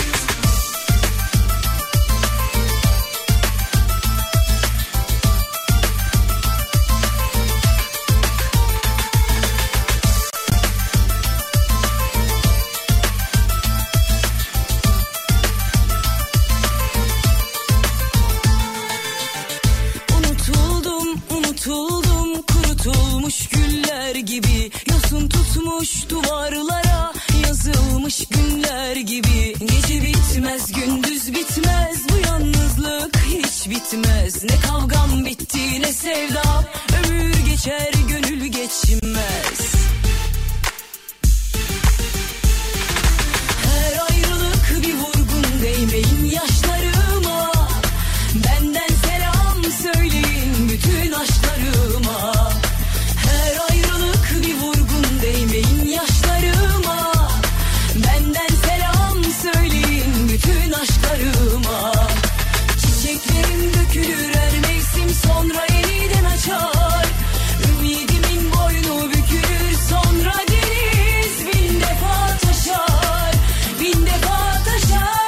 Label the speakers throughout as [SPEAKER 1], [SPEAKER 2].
[SPEAKER 1] is.
[SPEAKER 2] Unutuldum, unutuldum, kurutulmuş güller gibi Yosun tutmuş duvarlara, yazılmış günler gibi Gece bitmez, gündüz bitmez, bu yalnızlık hiç bitmez Ne kavgam bitti, ne sevda, ömür geçer, gönül geçmez Her ayrılık bir vurgun değmeyin yaşlarıma Benden selam söyleyin bütün aşklarıma Her ayrılık bir vurgun değmeyin yaşlarıma Benden selam söyleyin bütün aşklarıma Çiçeklerim dökülür her mevsim sonra yeniden açar Ümidimin boynu bükülür sonra deniz bin defa taşar Bin defa taşar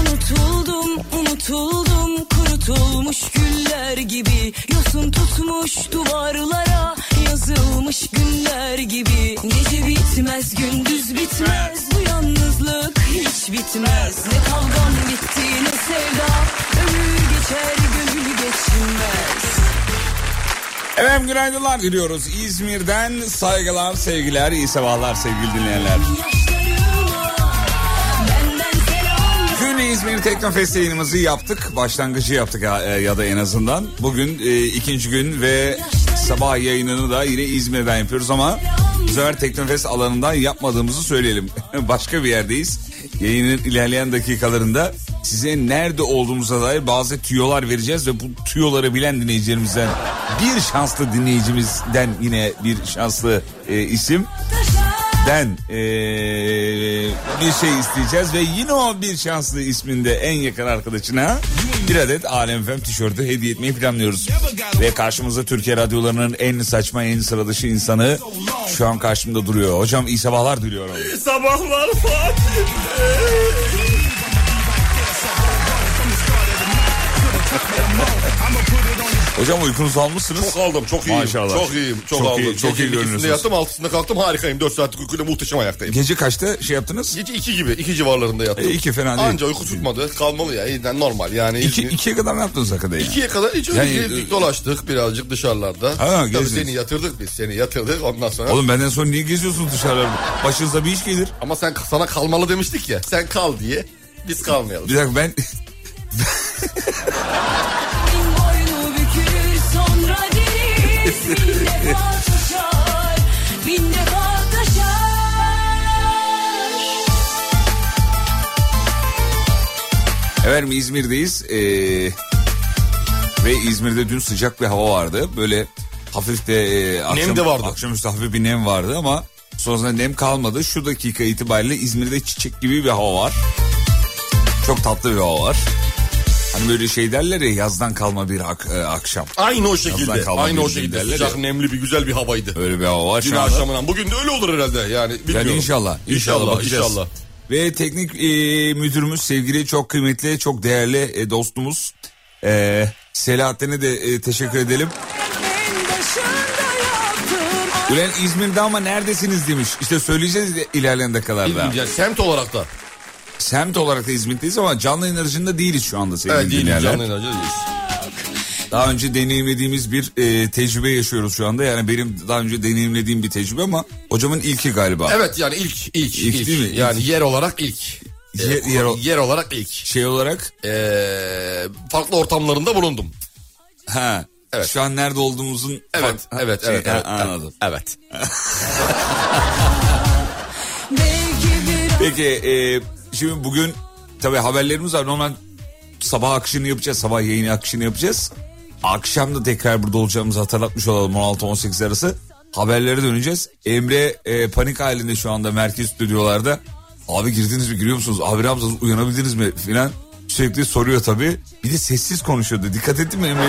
[SPEAKER 2] Unutuldum, unutuldum, kurutulmuş güller gibi Yosun tutmuş duvarlara, yazılmış günler gibi Gece bitmez, gündüz bitmez, bu yalnızlık hiç bitmez Ne kavgam bitti, ne sevda, ömür geçer, gönül geçmez
[SPEAKER 1] Efendim günaydınlar diliyoruz. İzmir'den saygılar, sevgiler, iyi sabahlar sevgili dinleyenler.
[SPEAKER 2] Yaşlarıma benden selam
[SPEAKER 1] Dün İzmir Teknofest yayınımızı yaptık. Başlangıcı yaptık ha- e, ya da en azından. Bugün e, ikinci gün ve sabah yayınını da yine İzmir'den yapıyoruz ama bu sefer Teknofest alanından yapmadığımızı söyleyelim. Başka bir yerdeyiz. Yayının ilerleyen dakikalarında size nerede olduğumuza dair bazı tüyolar vereceğiz ve bu tüyoları bilen dinleyicilerimizden bir şanslı dinleyicimizden yine bir şanslı e, isim den eee, bir şey isteyeceğiz ve yine o bir şanslı isminde en yakın arkadaşına bir adet Alem Fem tişörtü hediye etmeyi planlıyoruz. Ve karşımızda Türkiye radyolarının en saçma en sıra dışı insanı şu an karşımda duruyor. Hocam iyi sabahlar diliyorum.
[SPEAKER 3] Sabahlar Fatih.
[SPEAKER 1] Hocam uykunuzu almışsınız.
[SPEAKER 3] Çok aldım çok iyiyim.
[SPEAKER 1] Maşallah.
[SPEAKER 3] Çok iyiyim. Çok,
[SPEAKER 1] Çok
[SPEAKER 3] aldım.
[SPEAKER 1] iyi, çok iyi
[SPEAKER 3] Gecenin
[SPEAKER 1] görünüyorsunuz.
[SPEAKER 3] ikisinde yattım altısında kalktım harikayım. 4 saatlik uykuyla muhteşem ayaktayım.
[SPEAKER 1] Gece kaçta şey yaptınız?
[SPEAKER 3] Gece 2 gibi 2 civarlarında yattım.
[SPEAKER 1] E, iki fena değil.
[SPEAKER 3] Anca uyku tutmadı. Kalmalı ya. Yani normal yani.
[SPEAKER 1] İki,
[SPEAKER 3] İzmir-
[SPEAKER 1] ikiye kadar ne yaptınız hakikaten ya?
[SPEAKER 3] İkiye kadar hiç öyle
[SPEAKER 1] Yani- e,
[SPEAKER 3] gezdik, dolaştık birazcık dışarılarda.
[SPEAKER 1] Ha,
[SPEAKER 3] Tabii
[SPEAKER 1] gezdiniz.
[SPEAKER 3] seni yatırdık biz seni yatırdık ondan sonra.
[SPEAKER 1] Oğlum benden sonra niye geziyorsunuz dışarıda? Başınıza bir iş gelir.
[SPEAKER 3] Ama sen sana kalmalı demiştik ya. Sen kal diye biz kalmayalım.
[SPEAKER 1] Bir dakika ben
[SPEAKER 2] Bin boynu bükülür sonra deniz bin defa taşar, bin defa taşar.
[SPEAKER 1] Efendim İzmir'deyiz Ee, ve İzmir'de dün sıcak bir hava vardı. Böyle hafif de e, akşam,
[SPEAKER 3] de vardı.
[SPEAKER 1] akşamüstü hafif bir nem vardı ama sonrasında nem kalmadı. Şu dakika itibariyle İzmir'de çiçek gibi bir hava var. Çok tatlı bir hava var. Hani böyle şey derler ya yazdan kalma bir ak- e, akşam.
[SPEAKER 3] Aynı o
[SPEAKER 1] Yazdan
[SPEAKER 3] şekilde.
[SPEAKER 1] kalma
[SPEAKER 3] Aynı o
[SPEAKER 1] bildiğin
[SPEAKER 3] şekilde.
[SPEAKER 1] derler
[SPEAKER 3] Sıcak
[SPEAKER 1] ya.
[SPEAKER 3] nemli bir güzel bir havaydı.
[SPEAKER 1] Öyle bir hava var.
[SPEAKER 3] Dün
[SPEAKER 1] şu anda.
[SPEAKER 3] akşamından. Bugün de öyle olur herhalde yani. Bilmiyorum.
[SPEAKER 1] Yani inşallah.
[SPEAKER 3] İnşallah.
[SPEAKER 1] bakacağız.
[SPEAKER 3] inşallah.
[SPEAKER 1] Ve teknik e, müdürümüz sevgili çok kıymetli çok değerli e, dostumuz e, Selahattin'e de e, teşekkür edelim. Ulan İzmir'de ama neredesiniz demiş. İşte söyleyeceğiz de ilerleyen dakikalarda.
[SPEAKER 3] Yani semt olarak da.
[SPEAKER 1] Semt olarak da İzmir'deyiz ama canlı yayın aracında değiliz şu anda sevgili
[SPEAKER 3] Evet değil
[SPEAKER 1] dinleyenler.
[SPEAKER 3] canlı enerji değil.
[SPEAKER 1] Daha önce deneyimlediğimiz bir e, tecrübe yaşıyoruz şu anda. Yani benim daha önce deneyimlediğim bir tecrübe ama hocamın ilki galiba.
[SPEAKER 3] Evet yani ilk ilk
[SPEAKER 1] İlk
[SPEAKER 3] ilk,
[SPEAKER 1] değil mi?
[SPEAKER 3] yani yer olarak ilk.
[SPEAKER 1] Yer- yer o-
[SPEAKER 3] yer olarak ilk.
[SPEAKER 1] Şey olarak
[SPEAKER 3] Ee, farklı ortamlarında bulundum.
[SPEAKER 1] ha.
[SPEAKER 3] Evet.
[SPEAKER 1] Şu an nerede olduğumuzun
[SPEAKER 3] Evet,
[SPEAKER 1] Ha,
[SPEAKER 3] evet,
[SPEAKER 1] şey,
[SPEAKER 3] evet,
[SPEAKER 1] ha,
[SPEAKER 3] evet.
[SPEAKER 1] anladım.
[SPEAKER 3] Evet.
[SPEAKER 2] Belki biraz
[SPEAKER 1] Peki e, şimdi bugün tabii haberlerimiz var. Normal sabah akışını yapacağız. Sabah yayını akışını yapacağız. Akşam da tekrar burada olacağımızı hatırlatmış olalım 16-18 arası. Haberlere döneceğiz. Emre e, panik halinde şu anda merkez stüdyolarda. Abi girdiniz mi giriyor musunuz? Abi ne yaptınız uyanabildiniz mi filan. Sürekli soruyor tabii. Bir de sessiz konuşuyordu. Dikkat ettin mi Emre,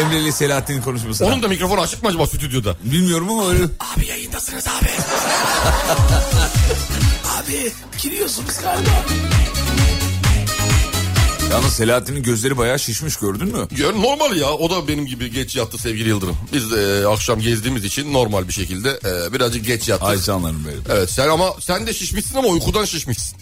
[SPEAKER 1] Emre ile Selahattin'in konuşmasına?
[SPEAKER 3] Onun da mikrofonu açık mı acaba stüdyoda?
[SPEAKER 1] Bilmiyorum ama öyle.
[SPEAKER 3] Abi yayındasınız abi. abi giriyorsunuz galiba.
[SPEAKER 1] Yalnız Selahattin'in gözleri bayağı şişmiş gördün mü?
[SPEAKER 3] Ya normal ya o da benim gibi geç yattı sevgili Yıldırım. Biz de e, akşam gezdiğimiz için normal bir şekilde e, birazcık geç yattık.
[SPEAKER 1] Ay canlarım benim.
[SPEAKER 3] Evet sen ama sen de şişmişsin ama uykudan şişmişsin.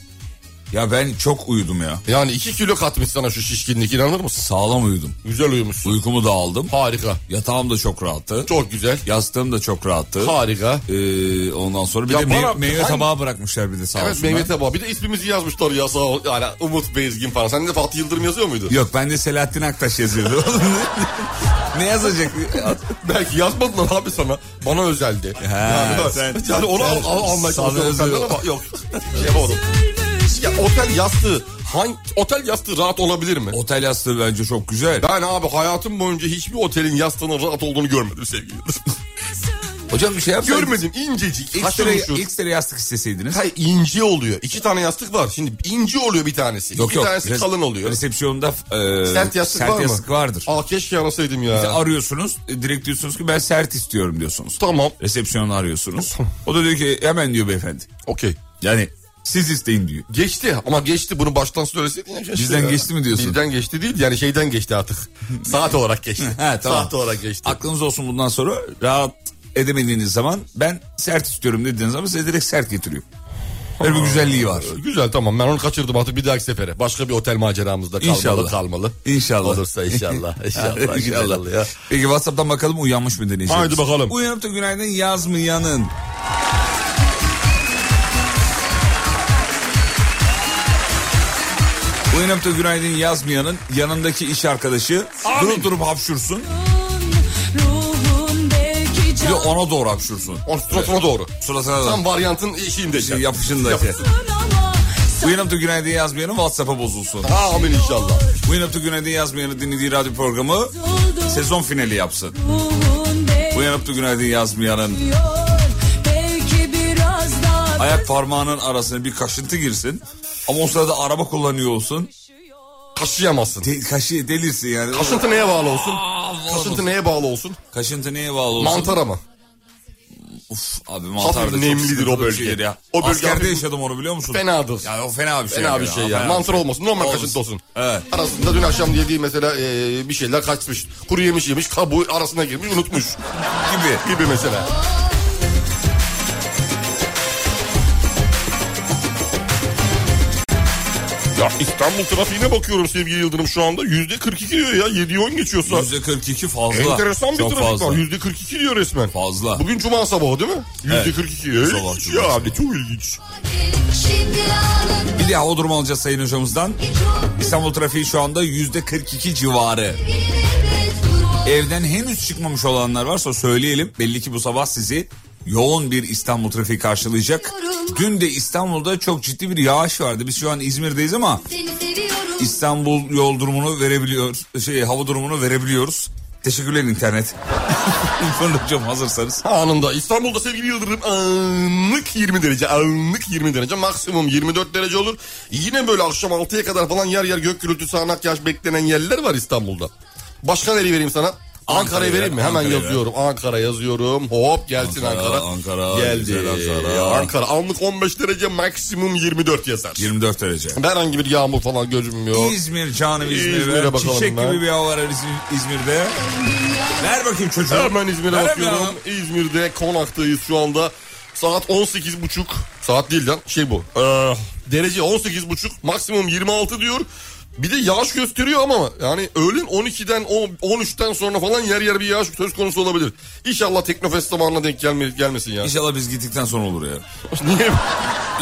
[SPEAKER 1] Ya ben çok uyudum ya.
[SPEAKER 3] Yani iki kilo katmış sana şu şişkinlik inanır mısın?
[SPEAKER 1] Sağlam uyudum.
[SPEAKER 3] Güzel uyumuşsun.
[SPEAKER 1] Uykumu da aldım.
[SPEAKER 3] Harika.
[SPEAKER 1] Yatağım da çok rahattı.
[SPEAKER 3] Çok güzel.
[SPEAKER 1] Yastığım da çok rahattı.
[SPEAKER 3] Harika.
[SPEAKER 1] Ee, ondan sonra bir
[SPEAKER 3] Ya
[SPEAKER 1] de me-
[SPEAKER 3] bana-
[SPEAKER 1] meyve
[SPEAKER 3] hangi-
[SPEAKER 1] tabağı bırakmışlar bir de sağ
[SPEAKER 3] Evet
[SPEAKER 1] olsunlar.
[SPEAKER 3] Mehmet Eba. Bir de ismimizi yazmışlar ya sağ ol. Yani Umut Bezgin falan. Sen de Fatih Yıldırım yazıyor muydu?
[SPEAKER 1] Yok ben de Selahattin Aktaş yazıyordu. ne yazacak?
[SPEAKER 3] Belki yazmadılar abi sana. Bana özeldi. yani,
[SPEAKER 1] sen-
[SPEAKER 3] yani onu
[SPEAKER 1] sen-
[SPEAKER 3] al, al, almak
[SPEAKER 1] sana
[SPEAKER 3] istiyorum
[SPEAKER 1] özel-
[SPEAKER 3] senden ama yok. şey Yapamadım. Ya otel yastığı hangi otel yastığı rahat olabilir mi?
[SPEAKER 1] Otel yastığı bence çok güzel.
[SPEAKER 3] Ben abi hayatım boyunca hiçbir otelin yastığının rahat olduğunu görmedim sevgili Yıldırım.
[SPEAKER 1] Hocam bir şey yapsaydınız.
[SPEAKER 3] görmedim incecik.
[SPEAKER 1] Ekstra,
[SPEAKER 3] haşır neşir.
[SPEAKER 1] ekstra yastık isteseydiniz.
[SPEAKER 3] Hayır ince oluyor. İki tane yastık var. Şimdi ince oluyor bir tanesi.
[SPEAKER 1] Yok
[SPEAKER 3] İki
[SPEAKER 1] yok.
[SPEAKER 3] tanesi
[SPEAKER 1] Res-
[SPEAKER 3] kalın oluyor.
[SPEAKER 1] Resepsiyonda e,
[SPEAKER 3] Sert yastık var mı?
[SPEAKER 1] vardır.
[SPEAKER 3] Aa keşke arasaydım ya.
[SPEAKER 1] Arıyorsunuz e, direkt diyorsunuz ki ben sert istiyorum diyorsunuz.
[SPEAKER 3] Tamam.
[SPEAKER 1] Resepsiyonu arıyorsunuz. O da diyor ki hemen diyor beyefendi.
[SPEAKER 3] Okey.
[SPEAKER 1] Yani siz isteyin diyor.
[SPEAKER 3] Geçti ama geçti bunu baştan söyleseydin ya. keşke
[SPEAKER 1] Bizden
[SPEAKER 3] ya.
[SPEAKER 1] geçti mi diyorsun?
[SPEAKER 3] Bizden geçti değil yani şeyden geçti artık. Saat olarak geçti.
[SPEAKER 1] Ha, tamam.
[SPEAKER 3] Saat olarak geçti.
[SPEAKER 1] Aklınız olsun bundan sonra rahat edemediğiniz zaman ben sert istiyorum dediğiniz zaman size direkt sert getiriyor. Böyle bir güzelliği var.
[SPEAKER 3] Güzel tamam ben onu kaçırdım artık bir dahaki sefere. Başka bir otel maceramızda kalmalı
[SPEAKER 1] İnşallah.
[SPEAKER 3] kalmalı.
[SPEAKER 1] İnşallah.
[SPEAKER 3] Olursa inşallah. İnşallah. inşallah. Ya.
[SPEAKER 1] Peki Whatsapp'tan bakalım uyanmış mı deneyeceğiz.
[SPEAKER 3] Haydi bakalım.
[SPEAKER 1] Uyanıp da günaydın yazmayanın. Uyanıp da günaydın yazmayanın yanındaki iş arkadaşı durup durup hapşursun.
[SPEAKER 2] ruhun belki
[SPEAKER 1] Bir de
[SPEAKER 2] can
[SPEAKER 1] ona doğru hapşursun.
[SPEAKER 3] O suratına doğru.
[SPEAKER 1] Suratına da.
[SPEAKER 3] Tam şey. varyantın şeyindeyken.
[SPEAKER 1] Yapışındaki.
[SPEAKER 2] ama sen
[SPEAKER 1] Uyanıp da günaydın yazmayanın Whatsapp'a bozulsun.
[SPEAKER 3] Amin inşallah.
[SPEAKER 1] Uyanıp da günaydın yazmayanı dinlediği radyo programı
[SPEAKER 2] oldun
[SPEAKER 1] sezon finali yapsın.
[SPEAKER 2] ruhun belki
[SPEAKER 1] Uyanıp da günaydın yazmayanın
[SPEAKER 2] belki biraz daha
[SPEAKER 1] ayak parmağının arasına bir kaşıntı girsin. Ama o sırada araba kullanıyor olsun.
[SPEAKER 3] Kaşıyamazsın.
[SPEAKER 1] De, kaşı delirsin yani.
[SPEAKER 3] Kaşıntı neye bağlı olsun? Kaşıntı
[SPEAKER 1] Kaşıntı,
[SPEAKER 3] neye bağlı olsun?
[SPEAKER 1] kaşıntı neye bağlı olsun?
[SPEAKER 3] Mantara mı?
[SPEAKER 1] Uf, abi mantar da
[SPEAKER 3] Hafif
[SPEAKER 1] çok
[SPEAKER 3] nemlidir
[SPEAKER 1] sıkıntılı
[SPEAKER 3] o
[SPEAKER 1] bir
[SPEAKER 3] bölge.
[SPEAKER 1] şeydir Ya.
[SPEAKER 3] O bölge
[SPEAKER 1] Askerde
[SPEAKER 3] hafif-
[SPEAKER 1] yaşadım onu biliyor musun?
[SPEAKER 3] Fenadır.
[SPEAKER 1] Ya o fena bir şey.
[SPEAKER 3] Fena bir
[SPEAKER 1] ya,
[SPEAKER 3] şey
[SPEAKER 1] fena
[SPEAKER 3] ya.
[SPEAKER 1] bir
[SPEAKER 3] Mantar
[SPEAKER 1] şey.
[SPEAKER 3] olmasın. Normal
[SPEAKER 1] Olmasın.
[SPEAKER 3] kaşıntı olsun.
[SPEAKER 1] Evet.
[SPEAKER 3] Arasında dün akşam yediği mesela e, bir şeyler kaçmış. Kuru yemiş yemiş kabuğu arasına girmiş unutmuş
[SPEAKER 1] Gibi.
[SPEAKER 3] gibi mesela. Ya İstanbul trafiğine bakıyorum sevgili Yıldırım şu anda. Yüzde 42 diyor ya. 7'yi 10 geçiyor saat.
[SPEAKER 1] Yüzde 42 fazla.
[SPEAKER 3] Enteresan bir
[SPEAKER 1] Çok
[SPEAKER 3] trafik
[SPEAKER 1] fazla.
[SPEAKER 3] var. Yüzde 42 diyor resmen.
[SPEAKER 1] Fazla.
[SPEAKER 3] Bugün cuma sabahı değil mi? Yüzde
[SPEAKER 1] Evet.
[SPEAKER 3] 42.
[SPEAKER 1] Sabah
[SPEAKER 3] Evet.
[SPEAKER 1] cuma
[SPEAKER 3] Ya
[SPEAKER 1] sabahı.
[SPEAKER 3] abi çok ilginç.
[SPEAKER 2] şimdi anladım
[SPEAKER 1] Bir de hava durumu alacağız sayın hocamızdan. İstanbul trafiği şu anda yüzde 42 civarı. Evden henüz çıkmamış olanlar varsa söyleyelim. Belli ki bu sabah sizi yoğun bir İstanbul trafiği karşılayacak. Dün de İstanbul'da çok ciddi bir yağış vardı. Biz şu an İzmir'deyiz ama
[SPEAKER 2] seni seviyorum
[SPEAKER 1] İstanbul yol durumunu verebiliyoruz. Şey, hava durumunu verebiliyoruz. Teşekkürler internet. İrfan hocam hazırsanız.
[SPEAKER 3] Anında İstanbul'da sevgili Yıldırım anlık 20 derece anlık 20 derece maksimum 24 derece olur. Yine böyle akşam 6'ya kadar falan yer yer gök gürültü sağanak yağış beklenen yerler var İstanbul'da. Başka nereyi vereyim sana? Ankara'yı
[SPEAKER 1] ver,
[SPEAKER 3] vereyim mi? Hemen
[SPEAKER 1] Ankara'yı ver.
[SPEAKER 3] yazıyorum. Ankara yazıyorum. Hop gelsin
[SPEAKER 1] Ankara,
[SPEAKER 3] Ankara.
[SPEAKER 1] Ankara,
[SPEAKER 3] Geldi.
[SPEAKER 1] güzel Ankara.
[SPEAKER 3] Ya Ankara anlık 15 derece maksimum 24 yazar.
[SPEAKER 1] 24 derece.
[SPEAKER 3] Ben herhangi bir yağmur falan gözükmüyor.
[SPEAKER 1] İzmir canım İzmir.
[SPEAKER 3] İzmir'e
[SPEAKER 1] ver.
[SPEAKER 3] bakalım
[SPEAKER 1] Çiçek
[SPEAKER 3] ben.
[SPEAKER 1] gibi bir hava var İz- İzmir'de. Ver bakayım çocuğu.
[SPEAKER 3] Hemen İzmir'e
[SPEAKER 1] Ver
[SPEAKER 3] bakıyorum.
[SPEAKER 1] ya.
[SPEAKER 3] İzmir'de konaktayız şu anda. Saat 18.30. Saat değil lan şey bu. Ee, derece 18.30 maksimum 26 diyor. Bir de yağış gösteriyor ama yani öğlen 12'den on- 13'ten sonra falan yer yer bir yağış söz konusu olabilir. İnşallah Teknofest zamanına denk gelme, gelmesin ya.
[SPEAKER 1] İnşallah biz gittikten sonra olur ya.
[SPEAKER 3] Niye?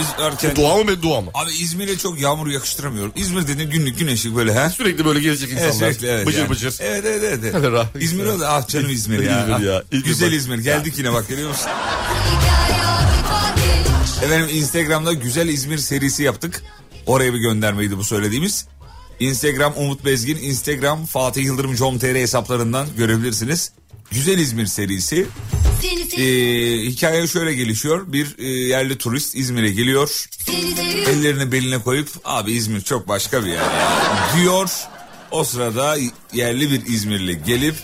[SPEAKER 1] izlerken...
[SPEAKER 3] Dua mı beddua mı?
[SPEAKER 1] Abi İzmir'e çok yağmur yakıştıramıyorum. İzmir dediğin günlük güneşlik böyle ha.
[SPEAKER 3] Sürekli böyle gezecek insanlar.
[SPEAKER 1] Evet, sürekli, evet,
[SPEAKER 3] bıcır
[SPEAKER 1] yani.
[SPEAKER 3] bıcır.
[SPEAKER 1] Evet evet evet.
[SPEAKER 3] Hadi
[SPEAKER 1] evet.
[SPEAKER 3] rahat.
[SPEAKER 1] İzmir o da ah canım İzmir ya.
[SPEAKER 3] İzmir ya,
[SPEAKER 1] Ah,
[SPEAKER 3] İzmir
[SPEAKER 1] Güzel
[SPEAKER 3] bak.
[SPEAKER 1] İzmir geldik yine bak görüyor musun? Efendim Instagram'da güzel İzmir serisi yaptık. Oraya bir göndermeydi bu söylediğimiz. Instagram Umut Bezgin, Instagram Fatih Yıldırım com.tr hesaplarından görebilirsiniz. Güzel İzmir serisi.
[SPEAKER 2] Seni
[SPEAKER 1] Ee,
[SPEAKER 2] sev-
[SPEAKER 1] hikaye şöyle gelişiyor. Bir e, yerli turist İzmir'e geliyor.
[SPEAKER 2] seni seviyorum.
[SPEAKER 1] Ellerini beline koyup abi İzmir çok başka bir yer ya," diyor. O sırada yerli bir İzmirli gelip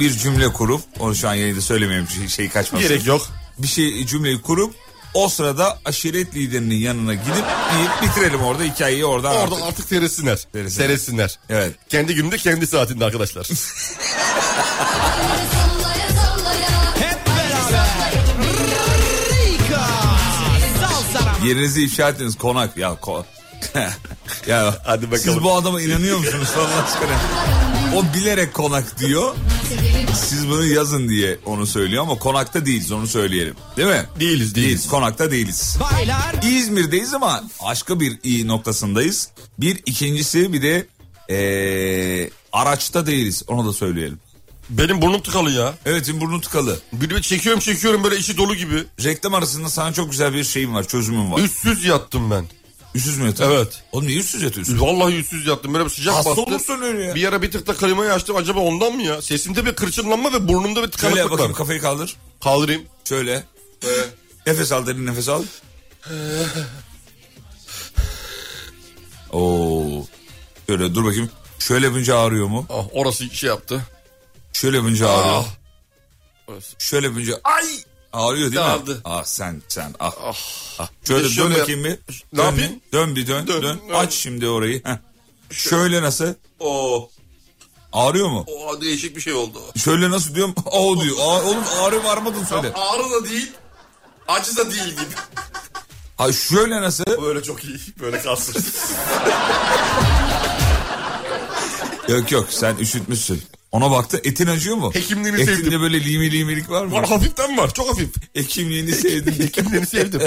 [SPEAKER 1] bir cümle kurup onu şu an yayında söylemeyeyim şey, şey kaçmasın.
[SPEAKER 3] Gerek yok.
[SPEAKER 1] Bir şey cümleyi kurup o sırada aşiret liderinin yanına gidip yiyip bitirelim orada hikayeyi oradan
[SPEAKER 3] Orada
[SPEAKER 1] artık.
[SPEAKER 3] artık teresinler.
[SPEAKER 1] Teresinler.
[SPEAKER 3] Teresinler.
[SPEAKER 1] Evet.
[SPEAKER 3] Kendi gününde kendi saatinde arkadaşlar.
[SPEAKER 2] Sallaya sallaya.
[SPEAKER 1] Yerinizi ifşa ettiniz konak ya ko- ya
[SPEAKER 3] Hadi bakalım.
[SPEAKER 1] Siz bu adama inanıyor musunuz Allah aşkına? O bilerek konak diyor. Siz bunu yazın diye onu söylüyor ama konakta değiliz onu söyleyelim. Değil mi?
[SPEAKER 3] Değiliz, değiliz.
[SPEAKER 1] konakta değiliz.
[SPEAKER 4] Baylar
[SPEAKER 1] İzmir'deyiz ama başka bir iyi noktasındayız. Bir ikincisi bir de eee, araçta değiliz onu da söyleyelim.
[SPEAKER 3] Benim burnum tıkalı ya.
[SPEAKER 1] Evet şimdi burnu tıkalı.
[SPEAKER 3] Bir bir çekiyorum çekiyorum böyle içi dolu gibi.
[SPEAKER 1] Reklam arasında sana çok güzel bir şeyim var çözümüm var.
[SPEAKER 3] Yüzsüz yattım ben.
[SPEAKER 1] Yüzsüz mü yatıyorsun?
[SPEAKER 3] Evet.
[SPEAKER 1] Oğlum niye yüzsüz yatıyorsun?
[SPEAKER 3] Vallahi yüzsüz yattım. Böyle bir sıcak
[SPEAKER 1] Hasta
[SPEAKER 3] bastı.
[SPEAKER 1] olursun öyle ya.
[SPEAKER 3] Bir ara bir tık da klimayı açtım. Acaba ondan mı ya? Sesimde bir kırçınlanma ve burnumda
[SPEAKER 1] Şöyle
[SPEAKER 3] bir tıkanıklık
[SPEAKER 1] bakayım
[SPEAKER 3] var.
[SPEAKER 1] kafayı kaldır.
[SPEAKER 3] Kaldırayım.
[SPEAKER 1] Şöyle. Böyle. Nefes al derin nefes al. Ee. Oo. Şöyle dur bakayım. Şöyle yapınca ağrıyor mu?
[SPEAKER 3] Ah, orası şey yaptı.
[SPEAKER 1] Şöyle yapınca ağrıyor.
[SPEAKER 3] Ah. Orası.
[SPEAKER 1] Şöyle yapınca ay ağrıyor değil mi?
[SPEAKER 3] Ağrıdı.
[SPEAKER 1] Ah sen sen ah. Ah. Şöyle
[SPEAKER 3] Bir de
[SPEAKER 1] dön
[SPEAKER 3] şöyle
[SPEAKER 1] bakayım bir.
[SPEAKER 3] Ne
[SPEAKER 1] Dön
[SPEAKER 3] yapayım?
[SPEAKER 1] bir, Dön bir dön dön.
[SPEAKER 3] Dön, dön.
[SPEAKER 1] Aç şimdi orayı. Heh. Şöyle nasıl? Oo. Ağrıyor mu?
[SPEAKER 3] Oha değişik bir şey oldu.
[SPEAKER 1] Şöyle nasıl diyorum? Oo diyor. Aa, oğlum ağrıyor mu ağrımadın söyle.
[SPEAKER 3] Ağrı da değil. Acı da değil gibi.
[SPEAKER 1] Ay şöyle nasıl?
[SPEAKER 3] Böyle çok iyi. Böyle kalsın.
[SPEAKER 1] Yok yok sen üşütmüşsün. Ona baktı etin acıyor mu?
[SPEAKER 3] Hekimliğini
[SPEAKER 1] Etinde
[SPEAKER 3] sevdim.
[SPEAKER 1] böyle limi limilik var mı?
[SPEAKER 3] var hafiften var. Çok hafif.
[SPEAKER 1] Hekimliğini sevdim.
[SPEAKER 3] Hekimleri sevdim.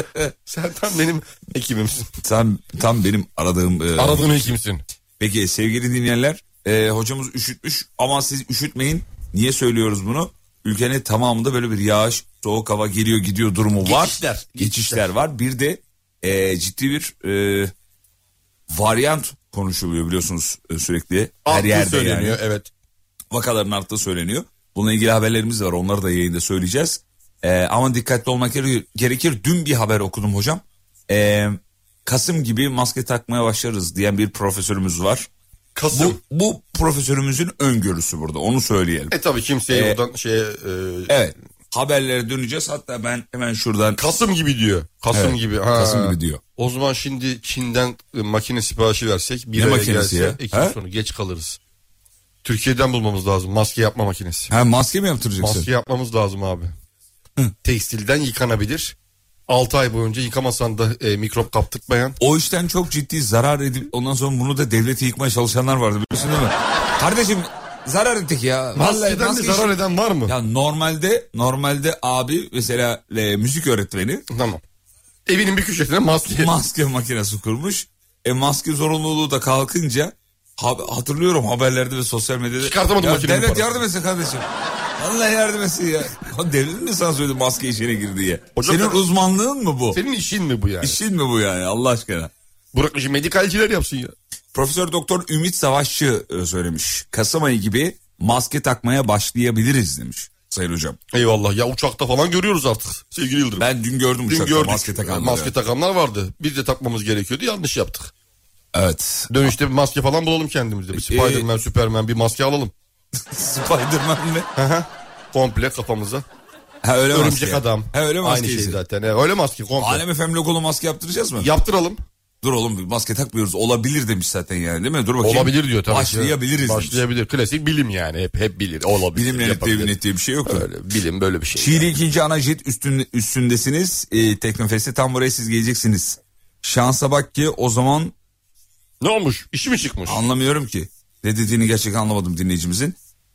[SPEAKER 3] Sen tam benim hekimimsin.
[SPEAKER 1] tam, tam benim aradığım. e,
[SPEAKER 3] Aradığım hekimsin.
[SPEAKER 1] Peki sevgili dinleyenler e, hocamız üşütmüş ama siz üşütmeyin. Niye söylüyoruz bunu? Ülkenin tamamında böyle bir yağış, soğuk hava geliyor gidiyor durumu var.
[SPEAKER 3] Geçişler,
[SPEAKER 1] Geçişler var. Bir de e, ciddi bir e, varyant konuşuluyor biliyorsunuz e, sürekli. Her
[SPEAKER 3] Aklı
[SPEAKER 1] yerde yani.
[SPEAKER 3] söyleniyor evet.
[SPEAKER 1] vakaların arttığı söyleniyor. Bununla ilgili haberlerimiz var onları da yayında söyleyeceğiz. Ee, ama dikkatli olmak gere- gerekir. Dün bir haber okudum hocam. Ee, Kasım gibi maske takmaya başlarız diyen bir profesörümüz var.
[SPEAKER 3] Kasım.
[SPEAKER 1] Bu, bu profesörümüzün öngörüsü burada onu söyleyelim.
[SPEAKER 3] E tabii kimseye
[SPEAKER 1] Ee,
[SPEAKER 3] buradan şeye... e,
[SPEAKER 1] Evet haberlere döneceğiz hatta ben hemen şuradan
[SPEAKER 3] Kasım gibi diyor. Kasım
[SPEAKER 1] Evet,
[SPEAKER 3] gibi.
[SPEAKER 1] Kasım gibi diyor.
[SPEAKER 3] O zaman şimdi Çin'den e, makine siparişi versek bir
[SPEAKER 1] Ne
[SPEAKER 3] aya
[SPEAKER 1] makinesi
[SPEAKER 3] gelse
[SPEAKER 1] ya?
[SPEAKER 3] Ekim
[SPEAKER 1] He?
[SPEAKER 3] sonu geç kalırız. Türkiye'den bulmamız lazım. Maske yapma makinesi.
[SPEAKER 1] ha, maske mi yaptıracaksın?
[SPEAKER 3] Maske yapmamız lazım abi. Tekstilden yıkanabilir. 6 ay boyunca yıkamasan da e, mikrop kaptırtmayan.
[SPEAKER 1] O işten çok ciddi zarar edip ondan sonra bunu da devleti yıkmaya çalışanlar vardı biliyorsun değil mi? Kardeşim zarar ettik ya. Vallahi
[SPEAKER 3] Maskeden de
[SPEAKER 1] maske işi-
[SPEAKER 3] zarar eden var mı?
[SPEAKER 1] Ya normalde normalde abi mesela e, müzik öğretmeni
[SPEAKER 3] Tamam. Evinin bir köşesine maske.
[SPEAKER 1] maske makinesi kurmuş. E maske zorunluluğu da kalkınca ha- hatırlıyorum haberlerde ve sosyal medyada.
[SPEAKER 3] Çıkartamadım
[SPEAKER 1] ya,
[SPEAKER 3] makinenin
[SPEAKER 1] Devlet
[SPEAKER 3] parasını.
[SPEAKER 1] yardım etsin kardeşim. Allah yardım etsin ya. Ya Devlet mi sana söyledi maske işine gir diye?
[SPEAKER 3] Hocam
[SPEAKER 1] Senin
[SPEAKER 3] ben-
[SPEAKER 1] uzmanlığın mı bu?
[SPEAKER 3] Senin işin mi bu yani?
[SPEAKER 1] İşin mi bu yani Allah aşkına?
[SPEAKER 3] Bırak işi medikalciler yapsın ya.
[SPEAKER 1] Profesör Doktor Ümit Savaşçı e, söylemiş. Kasım ayı gibi maske takmaya başlayabiliriz demiş Sayın Hocam.
[SPEAKER 3] Eyvallah ya uçakta falan görüyoruz artık sevgili Yıldırım.
[SPEAKER 1] Ben dün gördüm
[SPEAKER 3] Dün
[SPEAKER 1] uçakta
[SPEAKER 3] gördük
[SPEAKER 1] maske takanları.
[SPEAKER 3] Maske takanlar vardı. Biz de takmamız gerekiyordu yanlış yaptık.
[SPEAKER 1] Evet.
[SPEAKER 3] Dönüşte bir maske falan bulalım kendimize.
[SPEAKER 1] E,
[SPEAKER 3] Bir Spiderman, Superman bir maske alalım.
[SPEAKER 1] Spiderman mi?
[SPEAKER 3] Komple kafamıza.
[SPEAKER 1] Ha öyle E, maske.
[SPEAKER 3] Örümcek adam.
[SPEAKER 1] Ha öyle maske.
[SPEAKER 3] Aynı şey zaten. he. Öyle maske komple.
[SPEAKER 1] Alem FM logolu maske yaptıracağız mı?
[SPEAKER 3] Yaptıralım.
[SPEAKER 1] Dur oğlum bir maske takmıyoruz. Olabilir demiş zaten yani değil mi? Dur bakayım.
[SPEAKER 3] Olabilir diyor tabii. ki.
[SPEAKER 1] Başlayabiliriz. Başlayabilir.
[SPEAKER 3] Başlayabilir. Klasik bilim yani. Hep hep bilir. Olabilir.
[SPEAKER 1] Bilimle net
[SPEAKER 3] yapabilir.
[SPEAKER 1] diye, net diye bir şey yoktu.
[SPEAKER 3] Öyle, bilim böyle bir şey.
[SPEAKER 1] Çiğli ikinci ana jet üstün, üstündesiniz. Ee, Teknofest'e tam buraya siz geleceksiniz. Şansa bak ki o zaman
[SPEAKER 3] Ne olmuş? İşi mi çıkmış?
[SPEAKER 1] anlamıyorum ki. Ne dediğini gerçekten anlamadım dinleyicimizin.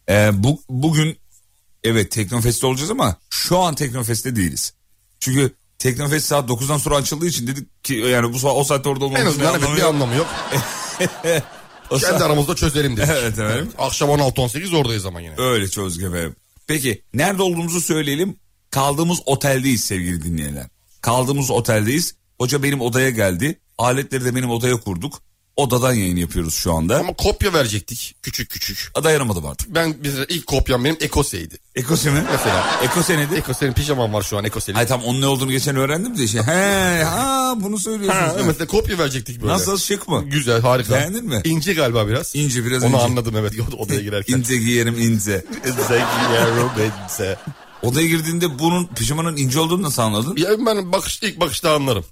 [SPEAKER 1] Ee, bu, bugün evet Teknofest'te olacağız ama şu an Teknofest'te değiliz. Çünkü Teknofest saat 9'dan sonra açıldığı için dedik ki yani bu saat o saatte orada
[SPEAKER 3] En
[SPEAKER 1] olmamız
[SPEAKER 3] azından evet bir anlamı yok. Kendi aramızda çözelim dedik.
[SPEAKER 1] Evet, evet.
[SPEAKER 3] Akşam 16-18 oradayız ama yine.
[SPEAKER 1] Öyle çözdük efendim. Peki nerede olduğumuzu söyleyelim. Kaldığımız oteldeyiz sevgili dinleyenler. Kaldığımız oteldeyiz. Hoca benim odaya geldi. Aletleri de benim odaya kurduk. Odadan yayın yapıyoruz şu anda.
[SPEAKER 3] Ama kopya verecektik küçük küçük.
[SPEAKER 1] Dayanamadım artık.
[SPEAKER 3] Ben mesela ilk kopyam benim Ekose'ydi.
[SPEAKER 1] Ekose mi?
[SPEAKER 3] Mesela.
[SPEAKER 1] Ekose nedir?
[SPEAKER 3] Ekose'nin pijaman var şu an Ekose'nin.
[SPEAKER 1] Hayır tam onun ne olduğunu geçen öğrendim de. Şey. He, ha bunu söylüyorsunuz.
[SPEAKER 3] Ha,
[SPEAKER 1] Ha.
[SPEAKER 3] mesela kopya verecektik böyle.
[SPEAKER 1] Nasıl şık mı?
[SPEAKER 3] Güzel harika.
[SPEAKER 1] Beğendin mi?
[SPEAKER 3] İnce galiba biraz.
[SPEAKER 1] İnce, biraz
[SPEAKER 3] Onu
[SPEAKER 1] ince.
[SPEAKER 3] anladım evet odaya girerken.
[SPEAKER 1] İnce giyerim ince.
[SPEAKER 3] Zeki yavrum bense.
[SPEAKER 1] Odaya girdiğinde bunun pijamanın ince olduğunu nasıl anladın?
[SPEAKER 3] Ya ben bakış, ilk bakışta anlarım.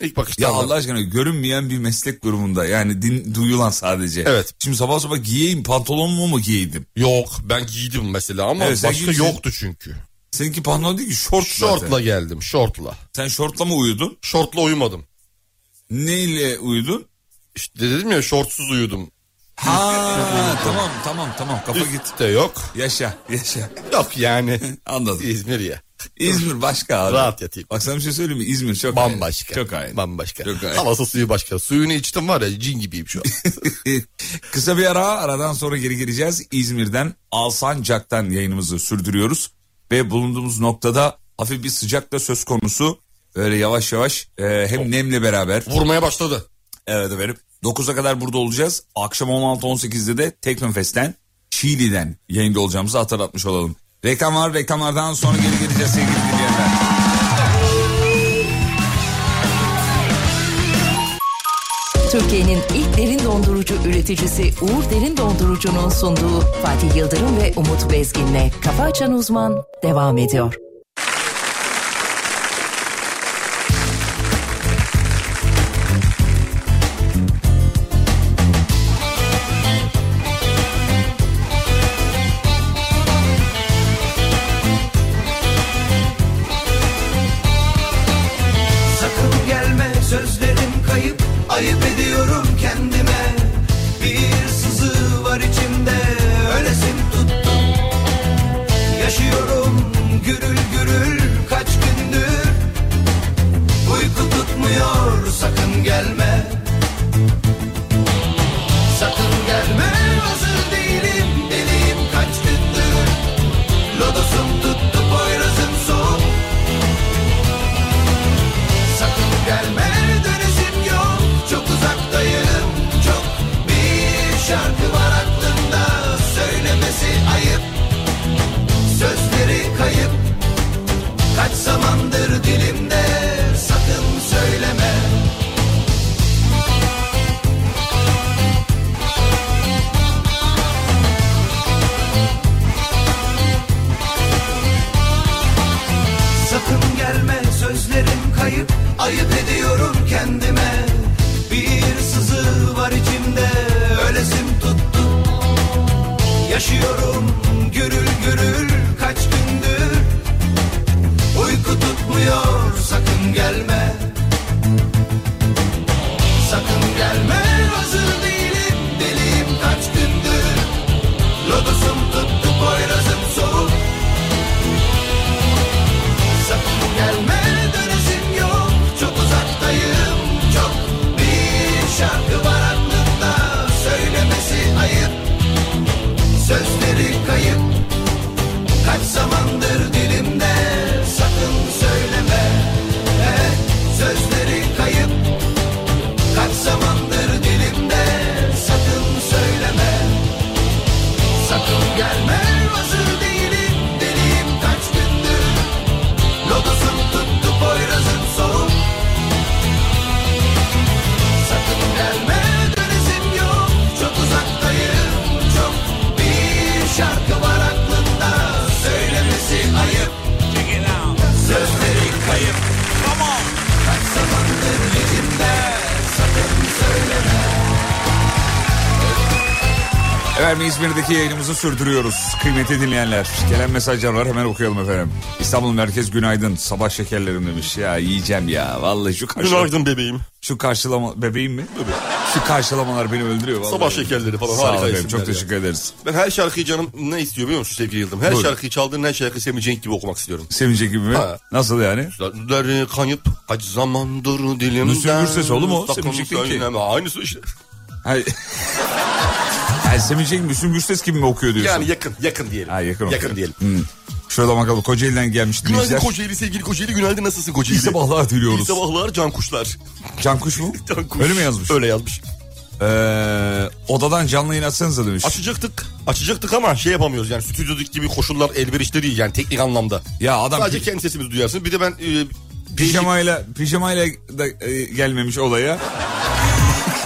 [SPEAKER 3] İlk bakışta
[SPEAKER 1] Ya
[SPEAKER 3] anlarım.
[SPEAKER 1] Allah aşkına görünmeyen bir meslek grubunda yani din, duyulan sadece.
[SPEAKER 3] Evet.
[SPEAKER 1] Şimdi sabah sabah giyeyim pantolonumu mu giyeydim?
[SPEAKER 3] Yok ben giydim mesela ama
[SPEAKER 1] Evet, sen
[SPEAKER 3] başka
[SPEAKER 1] giymişsin.
[SPEAKER 3] yoktu çünkü.
[SPEAKER 1] Seninki pantolon değil ki şort zaten.
[SPEAKER 3] Şortla geldim şortla.
[SPEAKER 1] Sen şortla mı uyudun?
[SPEAKER 3] Şortla uyumadım.
[SPEAKER 1] Neyle uyudun?
[SPEAKER 3] İşte dedim ya şortsuz uyudum.
[SPEAKER 1] Ha tamam tamam tamam kafa git.
[SPEAKER 3] Üstte yok.
[SPEAKER 1] Yaşa yaşa
[SPEAKER 3] Yok yani.
[SPEAKER 1] anladım.
[SPEAKER 3] İzmir ya.
[SPEAKER 1] İzmir başka abi.
[SPEAKER 3] Rahat yatayım.
[SPEAKER 1] Bak sana bir şey söyleyeyim mi? İzmir çok ayrı.
[SPEAKER 3] Bambaşka.
[SPEAKER 1] Çok ayrı.
[SPEAKER 3] Bambaşka.
[SPEAKER 1] Çok ayrı.
[SPEAKER 3] Havası suyu başka. Suyunu içtim var ya cin gibiyim şu an.
[SPEAKER 1] Kısa bir ara aradan sonra geri gireceğiz. İzmir'den Alsancak'tan yayınımızı sürdürüyoruz. Ve bulunduğumuz noktada hafif bir sıcak da söz konusu. Öyle yavaş yavaş e,
[SPEAKER 3] Oh.
[SPEAKER 1] hem nemle beraber.
[SPEAKER 3] Vurmaya başladı.
[SPEAKER 1] Evet efendim. 9'a kadar burada olacağız. Akşam 16-18'de de Teknofest'ten Çiğli'den yayında olacağımızı hatırlatmış olalım. Reklam var reklamlardan sonra geri geleceğiz sevgili dinleyenler.
[SPEAKER 5] Türkiye'nin ilk derin dondurucu üreticisi Uğur Derin Dondurucu'nun sunduğu Fatih Yıldırım ve Umut Bezgin'le Kafa Açan Uzman devam ediyor.
[SPEAKER 4] Sakın gelme sözlerim kayıp Ayıp ediyorum kendime Bir sızı var içimde Ölesim tuttu Yaşıyorum gürül gürül Kaç gündür Uyku tutmuyor Sakın gelme Sakın gelme Hazır değilim deliyim Kaç gündür Lodosum tuttu boyrazım soğuk Sakın gelme dönüşüm yok Çok uzaktayım çok Bir şarkı var aklımda Söylemesi ayıp Sözleri kayıp Kaç zamandır dilimde Sakın söyleme Sakın gelme sözlerim kayıp Ayıp ediyorum kendime Bir sızı var içimde Ölesim tuttu Yaşıyorum gürül gürül Kaç gündür Uyku tutmuyor Sakın gelme Sakın gelme Hazır değilim deliyim Kaç gündür Lodosum tuttu boyrazım soğuk Sakın gelme dönüşüm yok Çok uzaktayım çok Bir şarkı var aklımda Söylemesi ayıp Sözleri kayıp Kaç zamandır dilimde Sakın söyleme Eh, Sözleri kayıp Kaç zamandır dilimde Sakın söyleme Sakın gelme hazır değilim Deliyim kaç gündür Lodosum tuttu boyrazım soğuk Sakın gelme dönüşüm yok Çok uzaktayım çok Bir şarkı var aklımda Söylemesi ayıp Sözleri kayıp Kaç zamandır elimde Sakın söyleme
[SPEAKER 1] Efendim İzmir'deki yayınımızı sürdürüyoruz. Kıymetli dinleyenler. Gelen mesajlar var hemen okuyalım efendim. İstanbul Merkez günaydın. Sabah şekerlerim demiş. Ya yiyeceğim ya. Vallahi şu karşılama...
[SPEAKER 3] Günaydın bebeğim.
[SPEAKER 1] Şu karşılama... Bebeğim mi? Şu karşılamalar beni öldürüyor. Vallahi.
[SPEAKER 3] Sabah şekerleri falan,
[SPEAKER 1] Sağ ol
[SPEAKER 3] harika
[SPEAKER 1] efendim.
[SPEAKER 3] isimler
[SPEAKER 1] Çok
[SPEAKER 3] ya.
[SPEAKER 1] teşekkür ederiz.
[SPEAKER 3] Ben her şarkıyı canım ne istiyor biliyor musun sevgili Yıldırım? Her
[SPEAKER 1] Buyurun.
[SPEAKER 3] şarkıyı çaldığın her şarkıyı Semih Cenk gibi okumak istiyorum.
[SPEAKER 1] Sevinecek gibi mi?
[SPEAKER 3] Ha.
[SPEAKER 1] Nasıl yani?
[SPEAKER 3] Sözleri kayıp kaç zamandır dilimden.
[SPEAKER 1] Müslüm Gürses oğlum o,
[SPEAKER 3] Sakın
[SPEAKER 1] Semih Cenk değil ki.
[SPEAKER 3] söyleme. Aynısı işte.
[SPEAKER 1] Hayır. yani Sevinecek Müslüm Gürses gibi mi okuyor diyorsun?
[SPEAKER 3] Yani yakın, yakın diyelim.
[SPEAKER 1] Ha, yakın okuyor.
[SPEAKER 3] diyelim.
[SPEAKER 1] Şöyle bakalım Kocaeli'den gelmiş
[SPEAKER 3] Günaydın
[SPEAKER 1] dinleyiciler.
[SPEAKER 3] Kocaeli sevgili Kocaeli. Günaydın nasılsın Kocaeli?
[SPEAKER 1] İyi sabahlar diliyoruz.
[SPEAKER 3] İyi sabahlar can kuşlar.
[SPEAKER 1] Cankuş mu?
[SPEAKER 3] Cankuş.
[SPEAKER 1] Öyle mi yazmış?
[SPEAKER 3] Öyle yazmış.
[SPEAKER 1] Ee, odadan canlı yayın açsanıza demiş.
[SPEAKER 3] Açacaktık. Açacaktık ama şey yapamıyoruz yani stüdyodaki gibi koşullar elverişli değil yani teknik anlamda.
[SPEAKER 1] ya adam
[SPEAKER 3] Sadece kendi sesimizi duyarsın. Bir de ben e, değişik-
[SPEAKER 1] pijamayla pijamayla da e, gelmemiş olaya.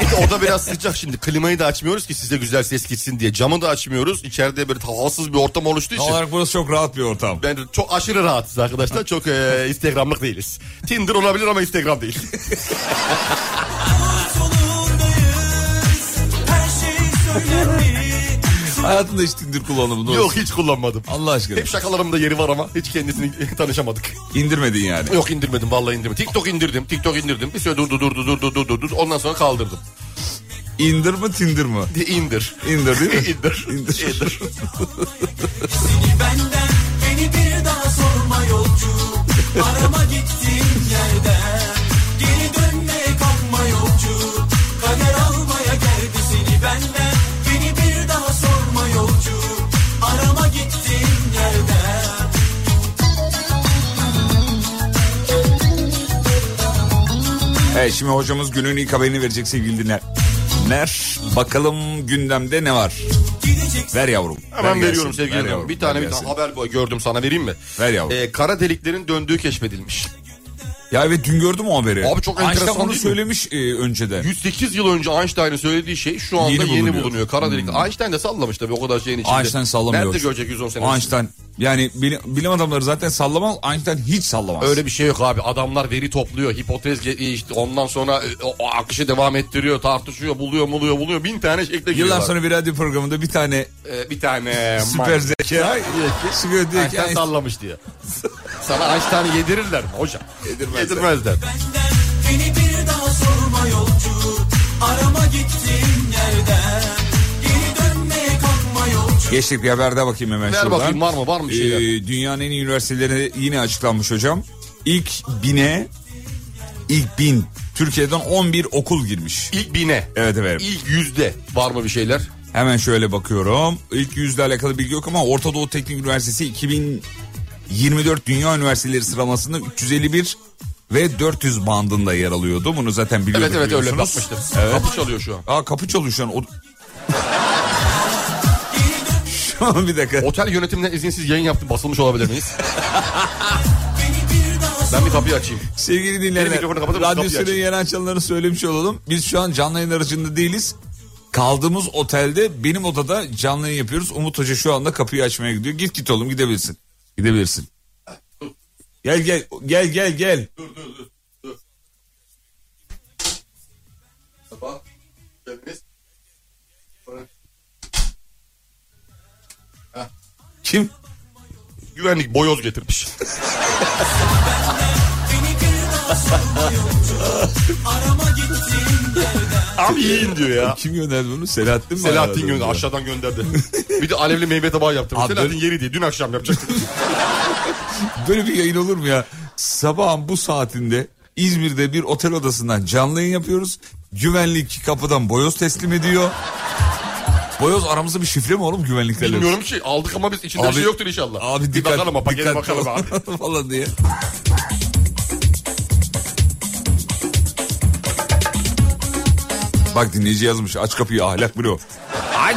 [SPEAKER 3] Bir de oda biraz sıcak şimdi. Klimayı da açmıyoruz ki size güzel ses gitsin diye. Camı da açmıyoruz. İçeride böyle havasız bir ortam oluştuğu
[SPEAKER 1] Tam
[SPEAKER 3] için.
[SPEAKER 1] olarak burası çok rahat bir ortam.
[SPEAKER 3] Ben de çok aşırı rahatsız arkadaşlar. Çok e, Instagram'lık değiliz. Tinder olabilir ama Instagram değil.
[SPEAKER 1] Hayatında hiç Tinder kullanımı
[SPEAKER 3] Yok hiç kullanmadım.
[SPEAKER 1] Allah aşkına.
[SPEAKER 3] Hep şakalarımda yeri var ama hiç kendisini tanışamadık.
[SPEAKER 1] İndirmedin yani.
[SPEAKER 3] Yok indirmedim vallahi indirmedim. TikTok indirdim. TikTok indirdim. Bir süre durdu durdu durdu durdu durdu. Ondan sonra kaldırdım.
[SPEAKER 1] İndir mi Tinder mı?
[SPEAKER 3] De, indir.
[SPEAKER 1] İndir değil mi?
[SPEAKER 3] İndir.
[SPEAKER 1] İndir.
[SPEAKER 3] İndir.
[SPEAKER 6] Benden beni bir daha sorma yolcu Arama gittiğin yerden Geri dönmeye kalkma yolcu Kader almaya geldi seni benden Beni bir daha sorma yolcu Arama gittiğin yerden
[SPEAKER 1] Evet şimdi hocamız günün ilk haberini verecek sevgili dinleyenler. Bakalım gündemde ne var? Ver yavrum.
[SPEAKER 3] Hemen
[SPEAKER 1] ver
[SPEAKER 3] veriyorum
[SPEAKER 1] gelsin,
[SPEAKER 3] sevgili
[SPEAKER 1] ver
[SPEAKER 3] Yıldırım.
[SPEAKER 1] yavrum,
[SPEAKER 3] Bir tane
[SPEAKER 1] ver
[SPEAKER 3] bir tane
[SPEAKER 1] gelsin.
[SPEAKER 3] haber bu- gördüm sana vereyim mi?
[SPEAKER 1] Ver yavrum.
[SPEAKER 3] Ee, kara deliklerin döndüğü keşfedilmiş.
[SPEAKER 1] Ya evet dün gördüm o haberi.
[SPEAKER 3] Abi çok
[SPEAKER 1] Einstein
[SPEAKER 3] enteresan
[SPEAKER 1] onu
[SPEAKER 3] değil mi?
[SPEAKER 1] söylemiş e, önceden.
[SPEAKER 3] 108 yıl önce Einstein'ın söylediği şey şu anda yeni,
[SPEAKER 1] Yeni
[SPEAKER 3] bulunuyor.
[SPEAKER 1] bulunuyor. Hmm.
[SPEAKER 3] Kara delik. Einstein de sallamış tabii o kadar şeyin içinde.
[SPEAKER 1] Einstein sallamıyor.
[SPEAKER 3] Nerede görecek 110 sene?
[SPEAKER 1] Einstein yani bilim, bilim adamları zaten sallamaz. Einstein hiç sallamaz.
[SPEAKER 3] Öyle bir şey yok abi. Adamlar veri topluyor. Hipotez ge- işte ondan sonra e, o, o akışı devam ettiriyor, tartışıyor, buluyor, buluyor, buluyor. Bin tane şekle
[SPEAKER 1] Yıllar
[SPEAKER 3] giriyorlar.
[SPEAKER 1] sonra bir radyo programında bir tane
[SPEAKER 3] Ee, bir tane
[SPEAKER 1] süper zeka çıkıyor diyor ki
[SPEAKER 3] Einstein
[SPEAKER 1] "Einstein-
[SPEAKER 3] sallamış diye. Sana Einstein'ı yedirirler mi hocam?
[SPEAKER 1] Yedirmezler.
[SPEAKER 3] Yedirmezler.
[SPEAKER 6] Benden beni bir daha sorma yolcu Arama gittiğin yerden Geri dönmeye kalkma yolcu
[SPEAKER 1] Geçtik bir haberde bakayım hemen
[SPEAKER 3] Ver
[SPEAKER 1] şuradan.
[SPEAKER 3] bakayım var mı? Var mı bir şeyler?
[SPEAKER 1] Ee, dünyanın en iyi üniversiteleri yine açıklanmış hocam. İlk bine ilk bin Türkiye'den 11 okul girmiş.
[SPEAKER 3] İlk bine.
[SPEAKER 1] Evet efendim.
[SPEAKER 3] İlk yüzde var mı bir şeyler?
[SPEAKER 1] Hemen şöyle bakıyorum. İlk yüzle alakalı bilgi yok ama Orta Doğu Teknik Üniversitesi 2024 Dünya Üniversiteleri sıralamasında 351 ve 400 bandında yer alıyordu. Bunu zaten biliyorduk
[SPEAKER 3] Evet evet öyle
[SPEAKER 1] biliyorsunuz.
[SPEAKER 3] bakmıştım.
[SPEAKER 1] Evet.
[SPEAKER 3] Kapı çalıyor şu an.
[SPEAKER 1] Aa kapı çalıyor şu an. O... şu an bir dakika.
[SPEAKER 3] Otel yönetiminden izinsiz yayın yaptım. Basılmış olabilir miyiz? ben bir kapıyı açayım.
[SPEAKER 1] Sevgili
[SPEAKER 3] Benim
[SPEAKER 1] dinleyenler,
[SPEAKER 3] mikrofonu kapatır mısın? Kapıyı
[SPEAKER 1] radyosunu
[SPEAKER 3] açın.
[SPEAKER 1] yeni açanları söylemiş olalım. Biz şu an canlı yayın aracında değiliz. Kaldığımız otelde benim odada canlı yayın yapıyoruz. Umut Hoca şu anda kapıyı açmaya gidiyor. Git git oğlum gidebilirsin. Gidebilirsin. Gel gel gel gel gel. Kim?
[SPEAKER 3] Güvenlik boyoz getirmiş. Abi yiyin diyor ya.
[SPEAKER 1] Kim gönderdi bunu? Selahattin mi?
[SPEAKER 3] Selahattin
[SPEAKER 1] gönderdi.
[SPEAKER 3] gönderdi. Aşağıdan gönderdi. bir de alevli meyve tabağı yaptım.
[SPEAKER 1] Abi-
[SPEAKER 3] Selahattin yeri diye. Dün akşam yapacaktım.
[SPEAKER 1] Böyle bir yayın olur mu ya? Sabahın bu saatinde İzmir'de bir otel odasından canlı yayın yapıyoruz. Güvenlik kapıdan boyoz teslim ediyor. Boyoz aramızda bir şifre mi oğlum güvenliklerle?
[SPEAKER 3] Bilmiyorum ki aldık ama biz içinde bir
[SPEAKER 1] Abi-
[SPEAKER 3] şey yoktur inşallah.
[SPEAKER 1] Abi
[SPEAKER 3] bir
[SPEAKER 1] dikkat,
[SPEAKER 3] bakalım ama pakete
[SPEAKER 1] dikkatli
[SPEAKER 3] bakalım
[SPEAKER 1] ol.
[SPEAKER 3] abi.
[SPEAKER 1] falan diye. Bak dinleyici yazmış aç kapıyı ahlak bro. Aç.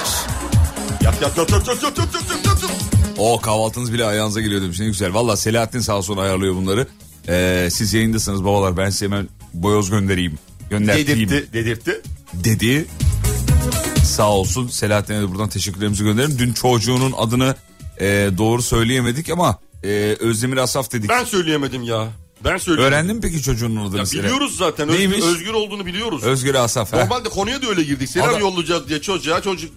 [SPEAKER 3] Yat yat yat yat yat yat yat yat yat.
[SPEAKER 1] O kahvaltınız bile ayağınıza geliyor demiş ne güzel. Valla Selahattin sağ olsun ayarlıyor bunları. Ee, siz yayındasınız babalar ben size hemen boyoz göndereyim. Gönderteyim
[SPEAKER 3] Dedirtti, dedirtti.
[SPEAKER 1] dedi. Sağ olsun Selahattin'e de buradan teşekkürlerimizi gönderelim. Dün çocuğunun adını e, doğru söyleyemedik ama e, Özdemir Asaf dedik.
[SPEAKER 3] Ben söyleyemedim ya. Ben söyleyemedim.
[SPEAKER 1] Öğrendin mi peki çocuğunun adını?
[SPEAKER 3] Ya
[SPEAKER 1] Selen?
[SPEAKER 3] biliyoruz zaten. Öz-
[SPEAKER 1] Neymiş?
[SPEAKER 3] Özgür olduğunu biliyoruz.
[SPEAKER 1] Özgür Asaf. ha.
[SPEAKER 3] Normalde konuya da öyle girdik. Selam
[SPEAKER 1] Adam-
[SPEAKER 3] yollayacağız diye çocuğa çocuk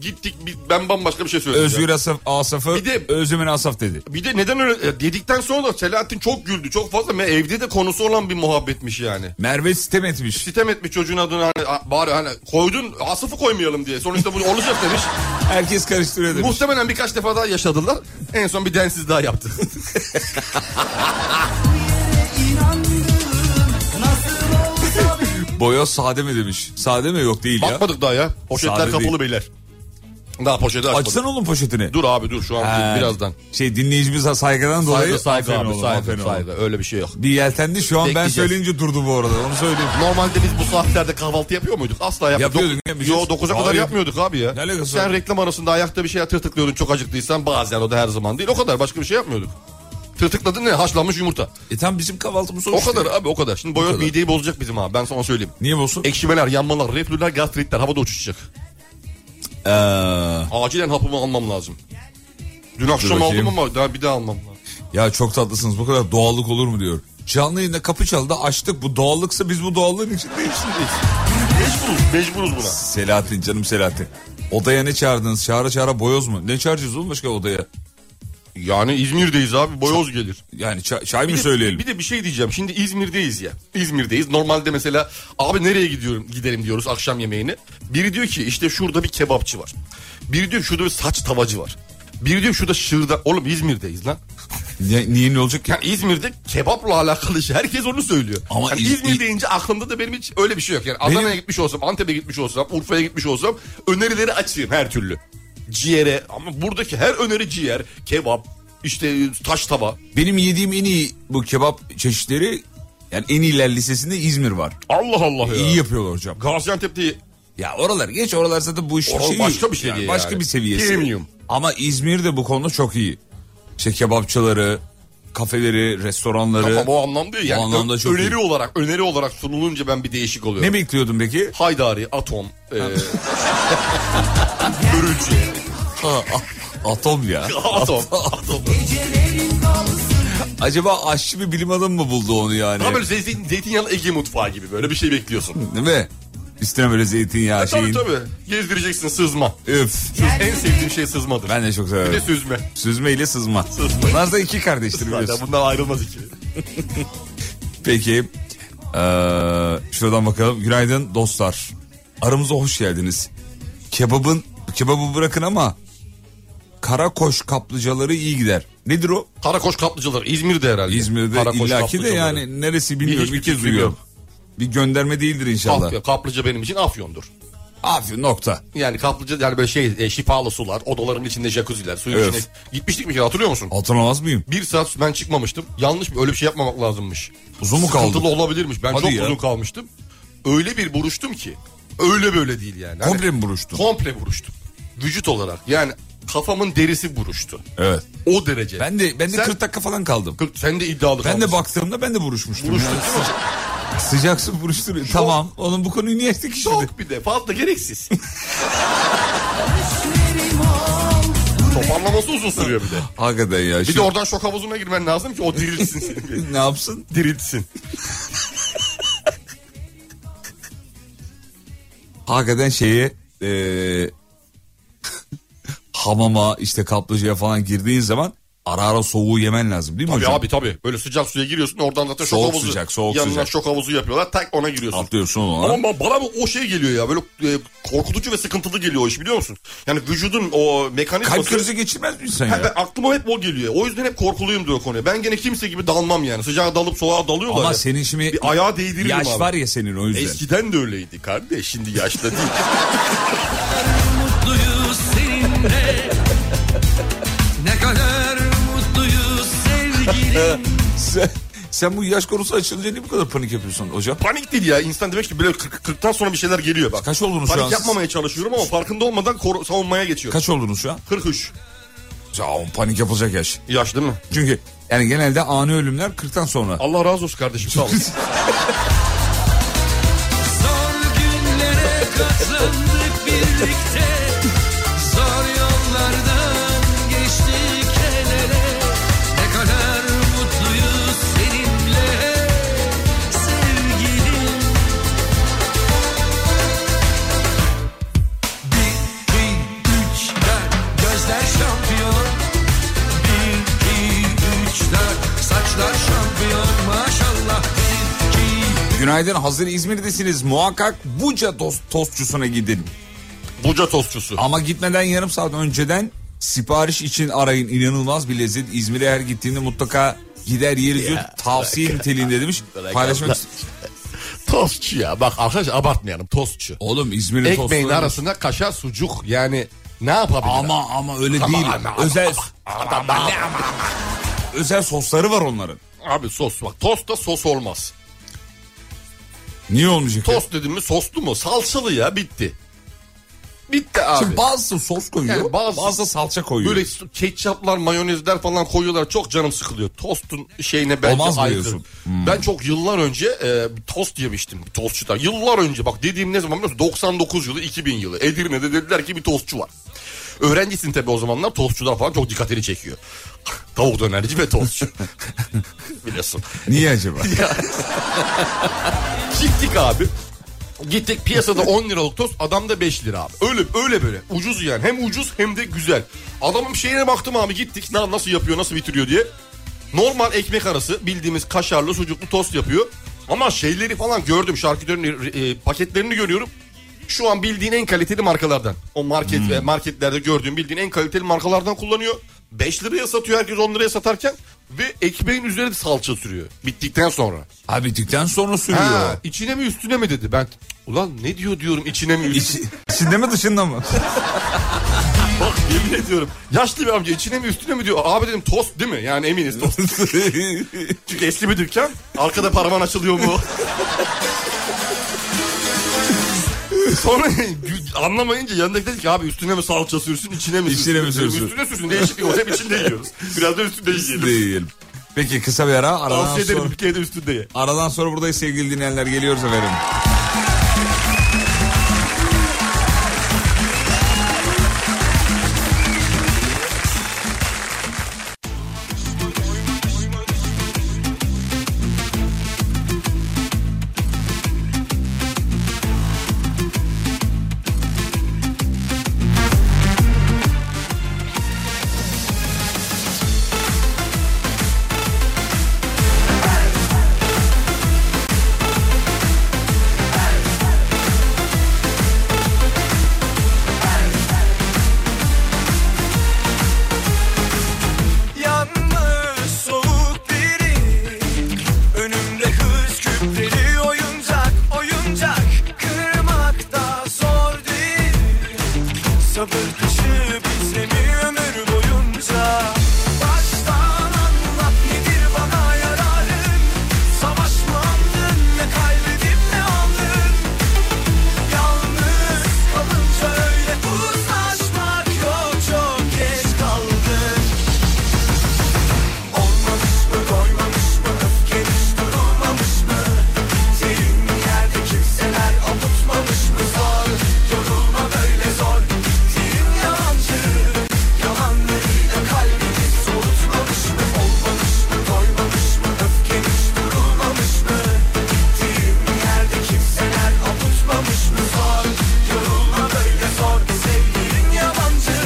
[SPEAKER 3] gittik bir- ben bambaşka bir şey söyledim.
[SPEAKER 1] Özgür
[SPEAKER 3] ya.
[SPEAKER 1] Asaf, Asaf'ı
[SPEAKER 3] Bir de-
[SPEAKER 1] Özümün Asaf dedi.
[SPEAKER 3] Bir de neden öyle ya dedikten sonra da Selahattin çok güldü çok fazla ama evde de konusu olan bir muhabbetmiş yani.
[SPEAKER 1] Merve sitem etmiş.
[SPEAKER 3] Sitem etmiş çocuğun adını hani a- bari hani koydun asıfı koymayalım diye. Sonuçta bu olacak demiş.
[SPEAKER 1] Herkes karıştırıyor demiş.
[SPEAKER 3] Muhtemelen birkaç defa daha yaşadılar. En son bir densiz daha yaptı.
[SPEAKER 1] Boyoz sade mi demiş. Sade mi yok değil ya.
[SPEAKER 3] Bakmadık daha ya. Poşetler
[SPEAKER 1] Sade
[SPEAKER 3] kapalı
[SPEAKER 1] değil.
[SPEAKER 3] beyler. Daha poşeti açmadık.
[SPEAKER 1] Açsana oğlum poşetini.
[SPEAKER 3] Dur abi dur şu an
[SPEAKER 1] Ha,
[SPEAKER 3] birazdan.
[SPEAKER 1] Şey dinleyicimize saygıdan dolayı.
[SPEAKER 3] Saygı saygı
[SPEAKER 1] Aferin
[SPEAKER 3] abi
[SPEAKER 1] oğlum, aferin
[SPEAKER 3] saygı
[SPEAKER 1] oğlum.
[SPEAKER 3] saygı. Öyle bir şey yok.
[SPEAKER 1] Bir yeltendi şu an ben
[SPEAKER 3] Bekleyeceğiz.
[SPEAKER 1] söyleyince durdu bu arada onu söyleyeyim.
[SPEAKER 3] Normalde biz bu saatlerde kahvaltı yapıyor muyduk? Asla yapmıyorduk.
[SPEAKER 1] Yapıyorduk ya, bir şey-
[SPEAKER 3] Yo 9'a kadar
[SPEAKER 1] Hayır.
[SPEAKER 3] yapmıyorduk abi ya.
[SPEAKER 1] Ne alakası
[SPEAKER 3] Sen
[SPEAKER 1] var?
[SPEAKER 3] reklam arasında ayakta bir şey tırtıklıyordun çok acıktıysan bazen o da her zaman değil. O kadar başka bir şey yapmıyorduk. Tırtıkladın ne? Haşlanmış yumurta.
[SPEAKER 1] E tam bizim kahvaltımız o
[SPEAKER 3] O
[SPEAKER 1] işte.
[SPEAKER 3] kadar abi o kadar. Şimdi boyoz
[SPEAKER 1] kadar.
[SPEAKER 3] mideyi bozacak bizim abi ben sana söyleyeyim.
[SPEAKER 1] Niye olsun?
[SPEAKER 3] Ekşimeler, yanmalar, reflüler, gastritler havada uçuşacak.
[SPEAKER 1] Ee,
[SPEAKER 3] Acilen hapımı almam lazım. Dün akşam
[SPEAKER 1] bakayım.
[SPEAKER 3] aldım ama daha bir daha almam lazım.
[SPEAKER 1] ya çok tatlısınız bu kadar doğallık olur mu diyor. Canlı yayında kapı çaldı açtık bu doğallıksa biz bu doğallığın içindeyiz.
[SPEAKER 3] Mecburuz, mecburuz buna.
[SPEAKER 1] Selahattin canım Selahattin. Odaya ne çağırdınız? Çağıra çağıra boyoz mu? Ne çağıracağız oğlum başka odaya?
[SPEAKER 3] Yani İzmir'deyiz abi boyoz gelir.
[SPEAKER 1] Yani çay, çay mı
[SPEAKER 3] Bir de-
[SPEAKER 1] söyleyelim?
[SPEAKER 3] Bir de bir şey diyeceğim. Şimdi İzmir'deyiz ya. İzmir'deyiz. Normalde mesela abi nereye gidiyorum gidelim diyoruz akşam yemeğini. Biri diyor ki işte şurada bir kebapçı var. Biri diyor şurada bir saç tavacı var. Biri diyor şurada şırda. Oğlum İzmir'deyiz lan.
[SPEAKER 1] Niye, niye ne olacak ki?
[SPEAKER 3] Yani İzmir'de kebapla alakalı şey. Herkes onu söylüyor.
[SPEAKER 1] Ama
[SPEAKER 3] yani
[SPEAKER 1] İz-
[SPEAKER 3] İzmir
[SPEAKER 1] İ-
[SPEAKER 3] deyince aklımda da benim hiç öyle bir şey yok. Yani Adana'ya
[SPEAKER 1] Benim-
[SPEAKER 3] gitmiş olsam, Antep'e gitmiş olsam, Urfa'ya gitmiş olsam önerileri açayım her türlü. Ciğere ama buradaki her öneri ciğer, kebap, işte taş tava.
[SPEAKER 1] Benim yediğim en iyi bu kebap çeşitleri yani en iyiler lisesinde İzmir var.
[SPEAKER 3] Allah Allah ya.
[SPEAKER 1] İyi yapıyorlar hocam.
[SPEAKER 3] Gaziantep'te
[SPEAKER 1] Ya oralar geç oralar zaten bu işin
[SPEAKER 3] Oral
[SPEAKER 1] şeyi-
[SPEAKER 3] başka bir şey değil
[SPEAKER 1] Başka
[SPEAKER 3] yani.
[SPEAKER 1] bir seviyesi.
[SPEAKER 3] Premium.
[SPEAKER 1] Ama İzmir de bu konuda çok iyi. İşte kebapçıları, kafeleri, restoranları.
[SPEAKER 3] Tamam o anlamda yani
[SPEAKER 1] O anlamda
[SPEAKER 3] ö-
[SPEAKER 1] çok
[SPEAKER 3] öneri
[SPEAKER 1] iyi.
[SPEAKER 3] olarak öneri olarak sunulunca ben bir değişik oluyorum.
[SPEAKER 1] Ne bekliyordun peki?
[SPEAKER 3] Haydari, Atom, e... Börülce,
[SPEAKER 1] Atom ya.
[SPEAKER 3] Atom, Atom.
[SPEAKER 1] Acaba aşçı bir bilim adamı mı buldu onu yani?
[SPEAKER 3] Ama böyle zeytin, zeytinyağlı Ege mutfağı gibi böyle bir şey bekliyorsun.
[SPEAKER 1] Değil mi? Üstüne böyle zeytinyağı
[SPEAKER 3] E, tabii
[SPEAKER 1] şeyin.
[SPEAKER 3] tabii. Gezdireceksin sızma.
[SPEAKER 1] Üf.
[SPEAKER 3] Sız, en sevdiğim şey sızmadır.
[SPEAKER 1] Ben de çok
[SPEAKER 3] Bir de
[SPEAKER 1] severim.
[SPEAKER 3] süzme.
[SPEAKER 1] Süzme ile sızma.
[SPEAKER 3] Sızma.
[SPEAKER 1] Bunlar da iki kardeştir
[SPEAKER 3] Zaten
[SPEAKER 1] biliyorsun.
[SPEAKER 3] bundan ayrılmaz iki.
[SPEAKER 1] Peki. Ee, şuradan bakalım. Günaydın dostlar. Aramıza hoş geldiniz. Kebabın kebabı bırakın ama karakoş kaplıcaları iyi gider. Nedir o?
[SPEAKER 3] Karakoş kaplıcalar İzmir'de herhalde.
[SPEAKER 1] İzmir'de
[SPEAKER 3] Karakoş
[SPEAKER 1] illaki de
[SPEAKER 3] kaplıcaları.
[SPEAKER 1] yani neresi bilmiyorum.
[SPEAKER 3] Hiçbir
[SPEAKER 1] Bir kez
[SPEAKER 3] fikrim yok.
[SPEAKER 1] duyuyorum. Bir gönderme değildir inşallah.
[SPEAKER 3] Kaplıca, kaplıca benim için Afyon'dur.
[SPEAKER 1] Afiyet nokta.
[SPEAKER 3] Yani kaplıca yani böyle şey e, şifalı sular, odaların içinde jacuzziler, suyun
[SPEAKER 1] Evet.
[SPEAKER 3] içine. Gitmiştik mi ki hatırlıyor musun?
[SPEAKER 1] Hatırlamaz mıyım?
[SPEAKER 3] Bir saat ben çıkmamıştım. Yanlış mı? Öyle bir şey yapmamak lazımmış.
[SPEAKER 1] Uzun mu
[SPEAKER 3] Sıkıntılı
[SPEAKER 1] kaldık?
[SPEAKER 3] olabilirmiş. Ben
[SPEAKER 1] Hadi
[SPEAKER 3] çok
[SPEAKER 1] ya.
[SPEAKER 3] uzun kalmıştım. Öyle bir buruştum ki. Öyle böyle değil yani. Hani
[SPEAKER 1] Komple mi buruştun?
[SPEAKER 3] komple buruştum. Vücut olarak. Yani kafamın derisi buruştu.
[SPEAKER 1] Evet.
[SPEAKER 3] O derece.
[SPEAKER 1] Ben de ben de
[SPEAKER 3] Sen-
[SPEAKER 1] 40 dakika falan kaldım.
[SPEAKER 3] Kırk- sen de iddialı
[SPEAKER 1] Ben de
[SPEAKER 3] kalmışsın.
[SPEAKER 1] baktığımda ben de buruşmuştum.
[SPEAKER 3] Buruştun
[SPEAKER 1] Yani.
[SPEAKER 3] değil mi?
[SPEAKER 1] Sıcak su buruşturuyor. Tamam. Onun bu konuyu niye ettik şimdi?
[SPEAKER 3] Çok bir de fazla gereksiz. Toparlaması uzun sürüyor bir de.
[SPEAKER 1] Hakikaten ya.
[SPEAKER 3] Bir
[SPEAKER 1] Şu-
[SPEAKER 3] de oradan şok havuzuna girmen lazım ki o dirilsin seni.
[SPEAKER 1] ne yapsın?
[SPEAKER 3] diriltsin.
[SPEAKER 1] hakikaten şeye e, eee, hamama işte kaplıcaya falan girdiğin zaman ara ara soğuğu yemen lazım değil mi
[SPEAKER 3] Tabii
[SPEAKER 1] hocam?
[SPEAKER 3] abi tabii. Böyle sıcak suya giriyorsun oradan zaten şok
[SPEAKER 1] Soğuk
[SPEAKER 3] havuzu.
[SPEAKER 1] sıcak, soğuk
[SPEAKER 3] yanına
[SPEAKER 1] sıcak.
[SPEAKER 3] şok havuzu yapıyorlar tak ona giriyorsun.
[SPEAKER 1] Atlıyorsun ona.
[SPEAKER 3] Ama ba- bana bu- o şey geliyor ya böyle e, korkutucu ve sıkıntılı geliyor o iş biliyor musun? Yani vücudun o
[SPEAKER 1] Kalp
[SPEAKER 3] mekanizması...
[SPEAKER 1] krizi geçirmez misin sen
[SPEAKER 3] Ha, ben,
[SPEAKER 1] ya?
[SPEAKER 3] aklıma hep o geliyor. O yüzden hep korkuluyum diyor konuya. Ben gene kimse gibi dalmam yani. Sıcağa dalıp soğuğa dalıyorlar
[SPEAKER 1] Ama
[SPEAKER 3] ya.
[SPEAKER 1] senin şimdi
[SPEAKER 3] Bir ayağa değdiririm
[SPEAKER 1] yaş
[SPEAKER 3] abi.
[SPEAKER 1] var ya senin o yüzden.
[SPEAKER 3] Eskiden de öyleydi kardeş. Şimdi yaşta değil.
[SPEAKER 6] mutluyuz seninle Ne kadar mutluyuz sevgilim
[SPEAKER 1] sen, sen bu yaş konusu açılınca niye bu kadar panik yapıyorsun hocam?
[SPEAKER 3] Panik değil ya. İnsan demek ki böyle 40, 40'tan sonra bir şeyler geliyor bak.
[SPEAKER 1] Kaç oldunuz şu
[SPEAKER 3] Panik
[SPEAKER 1] an?
[SPEAKER 3] yapmamaya çalışıyorum ama farkında olmadan koru- savunmaya geçiyorum.
[SPEAKER 1] Kaç oldunuz şu an?
[SPEAKER 3] 43
[SPEAKER 1] Ya oğlum, panik yapılacak yaş.
[SPEAKER 3] yaş değil mi?
[SPEAKER 1] Çünkü yani genelde ani ölümler 40'tan sonra.
[SPEAKER 3] Allah razı olsun kardeşim sağ ol.
[SPEAKER 6] Zor günlere katlandık birlikte Zor yollardan geçtik el ele Ne kadar mutluyuz seninle sevgilim Di, di, di,
[SPEAKER 1] Günaydın hazır İzmir'desiniz muhakkak Buca dost, tostçusuna gidin.
[SPEAKER 3] Buca tostçusu.
[SPEAKER 1] Ama gitmeden yarım saat önceden sipariş için arayın inanılmaz bir lezzet. İzmir'e her gittiğinde mutlaka gider yeriz diyor. Tavsiye niteliğinde demiş.
[SPEAKER 3] bırak
[SPEAKER 1] Paylaşmak
[SPEAKER 3] Allah.
[SPEAKER 1] ist-
[SPEAKER 3] Tostçu ya bak arkadaş abartmayalım tostçu.
[SPEAKER 1] Oğlum İzmir'in tostu.
[SPEAKER 3] Ekmeğin arasına kaşar sucuk yani ne yapabilir?
[SPEAKER 1] Ama ama öyle değil.
[SPEAKER 3] ama, ama,
[SPEAKER 1] özel
[SPEAKER 3] Ama, ama, ama.
[SPEAKER 1] özel sosları var onların.
[SPEAKER 3] Abi sos bak tosta sos olmaz.
[SPEAKER 1] Niye olmayacak? ya?
[SPEAKER 3] Tost dedim mi soslu mu? Salçalı ya bitti. Bitti abi.
[SPEAKER 1] Şimdi bazısı sos koyuyor,
[SPEAKER 3] Yani bazı-
[SPEAKER 1] bazısı salça koyuyor.
[SPEAKER 3] Böyle su- ketçaplar, mayonezler falan koyuyorlar. Çok canım sıkılıyor. Tostun şeyine bence
[SPEAKER 1] Olmaz mı
[SPEAKER 3] aykırı.
[SPEAKER 1] diyorsun? Hmm.
[SPEAKER 3] Ben çok yıllar önce e, bir tost yemiştim. Bir tostçudan. Yıllar önce bak dediğim ne zaman biliyor musun? 99 yılı 2000 yılı. Edirne'de dediler ki bir tostçu var. Öğrencisin tabii o zamanlar tostçular falan çok dikkatini çekiyor. Tavuk dönerci ve tostçu. Biliyorsun.
[SPEAKER 1] Niye acaba?
[SPEAKER 3] Gittik abi. Gittik piyasada 10 liralık tost adamda 5 lira abi. Öyle öyle böyle. Ucuz yani. Hem ucuz hem de güzel. Adamın şeyine baktım abi gittik. Na, nasıl yapıyor nasıl bitiriyor diye. Normal ekmek arası bildiğimiz kaşarlı sucuklu tost yapıyor. Ama şeyleri falan gördüm şarküterinin e, paketlerini görüyorum. Şu an bildiğin en kaliteli markalardan. O market ve marketlerde gördüğün bildiğin en kaliteli markalardan kullanıyor. 5 liraya satıyor herkes 10 liraya satarken ve ekmeğin üzerine de salça sürüyor bittikten sonra.
[SPEAKER 1] ha bittikten sonra sürüyor.
[SPEAKER 3] Ha, içine mi üstüne mi dedi. Ben ulan ne diyor diyorum içine mi üstüne.
[SPEAKER 1] İçi- içinde mi dışında mı?
[SPEAKER 3] Bak yemin ediyorum. Yaşlı bir amca içine mi üstüne mi diyor. Abi dedim tost değil mi? Yani eminiz tost. Çünkü eski bir dükkan. Arkada parmağın açılıyor mu? Sonra gü- anlamayınca yanındaki dedi ki abi üstüne mi salça sürsün içine mi sürsün?
[SPEAKER 1] İçine mi
[SPEAKER 3] Dedim,
[SPEAKER 1] sürsün?
[SPEAKER 3] Üstüne sürsün değişiklik olsun hep içinde yiyoruz. Biraz da üstünde yiyelim.
[SPEAKER 1] Değil. Peki kısa bir ara. Aradan
[SPEAKER 3] Tavsiye
[SPEAKER 1] sonra,
[SPEAKER 3] ederim bir kere de üstünde ye.
[SPEAKER 1] aradan sonra buradayız sevgili dinleyenler. Geliyoruz efendim.
[SPEAKER 6] Yanmış soğuk biri Önümde hız küpleri oyuncak oyuncak Kırmak da zor değil Sabır taşı bize mi ömür boyunca Baştan anlat nedir bana yararın Savaşlandın ne kaybedip ne aldın Yalnız kalınca öyle uzlaşmak yok çok geç kaldın Olmamış mı doymamış mı öfkeniz durulmamış mı Senin yerde kimseler avutmamış mı zor Yorulma böyle zor Senin yalancı Yalanlarıyla kalbini soğutmamış mı Olmamış mı doymamış mı öfkeniz durulmamış mı Senin yerde kimseler avutmamış mı zor Yorulma böyle zor Sevgilin yalancı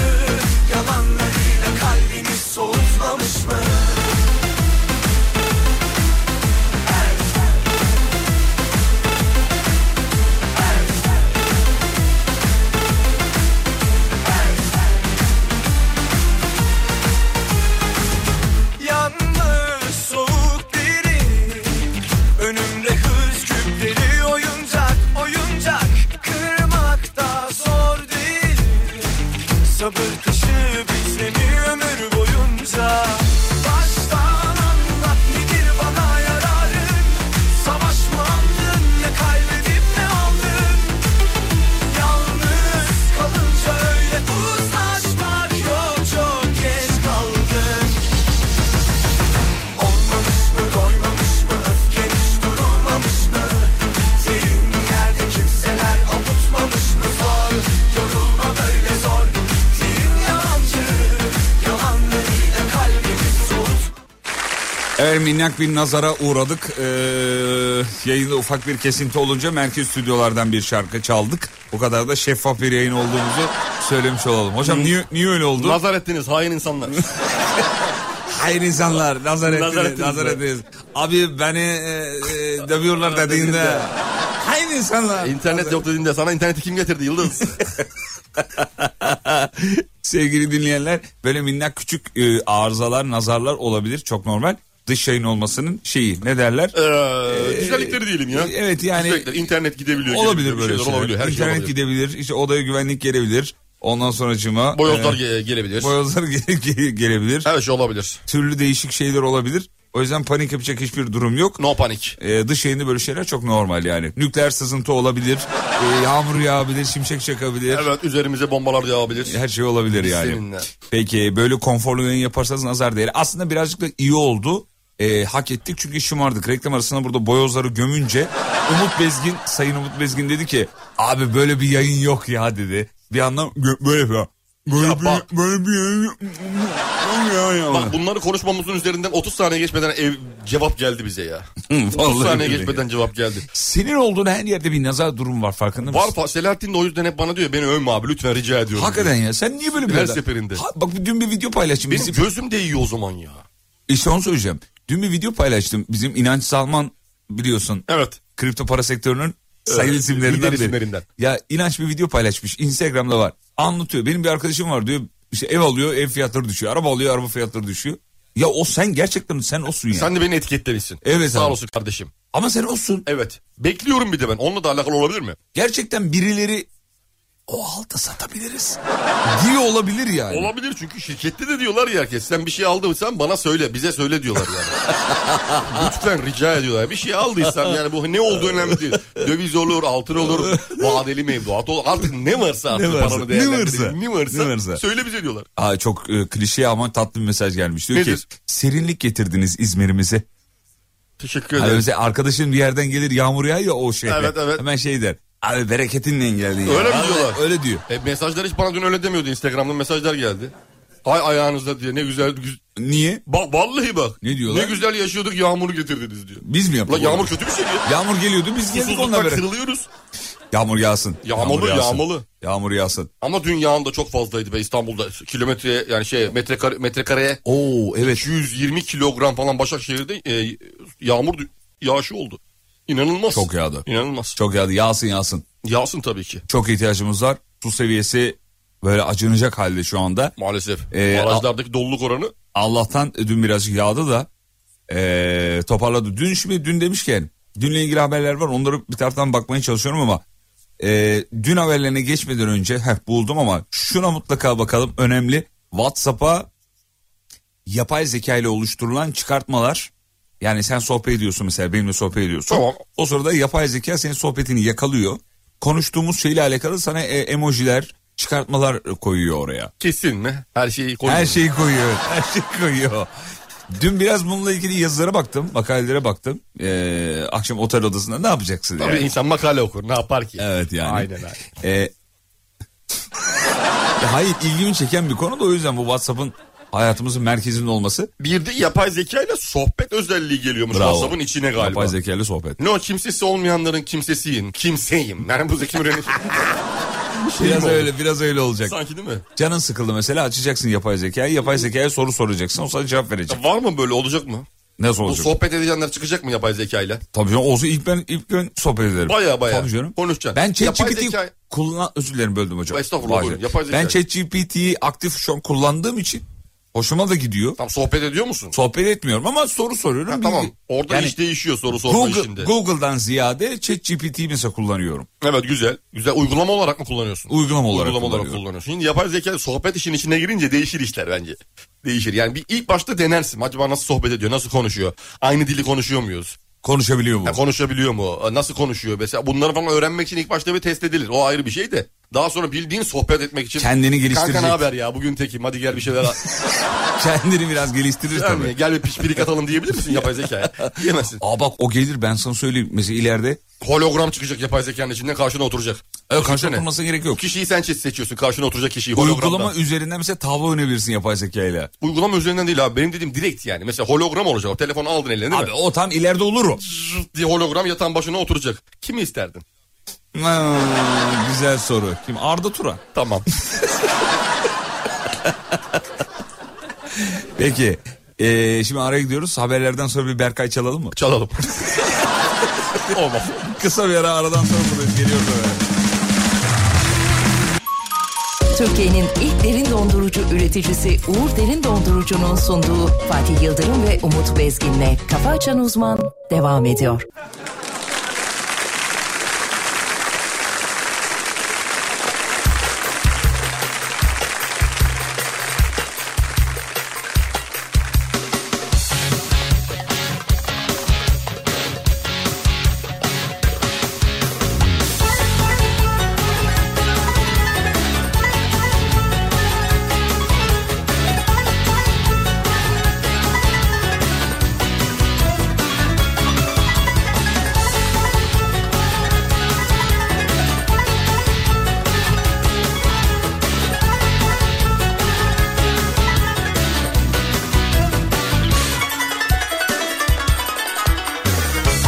[SPEAKER 6] Yalanlarıyla kalbini soğutmamış mı Yanmış soğuk biri Önümde hız küpleri oyuncak oyuncak Kırmak da zor değil Sabır taşı bizleri ömür boyunca Baştan anlat nedir bana yararın Savaş mı andın ne kaybedip ne aldın Yalnız kalınca öyle uzlaşmak yok çok geç kaldın Olmamış mı doymamış mı öfkeniz durulmamış mı Senin yerde kimseler avutmamış mı zor Yorulma böyle zor Senin yalancı yalanlarıyla kalbimi soğut
[SPEAKER 1] Evet minnak bir nazara uğradık. Ee, yayında ufak bir kesinti olunca merkez stüdyolardan bir şarkı çaldık. O kadar da şeffaf bir yayın olduğumuzu söylemiş olalım. Hocam niye, niye öyle oldu?
[SPEAKER 3] Nazar ettiniz hain insanlar.
[SPEAKER 1] Hayır insanlar nazar ettiniz.
[SPEAKER 3] Nazar ettiniz.
[SPEAKER 1] Nazar ettiniz. Abi beni e, e, dövüyorlar dediğinde. Aynı insanlar.
[SPEAKER 3] İnternet yok dediğinde sana interneti kim getirdi Yıldız?
[SPEAKER 1] Sevgili dinleyenler böyle minnak küçük e, arızalar, nazarlar olabilir. Çok normal. Dış yayın olmasının şeyi ne derler?
[SPEAKER 3] Ee, güzellikleri diyelim ya.
[SPEAKER 1] Evet, yani-
[SPEAKER 3] Güzellikler, internet gidebiliyor.
[SPEAKER 1] olabilir
[SPEAKER 3] gelebiliyor,
[SPEAKER 1] böyle
[SPEAKER 3] şeyler
[SPEAKER 1] şeyler.
[SPEAKER 3] Olabiliyor, her şey
[SPEAKER 1] İnternet
[SPEAKER 3] olabiliyor.
[SPEAKER 1] gidebilir. işte odaya güvenlik gelebilir. Ondan sonracığıma
[SPEAKER 3] Boyozlar
[SPEAKER 1] e,
[SPEAKER 3] ge- gelebilir.
[SPEAKER 1] boyozlar ge- ge- gelebilir.
[SPEAKER 3] Her şey olabilir.
[SPEAKER 1] Türlü değişik şeyler olabilir. O yüzden panik yapacak hiçbir durum yok.
[SPEAKER 3] No panik.
[SPEAKER 1] E, dış yayında böyle şeyler çok normal yani. Nükleer sızıntı olabilir. e, yağmur yağabilir, şimşek çakabilir.
[SPEAKER 3] Evet üzerimize bombalar yağabilir.
[SPEAKER 1] Her şey olabilir yani.
[SPEAKER 3] Seninle.
[SPEAKER 1] Peki böyle konforlu yayın yaparsanız nazar değeri. Aslında birazcık da iyi oldu. Ee, hak ettik çünkü şımardık. Reklam arasında burada boyozları gömünce Umut Bezgin, Sayın Umut Bezgin dedi ki abi böyle bir yayın yok ya dedi. Bir anlam gö- böyle yapıyor. Böyle,
[SPEAKER 3] Ya bak-
[SPEAKER 1] bir, böyle bir yayın yok ya, ya.
[SPEAKER 3] Bak bunları konuşmamızın üzerinden 30 saniye geçmeden ev, cevap geldi bize ya. 30
[SPEAKER 1] Hmm, Vallahi
[SPEAKER 3] saniye
[SPEAKER 1] billahi.
[SPEAKER 3] geçmeden cevap geldi.
[SPEAKER 1] Senin olduğun her yerde bir nazar durum var farkında
[SPEAKER 3] Var
[SPEAKER 1] mısın?
[SPEAKER 3] fa- Selahattin de o yüzden hep bana diyor beni övme abi lütfen rica ediyorum.
[SPEAKER 1] Hakikaten ya sen niye böyle bir
[SPEAKER 3] Her
[SPEAKER 1] adam-
[SPEAKER 3] seferinde.
[SPEAKER 1] Ha, bak dün bir video paylaştım.
[SPEAKER 3] Benim
[SPEAKER 1] Bizim-
[SPEAKER 3] gözüm değiyor o zaman ya.
[SPEAKER 1] İşte onu söyleyeceğim. Dün bir video paylaştım. Bizim İnanç Salman biliyorsun.
[SPEAKER 3] Evet.
[SPEAKER 1] Kripto para sektörünün sayılı
[SPEAKER 3] Evet,
[SPEAKER 1] isimlerinden
[SPEAKER 3] lider
[SPEAKER 1] biri.
[SPEAKER 3] isimlerinden.
[SPEAKER 1] Ya İnanç bir video paylaşmış. Instagram'da var. Anlatıyor. Benim bir arkadaşım var diyor. İşte ev alıyor ev fiyatları düşüyor. Araba alıyor araba fiyatları düşüyor. Ya o sen gerçekten sen osun ya.
[SPEAKER 3] Sen de beni etiketlemişsin.
[SPEAKER 1] Evet
[SPEAKER 3] Sağ
[SPEAKER 1] abi.
[SPEAKER 3] olsun kardeşim.
[SPEAKER 1] Ama sen osun.
[SPEAKER 3] Evet. Bekliyorum bir de ben. Onunla da alakalı olabilir mi?
[SPEAKER 1] Gerçekten birileri o halda satabiliriz. diye olabilir yani.
[SPEAKER 3] Olabilir çünkü şirkette de diyorlar ya herkes. Sen bir şey aldıysan bana söyle. Bize söyle diyorlar yani. Lütfen rica ediyorlar. Bir şey aldıysan yani bu ne olduğu önemli değil. Döviz olur, altın olur, vadeli mevduat olur. Artık ne varsa artık
[SPEAKER 1] Ne varsa,
[SPEAKER 3] paranı
[SPEAKER 1] ne varsa,
[SPEAKER 3] değerlendirelim. Ne varsa,
[SPEAKER 1] ne varsa.
[SPEAKER 3] Söyle bize diyorlar.
[SPEAKER 1] Aa, çok e, klişe ama tatlı bir mesaj gelmiş. Diyor
[SPEAKER 3] Nedir?
[SPEAKER 1] ki serinlik getirdiniz İzmir'imize.
[SPEAKER 3] Teşekkür
[SPEAKER 1] Hani
[SPEAKER 3] ederim.
[SPEAKER 1] mesela arkadaşın bir yerden gelir yağmur yağıyor ya o şeyde.
[SPEAKER 3] Evet, evet.
[SPEAKER 1] Hemen şey der. Abi bereketinle geldin. ya."
[SPEAKER 3] Öyle mi
[SPEAKER 1] Abi,
[SPEAKER 3] diyorlar?
[SPEAKER 1] Öyle diyor.
[SPEAKER 3] E, mesajlar hiç bana dün öyle demiyordu. Instagram'dan mesajlar geldi. Ay ayağınızda diye ne güzel. güz-
[SPEAKER 1] Niye?
[SPEAKER 3] Ba- vallahi bak.
[SPEAKER 1] Ne diyorlar?
[SPEAKER 3] Ne güzel yaşıyorduk yağmuru getirdiniz diyor.
[SPEAKER 1] Biz mi
[SPEAKER 3] La
[SPEAKER 1] yaptık?
[SPEAKER 3] yağmur
[SPEAKER 1] onu?
[SPEAKER 3] kötü bir şey ya.
[SPEAKER 1] Yağmur geliyordu biz geldik onunla
[SPEAKER 3] Susuzluktan
[SPEAKER 1] beraber.
[SPEAKER 3] kırılıyoruz.
[SPEAKER 1] Yağmur yağsın.
[SPEAKER 3] Yağmalı,
[SPEAKER 1] yağsın.
[SPEAKER 3] yağmalı.
[SPEAKER 1] Yağmur yağsın.
[SPEAKER 3] Ama dün yağın da çok fazlaydı be İstanbul'da. Kilometreye yani şey metrekare, metrekareye
[SPEAKER 1] Oo evet.
[SPEAKER 3] 220 kilogram falan Başakşehir'de e, yağmur dü- yağışı oldu. İnanılmaz.
[SPEAKER 1] Çok yağdı.
[SPEAKER 3] İnanılmaz.
[SPEAKER 1] Çok yağdı. Yağsın yağsın.
[SPEAKER 3] Yağsın tabii ki
[SPEAKER 1] Çok ihtiyacımız var. Su seviyesi böyle acınacak halde şu anda.
[SPEAKER 3] maalesef.
[SPEAKER 1] Ee,
[SPEAKER 3] Barajlardaki doluluk oranı
[SPEAKER 1] Allah'tan dün birazcık yağdı da eee, toparladı. Dün şimdi dün demişken dünle ilgili haberler var onları bir taraftan bakmaya çalışıyorum ama eee, dün haberlerine geçmeden önce heh, buldum ama şuna mutlaka bakalım önemli. WhatsApp'a yapay zeka ile oluşturulan çıkartmalar yani sen sohbet ediyorsun mesela benimle sohbet ediyorsun.
[SPEAKER 3] Tamam.
[SPEAKER 1] O sırada yapay zeka senin sohbetini yakalıyor. Konuştuğumuz şeyle alakalı sana e, emojiler çıkartmalar e, koyuyor oraya.
[SPEAKER 3] kesin mi? Her şeyi koyuyor.
[SPEAKER 1] Her şey- şeyi koyuyor. evet, Her şeyi koyuyor. Dün biraz bununla ilgili yazılara baktım, makalelere baktım. Ee, akşam otel odasında ne yapacaksın?
[SPEAKER 3] Tabii
[SPEAKER 1] yani?
[SPEAKER 3] insan makale okur ne yapar ki?
[SPEAKER 1] Evet yani.
[SPEAKER 3] Aynen aynen.
[SPEAKER 1] Ee, hayır ilgimi çeken bir konu da o yüzden bu WhatsApp'ın hayatımızın merkezinde olması.
[SPEAKER 3] Bir de yapay zeka ile sohbet özelliği geliyormuş
[SPEAKER 1] Bravo.
[SPEAKER 3] WhatsApp'ın içine galiba.
[SPEAKER 1] Yapay zekalı sohbet.
[SPEAKER 3] No kimsesi olmayanların kimsesiyim. Kimseyim. Yani bu Zeki Müren'in
[SPEAKER 1] Biraz
[SPEAKER 3] şey mi oldu?
[SPEAKER 1] öyle, biraz öyle olacak.
[SPEAKER 3] sanki değil mi?
[SPEAKER 1] Canın sıkıldı mesela açacaksın yapay zekayı. Yapay zekaya soru soracaksın. O sana cevap verecek.
[SPEAKER 3] Var mı böyle olacak mı?
[SPEAKER 1] Ne
[SPEAKER 3] Bu
[SPEAKER 1] soracak?
[SPEAKER 3] sohbet edenler çıkacak mı yapay zekayla?
[SPEAKER 1] Tabii canım olsun ilk ben ilk gün sohbet ederim.
[SPEAKER 3] Baya baya.
[SPEAKER 1] Tabii canım.
[SPEAKER 3] Konuşacaksın.
[SPEAKER 1] Ben
[SPEAKER 3] Yapay
[SPEAKER 1] ChatGPT
[SPEAKER 3] zeka-
[SPEAKER 1] kullan özür dilerim böldüm hocam.
[SPEAKER 3] Estağfurullah,
[SPEAKER 1] Vay
[SPEAKER 3] buyurun.
[SPEAKER 1] be.
[SPEAKER 3] Yapay zeka.
[SPEAKER 1] Ben ChatGPT'yi aktif şu an kullandığım için hoşuma da gidiyor.
[SPEAKER 3] Tam sohbet ediyor musun?
[SPEAKER 1] Sohbet etmiyorum ama soru soruyorum.
[SPEAKER 3] Ha,
[SPEAKER 1] bilgi-
[SPEAKER 3] tamam. Orada
[SPEAKER 1] Yani
[SPEAKER 3] iş değişiyor soru sorma
[SPEAKER 1] Google,
[SPEAKER 3] işinde.
[SPEAKER 1] Google'dan ziyade ChatGPT'yi mesela kullanıyorum.
[SPEAKER 3] Evet güzel. Güzel. Uygulama olarak mı kullanıyorsun?
[SPEAKER 1] Uygulama olarak
[SPEAKER 3] Uygulama olarak
[SPEAKER 1] kullanıyorum.
[SPEAKER 3] kullanıyorsun. Şimdi yapay zeka sohbet işin içine girince değişir işler bence. Değişir. Yani bir ilk başta denersin. Acaba nasıl sohbet ediyor? Nasıl konuşuyor? Aynı dili konuşuyor muyuz?
[SPEAKER 1] Konuşabiliyor mu?
[SPEAKER 3] Ya konuşabiliyor mu? Nasıl konuşuyor? Mesela bunları falan öğrenmek için ilk başta bir test edilir. O ayrı bir şey de. Daha sonra bildiğin sohbet etmek için.
[SPEAKER 1] Kendini geliştirecek.
[SPEAKER 3] Kanka ne haber ya? Bugün tekim. Hadi gel bir şeyler al.
[SPEAKER 1] Kendini biraz geliştirir
[SPEAKER 3] Gel
[SPEAKER 1] tabii.
[SPEAKER 3] mi? Gel bir pişpirik atalım diyebilir misin yapay zekaya? Diyemezsin.
[SPEAKER 1] Aa bak o gelir ben sana söyleyeyim. Mesela ileride
[SPEAKER 3] Hologram çıkacak yapay zekanın içinden karşına oturacak. Ee,
[SPEAKER 1] evet, karşı
[SPEAKER 3] Düşünsene.
[SPEAKER 1] oturmasına gerek yok.
[SPEAKER 3] Kişiyi sen seç- seçiyorsun. Karşına oturacak kişiyi hologramdan.
[SPEAKER 1] Uygulama
[SPEAKER 3] Uygulama...
[SPEAKER 1] üzerinden mesela tavla oynayabilirsin yapay zekayla.
[SPEAKER 3] üzerinden değil abi. Benim dediğim direkt yani. Mesela hologram olacak. O telefonu aldın eline değil
[SPEAKER 1] Abi o tam ileride olur o.
[SPEAKER 3] mi? Diye hologram yatan başına oturacak. Kimi isterdin?
[SPEAKER 1] Ha, güzel soru. Kim? Arda Turan.
[SPEAKER 3] Tamam.
[SPEAKER 1] Peki Ee, şimdi araya gidiyoruz. Haberlerden sonra bir Berkay çalalım mı?
[SPEAKER 3] Çalalım. Olmaz.
[SPEAKER 1] Kısa bir ara aradan sonra buradayız. Geliyoruz hemen.
[SPEAKER 5] Türkiye'nin ilk derin dondurucu üreticisi Uğur Derin Dondurucu'nun sunduğu Fatih Yıldırım ve Umut Bezgin'le Kafa Açan Uzman devam ediyor.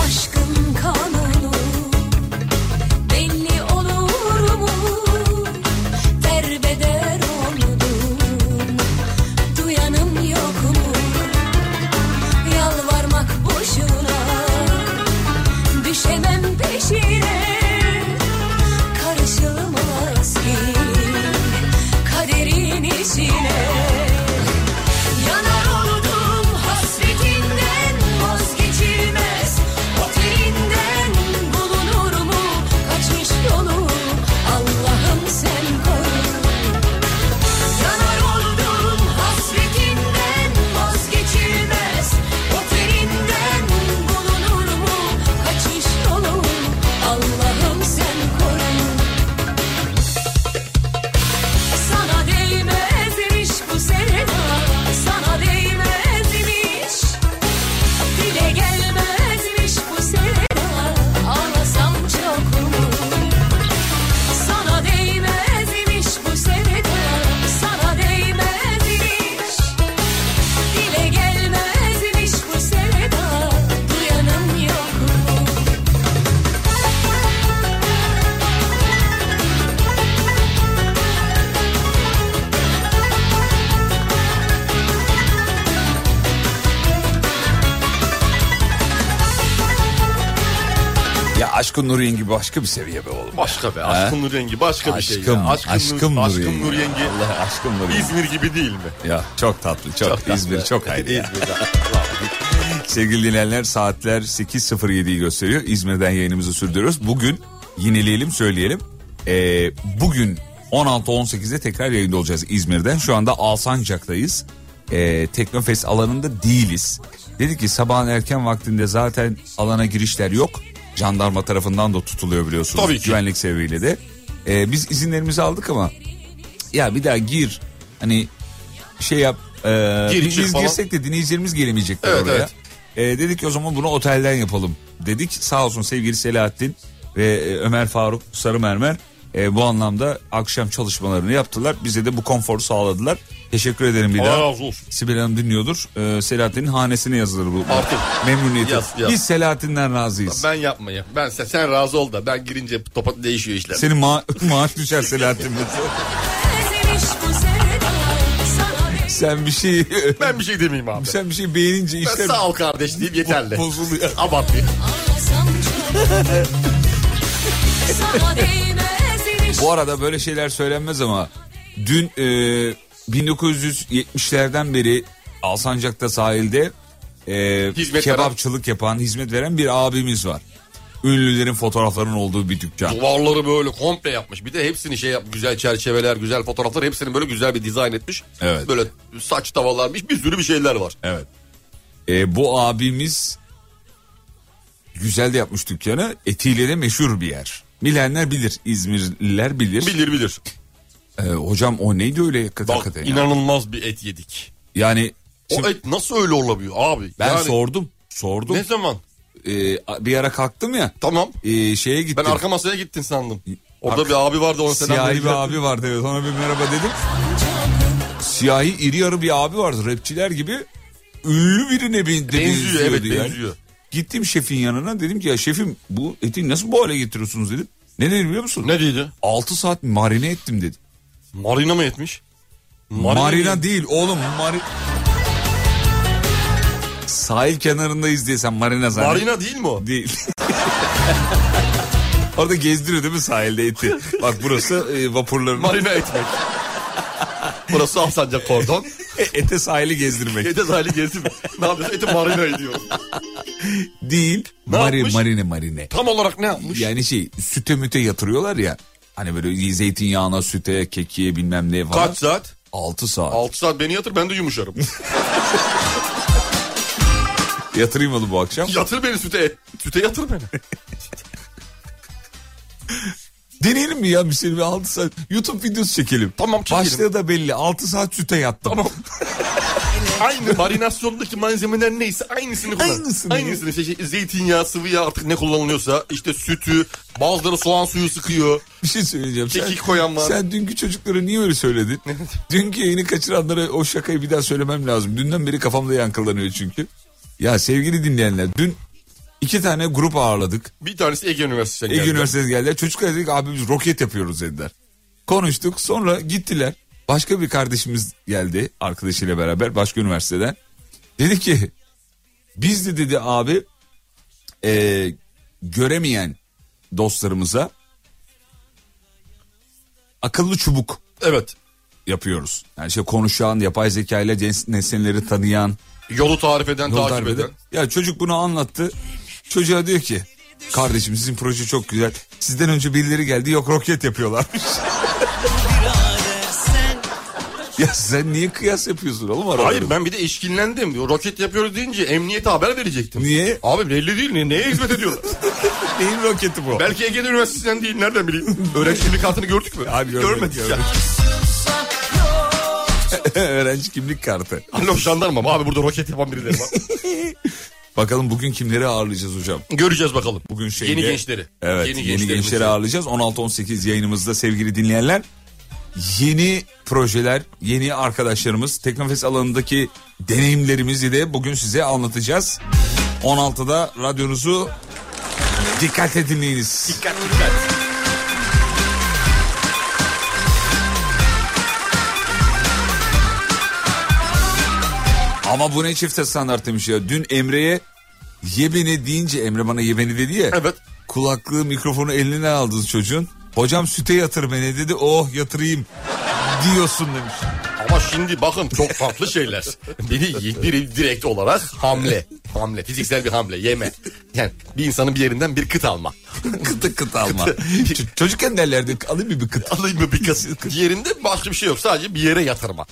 [SPEAKER 7] Aşkın kanunu belli olur mu? Derbeder oldum, duyanım yok mu? Yalvarmak boşuna, düşemem peşine. Karışılmaz ki kaderin içine. Yanar oldum hasretinden vazgeçilmez Otelinden bulunur mu kaçmış yolu Allah'ım sen koru Yanar oldum hasretinden vazgeçilmez Otelinden bulunur mu kaçmış yolu Allah'ım sen koru sana değmezmiş bu sevda Sana değmezmiş Dile gelmezmiş bu sevda Ağlasam çok mu Sana değmezmiş bu sevda Sana değmezmiş Dile gelmezmiş bu sevda Duyanım yok mu
[SPEAKER 1] Ya aşkın Nuriyen gibi başka bir seviye be oğlum.
[SPEAKER 3] Başka be. Aşkın Nur Yengi başka bir şey.
[SPEAKER 1] Aşkım,
[SPEAKER 3] ya.
[SPEAKER 1] aşkım
[SPEAKER 3] Nur,
[SPEAKER 1] Nur
[SPEAKER 3] aşkın
[SPEAKER 1] Yengi.
[SPEAKER 3] Nur Yengi.
[SPEAKER 1] Allah aşkın Nuriyen.
[SPEAKER 3] İzmir gibi değil mi?
[SPEAKER 1] Ya çok tatlı, çok, İzmir çok ayrı ya. Sevgili dinleyenler saatler 8.07'yi gösteriyor. İzmir'den yayınımızı sürdürüyoruz. Bugün yenileyelim söyleyelim. Ee, bugün 16-18'de tekrar yayında olacağız İzmir'den. Şu anda Alsancak'tayız. Ee, Teknofest alanında değiliz. Dedi ki sabahın erken vaktinde zaten alana girişler yok. Jandarma tarafından da tutuluyor biliyorsunuz.
[SPEAKER 3] Tabii ki.
[SPEAKER 1] Güvenlik sebebiyle de. Ee, biz izinlerimizi aldık ama ya bir daha gir hani şey yap e,
[SPEAKER 3] Gir,
[SPEAKER 1] biz
[SPEAKER 3] çık falan.
[SPEAKER 1] girsek de dinleyicilerimiz gelemeyecekler
[SPEAKER 3] Evet,
[SPEAKER 1] oraya.
[SPEAKER 3] evet.
[SPEAKER 1] E, dedik ki o zaman bunu otelden yapalım dedik sağ olsun sevgili Selahattin ve e, Ömer Faruk Sarı Mermer e, bu anlamda akşam çalışmalarını yaptılar bize de bu konforu sağladılar teşekkür ederim bir
[SPEAKER 3] Allah
[SPEAKER 1] daha.
[SPEAKER 3] razı olsun.
[SPEAKER 1] Sibel Hanım dinliyordur. E, Selahattin'in hanesine yazılır bu.
[SPEAKER 3] Artık.
[SPEAKER 1] Memnuniyetle.
[SPEAKER 3] Yaz, yaz.
[SPEAKER 1] Biz Selahattin'den razıyız.
[SPEAKER 3] Ben yapmayayım. Ben sen, sen razı ol da ben girince topa değişiyor işler.
[SPEAKER 1] Senin ma- maaş düşer Selahattin.
[SPEAKER 7] Değmezmiş bu sevda Sana değmezmiş
[SPEAKER 1] Sen bir şey
[SPEAKER 3] Ben bir şey demeyeyim abi.
[SPEAKER 1] sen bir şey beğenince
[SPEAKER 3] Ben
[SPEAKER 1] işler
[SPEAKER 3] sağ ol kardeş diyeyim yeterli.
[SPEAKER 1] bozuluyor.
[SPEAKER 3] Abartmayayım.
[SPEAKER 7] Ağlasam çok mu? Sana değmezmiş
[SPEAKER 1] Bu arada böyle şeyler söylenmez ama dün e, 1970'lerden beri Alsancak'ta sahilde e,
[SPEAKER 3] Hizmet veren-
[SPEAKER 1] kebapçılık yapan, hizmet veren bir abimiz var. Ünlülerin fotoğraflarının olduğu bir dükkan.
[SPEAKER 3] Duvarları böyle komple yapmış. Bir de hepsini şey yap güzel çerçeveler, güzel fotoğraflar hepsini böyle güzel bir dizayn etmiş.
[SPEAKER 1] Evet.
[SPEAKER 3] Böyle saç tavalarmış bir sürü bir şeyler var.
[SPEAKER 1] Evet. E, bu abimiz güzel de yapmış dükkanı. Etiyle de meşhur bir yer. Bilenler bilir, İzmirliler bilir.
[SPEAKER 3] Bilir bilir.
[SPEAKER 1] E, hocam o neydi öyle
[SPEAKER 3] Bak
[SPEAKER 1] hakikaten ya?
[SPEAKER 3] inanılmaz bir et yedik.
[SPEAKER 1] Yani
[SPEAKER 3] O
[SPEAKER 1] şimdi
[SPEAKER 3] et nasıl öyle olabiliyor abi?
[SPEAKER 1] ben
[SPEAKER 3] Yani
[SPEAKER 1] sordum, sordum.
[SPEAKER 3] Ne zaman?
[SPEAKER 1] E, bir ara kalktım ya.
[SPEAKER 3] Tamam.
[SPEAKER 1] e, şeye gittim.
[SPEAKER 3] Ben arka masaya gittin sandım. Orada
[SPEAKER 1] Arka-
[SPEAKER 3] bir abi vardı ona selam
[SPEAKER 1] Siyahi
[SPEAKER 3] verdiler.
[SPEAKER 1] bir abi vardı evet ona bir merhaba dedim. Siyahi iri yarı bir abi vardı rapçiler gibi. Ünlü birine ben- de
[SPEAKER 3] Benziyor,
[SPEAKER 1] benziyordu
[SPEAKER 3] evet,
[SPEAKER 1] yani.
[SPEAKER 3] benziyor.
[SPEAKER 1] Gittim şefin yanına dedim ki ya şefim bu eti nasıl bu hale getiriyorsunuz dedim. Ne dedi biliyor musun?
[SPEAKER 3] Ne dedi?
[SPEAKER 1] 6 saat marine ettim dedi.
[SPEAKER 3] Marina mı etmiş?
[SPEAKER 1] Marina,
[SPEAKER 3] mi?
[SPEAKER 1] değil oğlum mari... Sahil kenarındayız diye sen marina zannet.
[SPEAKER 3] Marina değil mi o?
[SPEAKER 1] Değil. Orada gezdiriyor değil mi sahilde eti? Bak burası e, vapurların.
[SPEAKER 3] Marina ekmek. Burası Alsancak kordon.
[SPEAKER 1] E, Ete sahili gezdirmek.
[SPEAKER 3] Ete zahili gezdim. Ne yapıyorsun? Eti marina ediyor.
[SPEAKER 1] Değil.
[SPEAKER 3] Ne
[SPEAKER 1] Mari,
[SPEAKER 3] yapmış?
[SPEAKER 1] marine marine.
[SPEAKER 3] Tam olarak ne yapmış?
[SPEAKER 1] Yani şey süte müte yatırıyorlar ya. Hani böyle zeytinyağına, süte, kekiğe bilmem ne falan.
[SPEAKER 3] Kaç saat?
[SPEAKER 1] 6 saat.
[SPEAKER 3] 6 saat beni yatır ben de yumuşarım.
[SPEAKER 1] Yatırayım onu bu akşam.
[SPEAKER 3] yatır beni süte. Süte yatır beni.
[SPEAKER 1] Deneyelim mi ya bir şey bir 6 saat. YouTube videosu çekelim.
[SPEAKER 3] Tamam, çekelim.
[SPEAKER 1] Başlığı da belli. 6 saat süte yattım.
[SPEAKER 3] Tamam. Aynı marinasyondaki malzemeler neyse aynısını kullan.
[SPEAKER 1] Aynısını.
[SPEAKER 3] Aynısını. İşte şey, zeytinyağı, sıvı yağ artık ne kullanılıyorsa. işte sütü, bazıları soğan suyu sıkıyor.
[SPEAKER 1] Bir şey söyleyeceğim.
[SPEAKER 3] Kekik koyan var.
[SPEAKER 1] Sen dünkü çocuklara niye öyle söyledin? dünkü yayını kaçıranlara o şakayı bir daha söylemem lazım. Dünden beri kafamda yankılanıyor çünkü. Ya sevgili dinleyenler dün iki tane grup ağırladık.
[SPEAKER 3] Bir tanesi Ege Üniversitesi'ne
[SPEAKER 1] Ege
[SPEAKER 3] geldi.
[SPEAKER 1] Üniversitesi geldiler. Çocuklar dedik abi biz roket yapıyoruz dediler. Konuştuk sonra gittiler. Başka bir kardeşimiz geldi arkadaşıyla beraber başka üniversiteden. Dedi ki biz de dedi abi eee, göremeyen dostlarımıza akıllı çubuk
[SPEAKER 3] Evet.
[SPEAKER 1] yapıyoruz. Yani şey konuşan, yapay zeka ile cins- nesneleri tanıyan,
[SPEAKER 3] Yolu tarif eden,
[SPEAKER 1] Yol
[SPEAKER 3] takip
[SPEAKER 1] darbe de-
[SPEAKER 3] eden.
[SPEAKER 1] Ya çocuk bunu anlattı. Çocuğa diyor ki kardeşim sizin proje çok güzel. Sizden önce birileri geldi yok roket yapıyorlarmış. ya sen niye kıyas yapıyorsun oğlum araları?
[SPEAKER 3] Hayır ben bir de işkillendim. Roket yapıyoruz deyince emniyete haber verecektim.
[SPEAKER 1] Niye?
[SPEAKER 3] Abi belli değil ne, neye hizmet ediyorlar?
[SPEAKER 1] Neyin roketi bu?
[SPEAKER 3] Belki Ege Üniversitesi'nden değil nereden bileyim. Öğrenci kimlik kartını gördük mü?
[SPEAKER 1] Abi görmedik,
[SPEAKER 3] ya.
[SPEAKER 1] görmedik. Öğrenci kimlik kartı.
[SPEAKER 3] Alo jandarma mı? Abi burada roket yapan birileri var.
[SPEAKER 1] Bakalım bugün kimleri ağırlayacağız hocam?
[SPEAKER 3] Göreceğiz bakalım.
[SPEAKER 1] Bugün şeyde,
[SPEAKER 3] şey Yeni gençleri.
[SPEAKER 1] Evet yeni,
[SPEAKER 3] gençlerimizi.
[SPEAKER 1] gençleri ağırlayacağız. 16-18 yayınımızda sevgili dinleyenler. Yeni projeler, yeni arkadaşlarımız, Teknofest alanındaki deneyimlerimizi de bugün size anlatacağız. 16'da radyonuzu dikkatle dinleyiniz.
[SPEAKER 3] Dikkat dikkat.
[SPEAKER 1] Ama bu ne çifte standart demiş ya. Dün Emre'ye yebeni deyince Emre bana yebeni dedi ya.
[SPEAKER 3] Evet.
[SPEAKER 1] Kulaklığı mikrofonu eline aldınız çocuğun. Hocam süte yatır beni dedi. Oh yatırayım diyorsun demiş.
[SPEAKER 3] Ama şimdi bakın çok farklı şeyler. Biri, biri direkt olarak hamle. Hamle. Fiziksel bir hamle. Yeme. Yani bir insanın bir yerinden bir kıt alma.
[SPEAKER 1] kıtı kıtı alma. Ç- Çocukken derlerdi alayım mı bir kıtı.
[SPEAKER 3] Alayım mı bir kıt? Diğerinde başka bir şey yok. Sadece bir yere yatırma.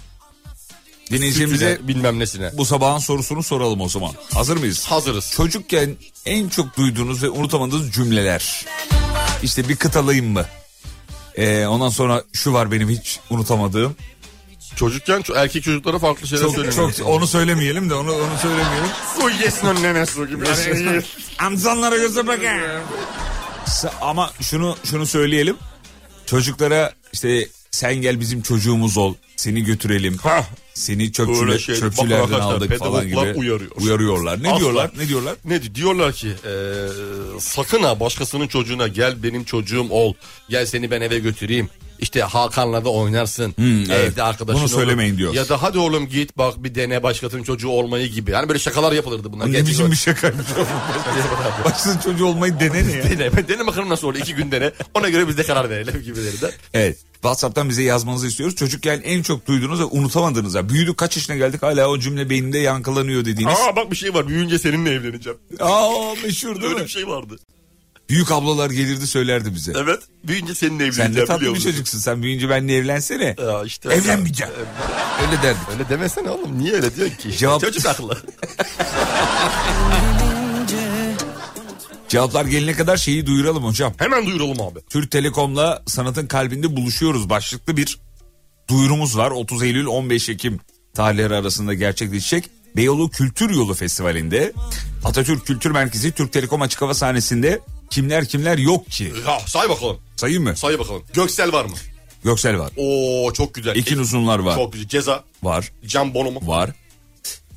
[SPEAKER 1] Dinleyicimize
[SPEAKER 3] Sütüne, bilmem nesine.
[SPEAKER 1] bu sabahın sorusunu soralım o zaman. Hazır mıyız?
[SPEAKER 3] Hazırız.
[SPEAKER 1] Çocukken en çok duyduğunuz ve unutamadığınız cümleler. İşte bir kıt alayım mı? Ee, ondan sonra şu var benim hiç unutamadığım.
[SPEAKER 3] Çocukken ço- erkek çocuklara farklı şeyler
[SPEAKER 1] Çok,
[SPEAKER 3] söyleniyor. Çok,
[SPEAKER 1] çok onu söylemeyelim de onu onu söylemeyelim.
[SPEAKER 3] çok. yesin önüne su gibi.
[SPEAKER 1] Amcanlara göze bakın. Sa- Ama şunu şunu söyleyelim. Çocuklara işte sen gel bizim çocuğumuz ol. Seni götürelim.
[SPEAKER 3] Hah.
[SPEAKER 1] Seni çöpçüle,
[SPEAKER 3] Öyle şey. Bakın
[SPEAKER 1] çöpçülerden
[SPEAKER 3] arkadaşlar,
[SPEAKER 1] aldık falan gibi.
[SPEAKER 3] pedagoglar uyarıyor.
[SPEAKER 1] Uyarıyorlar. Ne
[SPEAKER 3] Asla.
[SPEAKER 1] diyorlar? Ne diyorlar?
[SPEAKER 3] Ne di- diyorlar ki eee, sakın ha başkasının çocuğuna gel benim çocuğum ol. Gel seni ben eve götüreyim. İşte Hakan'la da oynarsın. Evde
[SPEAKER 1] Hmm, evet.
[SPEAKER 3] arkadaşın
[SPEAKER 1] Bunu
[SPEAKER 3] olur.
[SPEAKER 1] söylemeyin diyor.
[SPEAKER 3] Ya da hadi oğlum git bak bir dene başkasının çocuğu olmayı gibi. Hani böyle şakalar yapılırdı bunlar.
[SPEAKER 1] Ne
[SPEAKER 3] Gerçek
[SPEAKER 1] biçim
[SPEAKER 3] olarak-
[SPEAKER 1] bir şaka. Başsız çocuğu olmayı dene ne ya?
[SPEAKER 3] Dene, dene bakalım nasıl olur iki gün dene. Ona göre biz de karar verelim gibileri de.
[SPEAKER 1] Evet. WhatsApp'tan bize yazmanızı istiyoruz. Çocukken en çok duyduğunuz ve unutamadığınız. ya, Büyüdük kaç yaşına geldik hala o cümle beynimde yankılanıyor dediğiniz.
[SPEAKER 3] Aa bak bir şey var büyüyünce seninle evleneceğim.
[SPEAKER 1] Aa meşhur değil
[SPEAKER 3] Öyle
[SPEAKER 1] mi?
[SPEAKER 3] bir şey vardı.
[SPEAKER 1] Büyük ablalar gelirdi söylerdi bize.
[SPEAKER 3] Evet büyüyünce seninle evleneceğim
[SPEAKER 1] Sen de tatlı
[SPEAKER 3] biliyor
[SPEAKER 1] bir
[SPEAKER 3] musun?
[SPEAKER 1] çocuksun. Sen büyüyünce benimle evlensene.
[SPEAKER 3] Ya işte.
[SPEAKER 1] Evlenmeyeceğim. Öyle derdik.
[SPEAKER 3] Öyle demesene oğlum niye öyle diyorsun ki?
[SPEAKER 1] Cevap-
[SPEAKER 3] Çocuk akıllı.
[SPEAKER 1] Cevaplar gelene kadar şeyi duyuralım hocam.
[SPEAKER 3] Hemen duyuralım abi.
[SPEAKER 1] Türk Telekom'la sanatın kalbinde buluşuyoruz başlıklı bir duyurumuz var. 30 Eylül 15 Ekim tarihleri arasında gerçekleşecek. Beyoğlu Kültür Yolu Festivali'nde Atatürk Kültür Merkezi Türk Telekom açık hava sahnesinde kimler kimler yok ki?
[SPEAKER 3] Ya say bakalım.
[SPEAKER 1] Sayayım mı?
[SPEAKER 3] Say bakalım. Göksel var mı?
[SPEAKER 1] Göksel var.
[SPEAKER 3] Oo çok güzel. E,
[SPEAKER 1] İkin uzunlar var.
[SPEAKER 3] Çok güzel. Ceza.
[SPEAKER 1] Var.
[SPEAKER 3] Can Bono mu?
[SPEAKER 1] Var.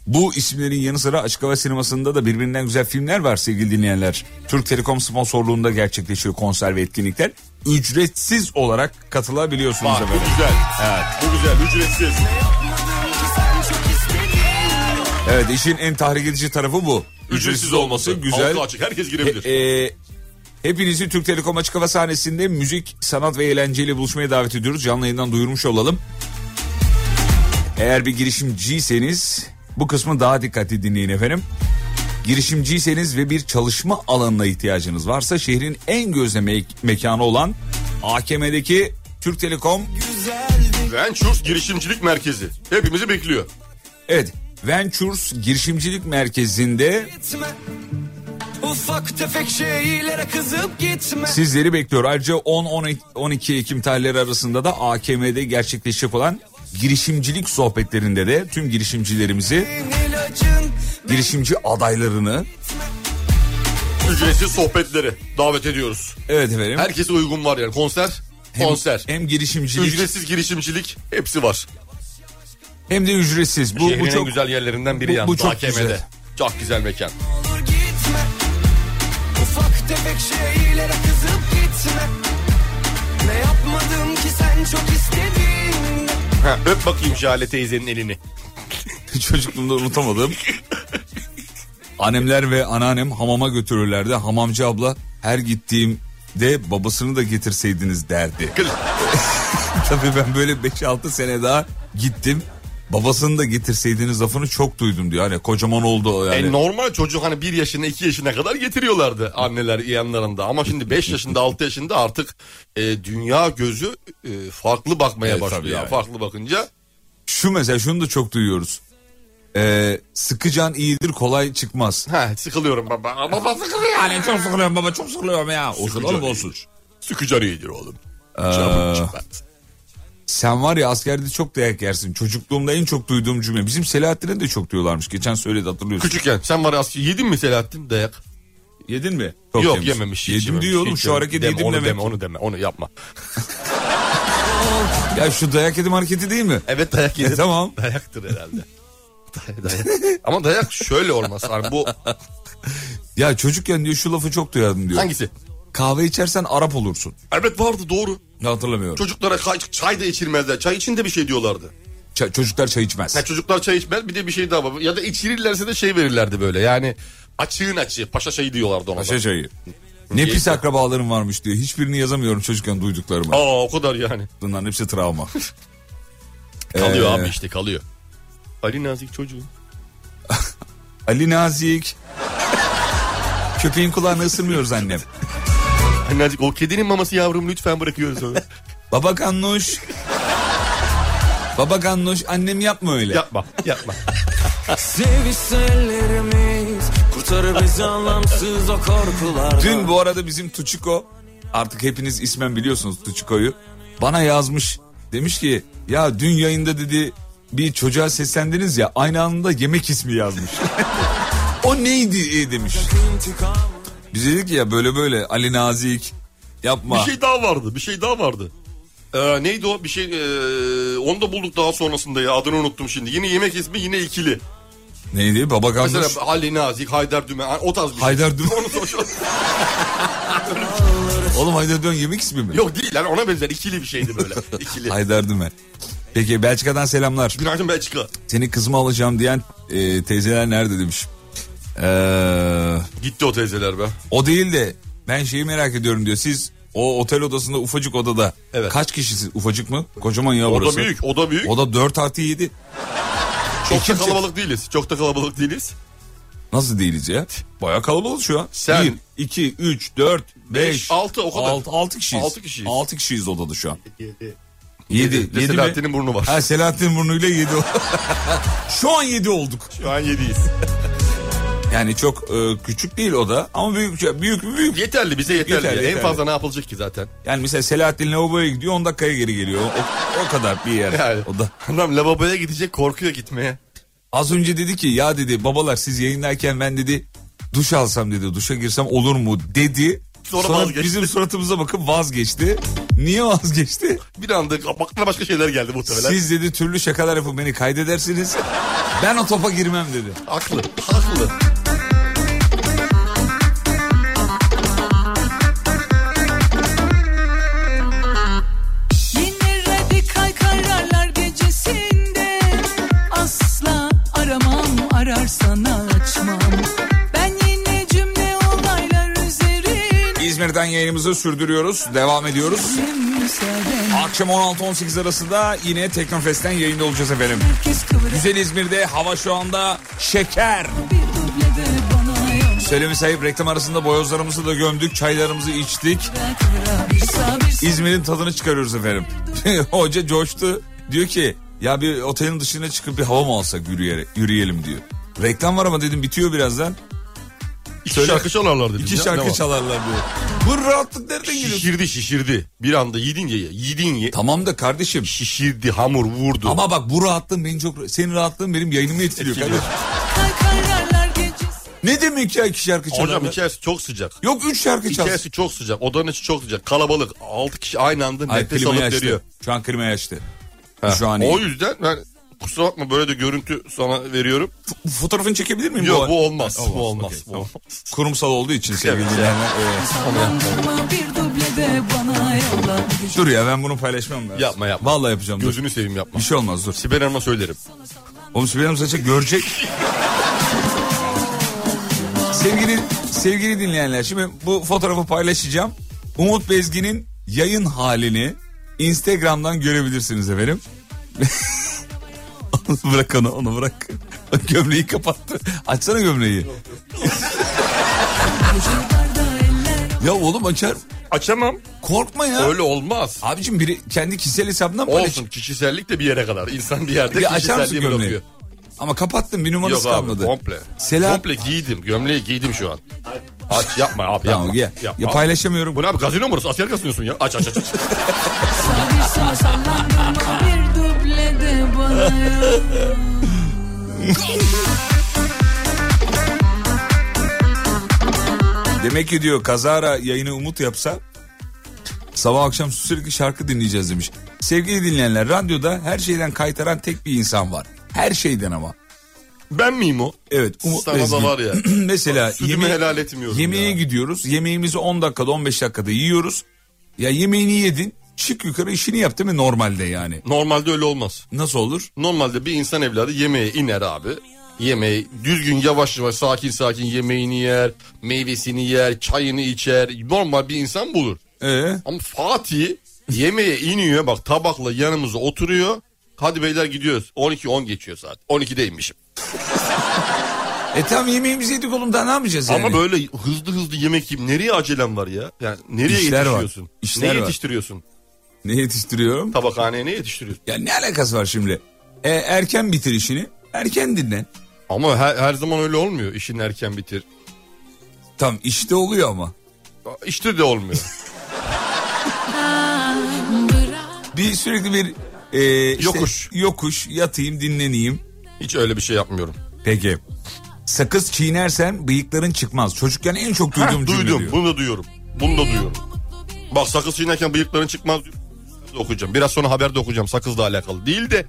[SPEAKER 1] Bu isimlerin yanı sıra açık hava sinemasında da birbirinden güzel filmler var sevgili dinleyenler. Türk Telekom sponsorluğunda gerçekleşiyor konser ve etkinlikler. Ücretsiz olarak katılabiliyorsunuz
[SPEAKER 3] Var. Bu
[SPEAKER 1] efendim.
[SPEAKER 3] güzel. Evet. Bu güzel. Ücretsiz.
[SPEAKER 1] Evet işin en tahrik edici tarafı bu.
[SPEAKER 3] Ücretsiz olması. Güzel.
[SPEAKER 1] Güzel.
[SPEAKER 3] Halka açık. Herkes girebilir.
[SPEAKER 1] E, hepinizi Türk Telekom Açık Hava sahnesinde müzik, sanat ve eğlenceyle buluşmaya davet ediyoruz. Canlı yayından duyurmuş olalım. Eğer bir girişimciyseniz bu kısmı daha dikkatli dinleyin efendim. Girişimciyseniz ve bir çalışma alanına ihtiyacınız varsa şehrin en gözde me- mekanı olan AKM'deki Türk Telekom
[SPEAKER 3] Ventures Girişimcilik Merkezi. Hepimizi bekliyor.
[SPEAKER 1] evet Ventures Girişimcilik Merkezi'nde
[SPEAKER 4] Gitme. Ufak tefek şeylere kızıp gitme.
[SPEAKER 1] Sizleri bekliyor. Ayrıca 10-12 Ekim tarihleri arasında da AKM'de gerçekleşecek olan girişimcilik sohbetlerinde de tüm girişimcilerimizi,
[SPEAKER 4] Senin ilacın
[SPEAKER 1] girişimci adaylarını
[SPEAKER 3] Ücretsiz sohbetleri davet ediyoruz.
[SPEAKER 1] evet efendim.
[SPEAKER 3] Herkese uygun var yani. Konser,
[SPEAKER 1] hem,
[SPEAKER 3] konser.
[SPEAKER 1] hem girişimcilik
[SPEAKER 3] Ücretsiz girişimcilik hepsi var.
[SPEAKER 1] hem de ücretsiz. Bu,
[SPEAKER 3] Şehrin
[SPEAKER 1] bu
[SPEAKER 3] en
[SPEAKER 1] çok
[SPEAKER 3] güzel yerlerinden biri
[SPEAKER 1] bu-
[SPEAKER 3] yalnız.
[SPEAKER 1] bu çok
[SPEAKER 3] AKM'de.
[SPEAKER 1] güzel.
[SPEAKER 3] Çok güzel mekan.
[SPEAKER 4] olur gitme. Ufak tefek şeylere kızıp gitme. Ne yapmadım ki sen çok istedin.
[SPEAKER 3] Ha, öp bakayım Jale teyzenin elini.
[SPEAKER 1] çocukluğumda unutamadım. Annemler ve anneannem hamama götürürlerdi. Hamamcı abla her gittiğimde babasını da getirseydiniz derdi.
[SPEAKER 3] Kız.
[SPEAKER 1] Tabii ben böyle 5-6 sene daha gittim. Babasını da getirseydiniz lafını çok duydum diyor. Hani kocaman oldu o yani.
[SPEAKER 3] E normal çocuk hani 1 yaşına 2 yaşına kadar getiriyorlardı anneler yanlarında. Ama şimdi 5 yaşında 6 yaşında artık e, dünya gözü e, farklı bakmaya
[SPEAKER 1] Evet, tabii
[SPEAKER 3] başlıyor.
[SPEAKER 1] yani.
[SPEAKER 3] Farklı bakınca
[SPEAKER 1] Şu mesela şunu da çok duyuyoruz. Ee, sıkıcan iyidir kolay çıkmaz.
[SPEAKER 3] ha sıkılıyorum baba. Ama Baba sıkılıyor yani.
[SPEAKER 1] çok sıkılıyorum baba çok sıkılıyorum ya. Olsun
[SPEAKER 3] Sıkıcan
[SPEAKER 1] oğlum olsun.
[SPEAKER 3] iyidir. Sıkıcan iyidir oğlum.
[SPEAKER 1] Ee,
[SPEAKER 3] Çabuk çıkmaz.
[SPEAKER 1] Sen var ya askerde çok dayak yersin. Çocukluğumda en çok duyduğum cümle. Bizim Selahattin'e de çok diyorlarmış. Geçen söyledi hatırlıyorsun.
[SPEAKER 3] Küçükken sen var ya asker- yedin mi Selahattin dayak?
[SPEAKER 1] Yedin mi?
[SPEAKER 3] Yok yememiş. hiç
[SPEAKER 1] Yedim
[SPEAKER 3] yememiş,
[SPEAKER 1] diyorum
[SPEAKER 3] hiç
[SPEAKER 1] şu
[SPEAKER 3] yememiş.
[SPEAKER 1] hareketi
[SPEAKER 3] Deme,
[SPEAKER 1] yedim
[SPEAKER 3] onu
[SPEAKER 1] demek.
[SPEAKER 3] deme onu deme onu yapma.
[SPEAKER 1] Ya şu dayak yedim hareketi değil mi?
[SPEAKER 3] Evet dayak yedim.
[SPEAKER 1] E, tamam.
[SPEAKER 3] Dayaktır herhalde. Day- dayak. Ama dayak şöyle olmaz. Hani bu
[SPEAKER 1] Ya çocukken diyor şu lafı çok duyardım diyor.
[SPEAKER 3] hangisi?
[SPEAKER 1] Kahve içersen Arap olursun.
[SPEAKER 3] Evet vardı doğru.
[SPEAKER 1] Ne hatırlamıyorum.
[SPEAKER 3] Çocuklara kay- çay da içirmezler. Çay için de bir şey diyorlardı.
[SPEAKER 1] Ç- çocuklar çay içmez.
[SPEAKER 3] Ha, çocuklar çay içmez bir de bir şey daha var. Ya da içirirlerse de şey verirlerdi böyle yani açığın açığı paşa çayı diyorlardı ona. da.
[SPEAKER 1] Paşa şey- çayı. Ne pis akrabalarım varmış diyor. Hiçbirini yazamıyorum çocukken duyduklarıma.
[SPEAKER 3] Aa o kadar yani.
[SPEAKER 1] Bunların hepsi travma.
[SPEAKER 3] Kalıyor
[SPEAKER 1] Ee.
[SPEAKER 3] abi işte kalıyor. Ali Nazik çocuğu.
[SPEAKER 1] Ali Nazik. Köpeğin kulağını ısırmıyoruz annem.
[SPEAKER 3] Ali Nazik o kedinin maması yavrum lütfen bırakıyoruz onu.
[SPEAKER 1] Baba kannuş. Baba kannuş annem yapma öyle.
[SPEAKER 3] yapma yapma.
[SPEAKER 4] Sevişse ellerimiz kurtarır bizi anlamsız o korkulardan.
[SPEAKER 1] Dün bu arada bizim Tuçiko artık hepiniz ismen biliyorsunuz Tuçiko'yu bana yazmış. Demiş ki ya dün yayında dedi bir çocuğa seslendiniz ya aynı anda yemek ismi yazmış. o neydi e, demiş. Biz dedik ya böyle böyle Ali Nazik
[SPEAKER 3] bir
[SPEAKER 1] yapma.
[SPEAKER 3] şey daha vardı bir şey daha vardı. Ee, neydi o bir şey ee, onu da bulduk daha sonrasında ya adını unuttum şimdi. Yine yemek ismi yine ikili.
[SPEAKER 1] Neydi baba kalmış.
[SPEAKER 3] Mesela Ali Nazik Haydar Dümen o tarz bir şey.
[SPEAKER 1] Haydar Dümen.
[SPEAKER 3] Onu soruyorum.
[SPEAKER 1] Oğlum Haydar Dümen yemek ismi mi?
[SPEAKER 3] Yok değil lan ona benzer ikili bir şeydi böyle. İkili.
[SPEAKER 1] Haydar Dümen. Peki Belçika'dan selamlar.
[SPEAKER 3] Günaydın Belçika.
[SPEAKER 1] Seni kızıma alacağım diyen e, teyzeler nerede demiş. Eee...
[SPEAKER 3] Gitti o teyzeler be.
[SPEAKER 1] O değil de ben şeyi merak ediyorum diyor. Siz o otel odasında ufacık odada
[SPEAKER 3] Evet.
[SPEAKER 1] kaç kişisiniz? Ufacık mı? Kocaman ya
[SPEAKER 3] O da
[SPEAKER 1] burası.
[SPEAKER 3] büyük, o da büyük.
[SPEAKER 1] Oda 4 artı 7.
[SPEAKER 3] çok da
[SPEAKER 1] Ekip-
[SPEAKER 3] kalabalık değiliz. Çok da kalabalık değiliz.
[SPEAKER 1] Nasıl değiliz ya? Baya kalabalık şu an.
[SPEAKER 3] Sen-
[SPEAKER 1] 1, 2, 3, 4, 5,
[SPEAKER 3] altı, o kadar.
[SPEAKER 1] 6, 6 kişiyiz.
[SPEAKER 3] Altı kişiyiz.
[SPEAKER 1] 6 kişiyiz odada şu an. 7. 7,
[SPEAKER 3] Ve Selahattin'in burnu var.
[SPEAKER 1] Ha Selahattin burnuyla 7. şu an 7 olduk.
[SPEAKER 3] Şu an yediyiz.
[SPEAKER 1] Yani çok e, küçük değil oda ama büyük büyük büyük.
[SPEAKER 3] Yeterli bize yeterli.
[SPEAKER 1] Yeterli,
[SPEAKER 3] ya.
[SPEAKER 1] yeterli.
[SPEAKER 3] En fazla ne yapılacak ki zaten?
[SPEAKER 1] Yani mesela Selahattin lavaboya gidiyor 10 dakikaya geri geliyor. O, o kadar bir yer
[SPEAKER 3] Yani.
[SPEAKER 1] oda.
[SPEAKER 3] Adam lavaboya gidecek korkuyor gitmeye.
[SPEAKER 1] Az önce dedi ki ya dedi babalar siz yayınlarken ben dedi duş alsam dedi duşa girsem olur mu dedi. Sonra,
[SPEAKER 3] Sonra vazgeçti.
[SPEAKER 1] bizim suratımıza bakıp vazgeçti. Niye vazgeçti?
[SPEAKER 3] Bir anda aklına başka şeyler geldi muhtemelen.
[SPEAKER 1] Siz dedi türlü şakalar yapıp beni kaydedersiniz. Ben o topa girmem dedi.
[SPEAKER 3] Haklı. Haklı.
[SPEAKER 8] Yine radikal kararlar gecesinde asla aramam ararsın.
[SPEAKER 1] Kadıköy'den yayınımızı sürdürüyoruz. Devam ediyoruz. Akşam 16-18 arasında yine Teknofest'ten yayında olacağız efendim. Güzel İzmir'de hava şu anda şeker. Söylemi sayıp reklam arasında boyozlarımızı da gömdük, çaylarımızı içtik. İzmir'in tadını çıkarıyoruz efendim. Hoca coştu. Diyor ki ya bir otelin dışına çıkıp bir hava mı alsak yürüyerek, yürüyelim diyor. Reklam var ama dedim bitiyor birazdan.
[SPEAKER 3] İki
[SPEAKER 1] Söyle.
[SPEAKER 3] şarkı çalarlar dedim.
[SPEAKER 1] İki
[SPEAKER 3] ya, ne
[SPEAKER 1] şarkı
[SPEAKER 3] var?
[SPEAKER 1] çalarlar diyor. Bu rahatlık nereden geliyor?
[SPEAKER 3] Şişirdi şişirdi. Bir anda yedin ye. Yedin ye.
[SPEAKER 1] Tamam da kardeşim.
[SPEAKER 3] Şişirdi hamur vurdu.
[SPEAKER 1] Ama bak bu rahatlığın benim çok senin rahatlığın benim yayınımı etkiliyor
[SPEAKER 3] Etkiliyor.
[SPEAKER 1] kardeşim. Ne demek ya iki şarkı çalarlar?
[SPEAKER 3] Hocam içerisi çok sıcak.
[SPEAKER 1] Yok üç şarkı çal.
[SPEAKER 3] İçerisi çok sıcak. Odanın içi çok sıcak. Kalabalık. 6 kişi aynı anda
[SPEAKER 1] Ay
[SPEAKER 3] nefes
[SPEAKER 1] klimayı
[SPEAKER 3] alıp
[SPEAKER 1] açtı.
[SPEAKER 3] veriyor.
[SPEAKER 1] Şu an klimayı açtı.
[SPEAKER 3] Ha,
[SPEAKER 1] Şu an iyi.
[SPEAKER 3] o yüzden ben kusura bakma böyle de görüntü sana veriyorum.
[SPEAKER 1] F- Fotoğrafını çekebilir miyim?
[SPEAKER 3] Yok
[SPEAKER 1] an?
[SPEAKER 3] bu olmaz.
[SPEAKER 1] Olmaz,
[SPEAKER 3] Bu olmaz.
[SPEAKER 1] okey,
[SPEAKER 3] bu
[SPEAKER 1] tamam.
[SPEAKER 3] olmaz.
[SPEAKER 1] Kurumsal olduğu için sevgili
[SPEAKER 3] Evet.
[SPEAKER 1] dinleyenler. e, evet. Dur ya ben bunu paylaşmam lazım.
[SPEAKER 3] Yapma, yapma.
[SPEAKER 1] Vallahi yapacağım. dur.
[SPEAKER 3] Gözünü seveyim yapma.
[SPEAKER 1] Bir şey olmaz dur.
[SPEAKER 3] Sibel Hanım'a söylerim.
[SPEAKER 1] Oğlum Sibel Hanım zaten görecek. sevgili sevgili dinleyenler şimdi bu fotoğrafı paylaşacağım. Umut Bezgin'in yayın halini Instagram'dan görebilirsiniz efendim. onu bırak onu onu bırak. Gömleği kapattı. Açsana gömleği. ya oğlum açar.
[SPEAKER 3] Açamam.
[SPEAKER 1] Korkma ya.
[SPEAKER 3] Öyle olmaz.
[SPEAKER 1] Abicim biri kendi kişisel hesabından paylaş.
[SPEAKER 3] Olsun kişisellik de bir yere kadar. İnsan bir yerde
[SPEAKER 1] Bir açar mısın
[SPEAKER 3] kişiselliği
[SPEAKER 1] gömleği?
[SPEAKER 3] bırakıyor.
[SPEAKER 1] Ama kapattım bir numarası
[SPEAKER 3] Yok abi
[SPEAKER 1] kalmadı.
[SPEAKER 3] komple.
[SPEAKER 1] Selahat-
[SPEAKER 3] Komple giydim. Gömleği giydim şu an. Aç yapma abi
[SPEAKER 1] Tamam,
[SPEAKER 3] yapma.
[SPEAKER 1] ya,
[SPEAKER 3] yapma.
[SPEAKER 1] ya paylaşamıyorum.
[SPEAKER 3] Bu ne abi gazino mu burası? Asker kazanıyorsun ya. Aç aç aç. aç.
[SPEAKER 1] Demek ki diyor kazara yayını Umut yapsa sabah akşam sürekli şarkı dinleyeceğiz demiş. Sevgili dinleyenler radyoda her şeyden kaytaran tek bir insan var. Her şeyden ama.
[SPEAKER 3] ben miyim o?
[SPEAKER 1] Evet Umut
[SPEAKER 3] Sana da
[SPEAKER 1] Bezgin.
[SPEAKER 3] var ya.
[SPEAKER 1] Mesela
[SPEAKER 3] Sütümü helal etmiyorum
[SPEAKER 1] yemeğe
[SPEAKER 3] ya.
[SPEAKER 1] gidiyoruz. Yemeğimizi 10 dakikada 15 dakikada yiyoruz. Ya yemeğini yedin çık yukarı işini yap değil mi normalde yani.
[SPEAKER 3] Normalde öyle olmaz.
[SPEAKER 1] Nasıl olur?
[SPEAKER 3] Normalde bir insan evladı yemeğe iner abi. Yemeği düzgün yavaş yavaş sakin sakin yemeğini yer, meyvesini yer, çayını içer. Normal bir insan bulur.
[SPEAKER 1] Ee,
[SPEAKER 3] Ama Fatih yemeğe iniyor bak tabakla yanımıza oturuyor. Hadi beyler gidiyoruz. 12-10 geçiyor saat. 12'deymişim.
[SPEAKER 1] e tam yemeğimizi yedik oğlum daha ne yapacağız yani?
[SPEAKER 3] Ama böyle hızlı hızlı yemek yiyip nereye acelem var ya? Yani nereye
[SPEAKER 1] İşler var.
[SPEAKER 3] yetişiyorsun?
[SPEAKER 1] İşler
[SPEAKER 3] ne
[SPEAKER 1] var.
[SPEAKER 3] yetiştiriyorsun?
[SPEAKER 1] Ne yetiştiriyorum?
[SPEAKER 3] Tabakhaneye ne yetiştiriyorsun?
[SPEAKER 1] Ya ne alakası var şimdi? E, erken bitir işini. Erken dinlen.
[SPEAKER 3] Ama her, her zaman öyle olmuyor. İşin erken bitir.
[SPEAKER 1] Tam işte oluyor ama.
[SPEAKER 3] İşte de olmuyor.
[SPEAKER 1] Bir sürekli bir e, işte
[SPEAKER 3] Yokuş.
[SPEAKER 1] yokuş yatayım dinleneyim.
[SPEAKER 3] Hiç öyle bir şey yapmıyorum.
[SPEAKER 1] Peki. Sakız çiğnersen bıyıkların çıkmaz. Çocukken en çok duyduğum
[SPEAKER 3] Heh,
[SPEAKER 1] cümle
[SPEAKER 3] duydum.
[SPEAKER 1] diyor.
[SPEAKER 3] Bunu da duyuyorum. Bunu da duyuyorum. Bak sakız çiğnerken bıyıkların çıkmaz diyor. Sakız okuyacağım. Biraz sonra haberde okuyacağım sakızla alakalı. Değil de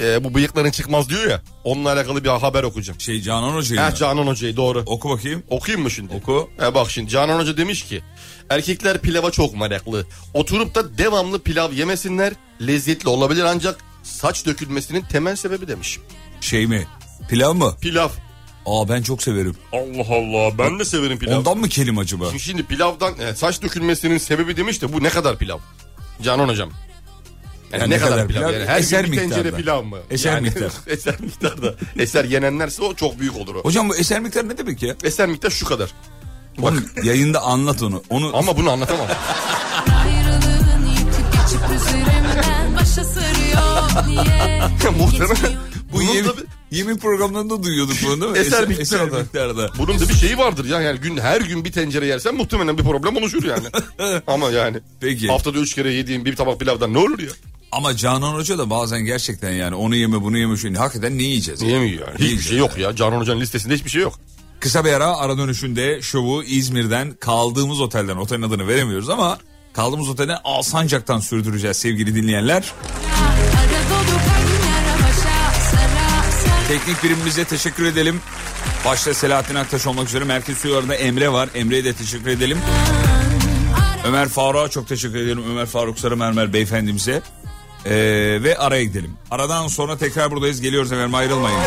[SPEAKER 3] e, bu bıyıkların çıkmaz diyor ya. Onunla alakalı bir haber okuyacağım.
[SPEAKER 1] Şey Canan Hoca'yı
[SPEAKER 3] Heh,
[SPEAKER 1] mı?
[SPEAKER 3] Canan Hoca'yı doğru.
[SPEAKER 1] Oku bakayım.
[SPEAKER 3] Okuyayım mı şimdi?
[SPEAKER 1] Oku.
[SPEAKER 3] E bak şimdi Canan Hoca demiş ki erkekler pilava çok meraklı. Oturup da devamlı pilav yemesinler. Lezzetli olabilir ancak saç dökülmesinin temel sebebi demiş.
[SPEAKER 1] Şey mi? Pilav mı?
[SPEAKER 3] Pilav.
[SPEAKER 1] Aa ben çok severim.
[SPEAKER 3] Allah Allah ben de severim pilav.
[SPEAKER 1] Ondan mı kelim acaba?
[SPEAKER 3] Şimdi, şimdi pilavdan e, saç dökülmesinin sebebi demiş de bu ne kadar pilav? Canan Hocam. Yani
[SPEAKER 1] Yani
[SPEAKER 3] ne kadar, pilav? Yani her
[SPEAKER 1] Eser
[SPEAKER 3] gün bir tencere
[SPEAKER 1] miktarda.
[SPEAKER 3] pilav mı?
[SPEAKER 1] Eser
[SPEAKER 3] yani,
[SPEAKER 1] miktar.
[SPEAKER 3] eser miktarda. Eser yenenlerse o çok büyük olur o.
[SPEAKER 1] Hocam bu eser miktarı ne demek ya?
[SPEAKER 3] Eser miktar şu kadar.
[SPEAKER 1] Oğlum, yayında anlat onu. Onu
[SPEAKER 3] Ama bunu anlatamam.
[SPEAKER 7] Ayrılığın yükü geçip üzerimden başa sarıyor niye?
[SPEAKER 3] Muhtemelen
[SPEAKER 1] bu
[SPEAKER 3] bunun
[SPEAKER 1] yem-
[SPEAKER 3] da bir-
[SPEAKER 1] yemin programlarında duyuyorduk bunu değil mi?
[SPEAKER 3] Eser miktarda.
[SPEAKER 1] eser miktarda.
[SPEAKER 3] Bunun da bir şeyi vardır ya yani gün her gün bir tencere yersen muhtemelen bir problem oluşur yani. Ama yani
[SPEAKER 1] Peki.
[SPEAKER 3] haftada üç kere yediğim bir tabak pilavdan ne olur ya?
[SPEAKER 1] Ama Canan Hoca da bazen gerçekten yani onu yeme bunu yeme şunu. Hakikaten ne yiyeceğiz?
[SPEAKER 3] Niye mi yani? Hiçbir
[SPEAKER 1] Yiyeceğiz.
[SPEAKER 3] şey yok ya. Canan Hoca'nın listesinde hiçbir şey yok.
[SPEAKER 1] Kısa bir ara ara dönüşünde şovu İzmir'den kaldığımız otelden otelin adını veremiyoruz ama kaldığımız otelde Alsancak'tan sürdüreceğiz sevgili dinleyenler.
[SPEAKER 7] Ara dolu kalbimler başa sara sara
[SPEAKER 1] Teknik birimimize teşekkür edelim. Başta Selahattin Aktaş olmak üzere merkez stüdyolarında Emre var. Emre'ye de teşekkür edelim. Ömer Faruk'a çok teşekkür edelim. Ömer Faruk Sarı Mermer beyefendimize. Ee, ve araya gidelim. Aradan sonra tekrar buradayız. Geliyoruz efendim ayrılmayın.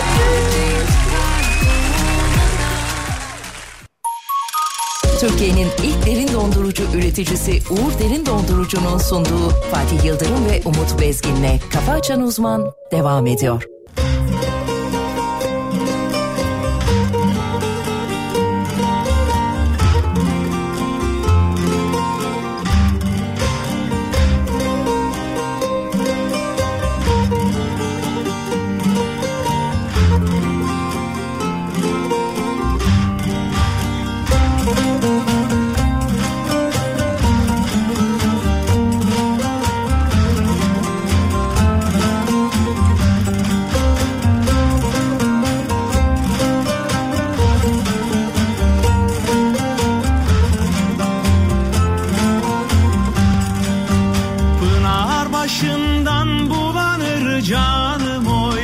[SPEAKER 5] Türkiye'nin ilk derin dondurucu üreticisi Uğur Derin Dondurucu'nun sunduğu Fatih Yıldırım ve Umut Bezgin'le Kafa Açan Uzman devam ediyor.
[SPEAKER 8] Pınar başından bulanır canım oy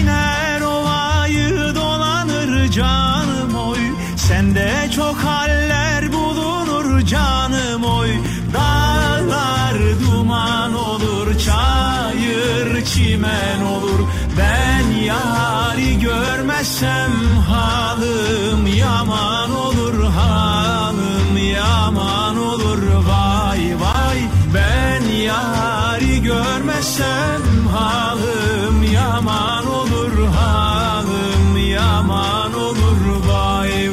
[SPEAKER 8] İner ovayı dolanır canım oy Sende çok haller bulunur canım oy Dağlar duman olur çayır çimen olur Ben yari görmezsem halim yaman olur halim yaman olur vay vay ben yari görmesem halim yaman olur halim yaman olur vay vay.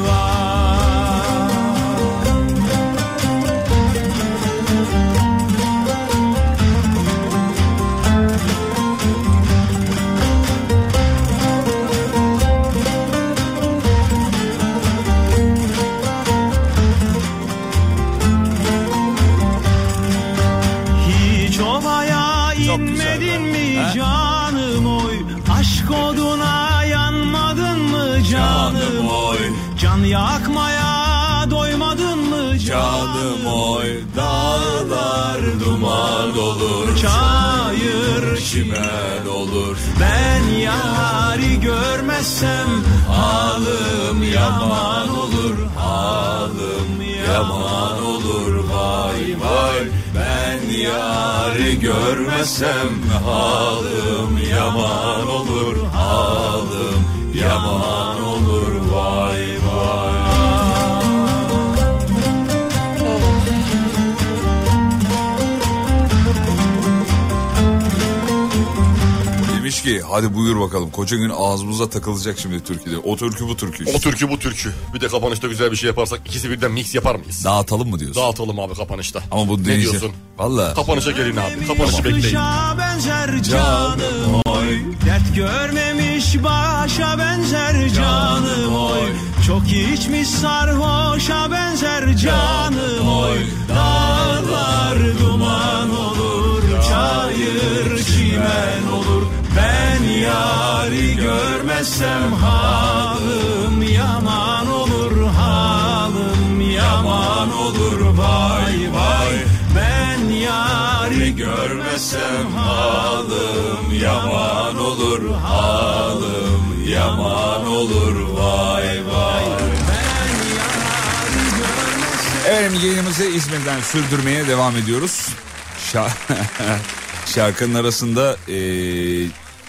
[SPEAKER 8] Hiç ovaya
[SPEAKER 1] Çok güzel
[SPEAKER 8] inmedin
[SPEAKER 1] be.
[SPEAKER 8] mi
[SPEAKER 1] He?
[SPEAKER 8] canım oy? Aşk oduna yanmadın mı canım oy? Can yakmaya doymadın mı canım oy? Dağlar duman olur, çayır çimen olur. Ben yari görmezsem halim yaman olur, halim yaman olur vay vay. Ben yari görmesem halim yaman olur halim yaman olur vay vay.
[SPEAKER 1] Demiş ki hadi buyur bakalım koca gün ağzımıza takılacak şimdi türküde. O türkü bu türkü.
[SPEAKER 3] O türkü bu türkü. Bir de kapanışta güzel bir şey yaparsak ikisi birden mix yapar mıyız?
[SPEAKER 1] Dağıtalım mı diyorsun?
[SPEAKER 3] Dağıtalım abi kapanışta.
[SPEAKER 1] Ama bu
[SPEAKER 3] ne
[SPEAKER 1] deneyeceğim.
[SPEAKER 3] diyorsun?
[SPEAKER 1] Valla.
[SPEAKER 3] Kapanışa gelin abi. Kapanışı bekleyin.
[SPEAKER 8] Kışa benzer canım oy Dert görmemiş başa benzer canım oy Çok içmiş sarhoşa benzer canım oy Dağlar duman olur Çayır çimen olur Ben yari görmezsem halim yaman olur Halim yaman olur vay vay Ben yari görmesem halim yaman olur Halim yaman olur vay vay
[SPEAKER 1] Efendim yayınımızı İzmir'den sürdürmeye devam ediyoruz. Şa- Şarkının arasında e,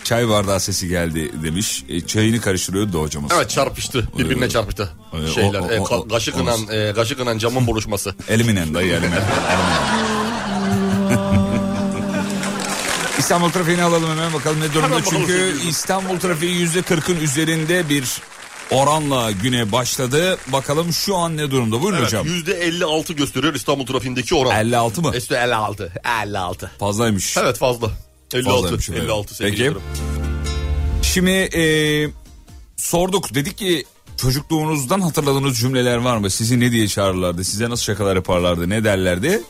[SPEAKER 1] çay bardağı sesi geldi demiş. E, çayını karıştırıyordu da hocamız.
[SPEAKER 3] Evet çarpıştı. Birbirine çarpıştı.
[SPEAKER 1] Ee,
[SPEAKER 3] Şeyler.
[SPEAKER 1] o- o-
[SPEAKER 3] e, ka-
[SPEAKER 1] o-
[SPEAKER 3] kaşı
[SPEAKER 1] olmaz.
[SPEAKER 3] kınan, e, kaşı kınan camın buluşması.
[SPEAKER 1] Eliminen dayı eliminen. İstanbul trafiğini alalım hemen bakalım ne durumda.
[SPEAKER 3] Hemen bakalım
[SPEAKER 1] Çünkü
[SPEAKER 3] sevgili.
[SPEAKER 1] İstanbul trafiği yüzde kırkın üzerinde bir oranla güne başladı. Bakalım şu an ne durumda? Buyurun hocam.
[SPEAKER 3] Yüzde 56 gösteriyor İstanbul trafiğindeki oran.
[SPEAKER 1] 56 mı?
[SPEAKER 3] Üstü 56. 56.
[SPEAKER 1] Fazlaymış.
[SPEAKER 3] Evet fazla. 56.
[SPEAKER 1] Fazlaymış, evet.
[SPEAKER 3] 56 sevgili
[SPEAKER 1] Peki.
[SPEAKER 3] Yıldırım.
[SPEAKER 1] Şimdi e, sorduk dedik ki çocukluğunuzdan hatırladığınız cümleler var mı? Sizi ne diye çağırırlardı? Size nasıl şakalar yaparlardı? Ne derlerdi?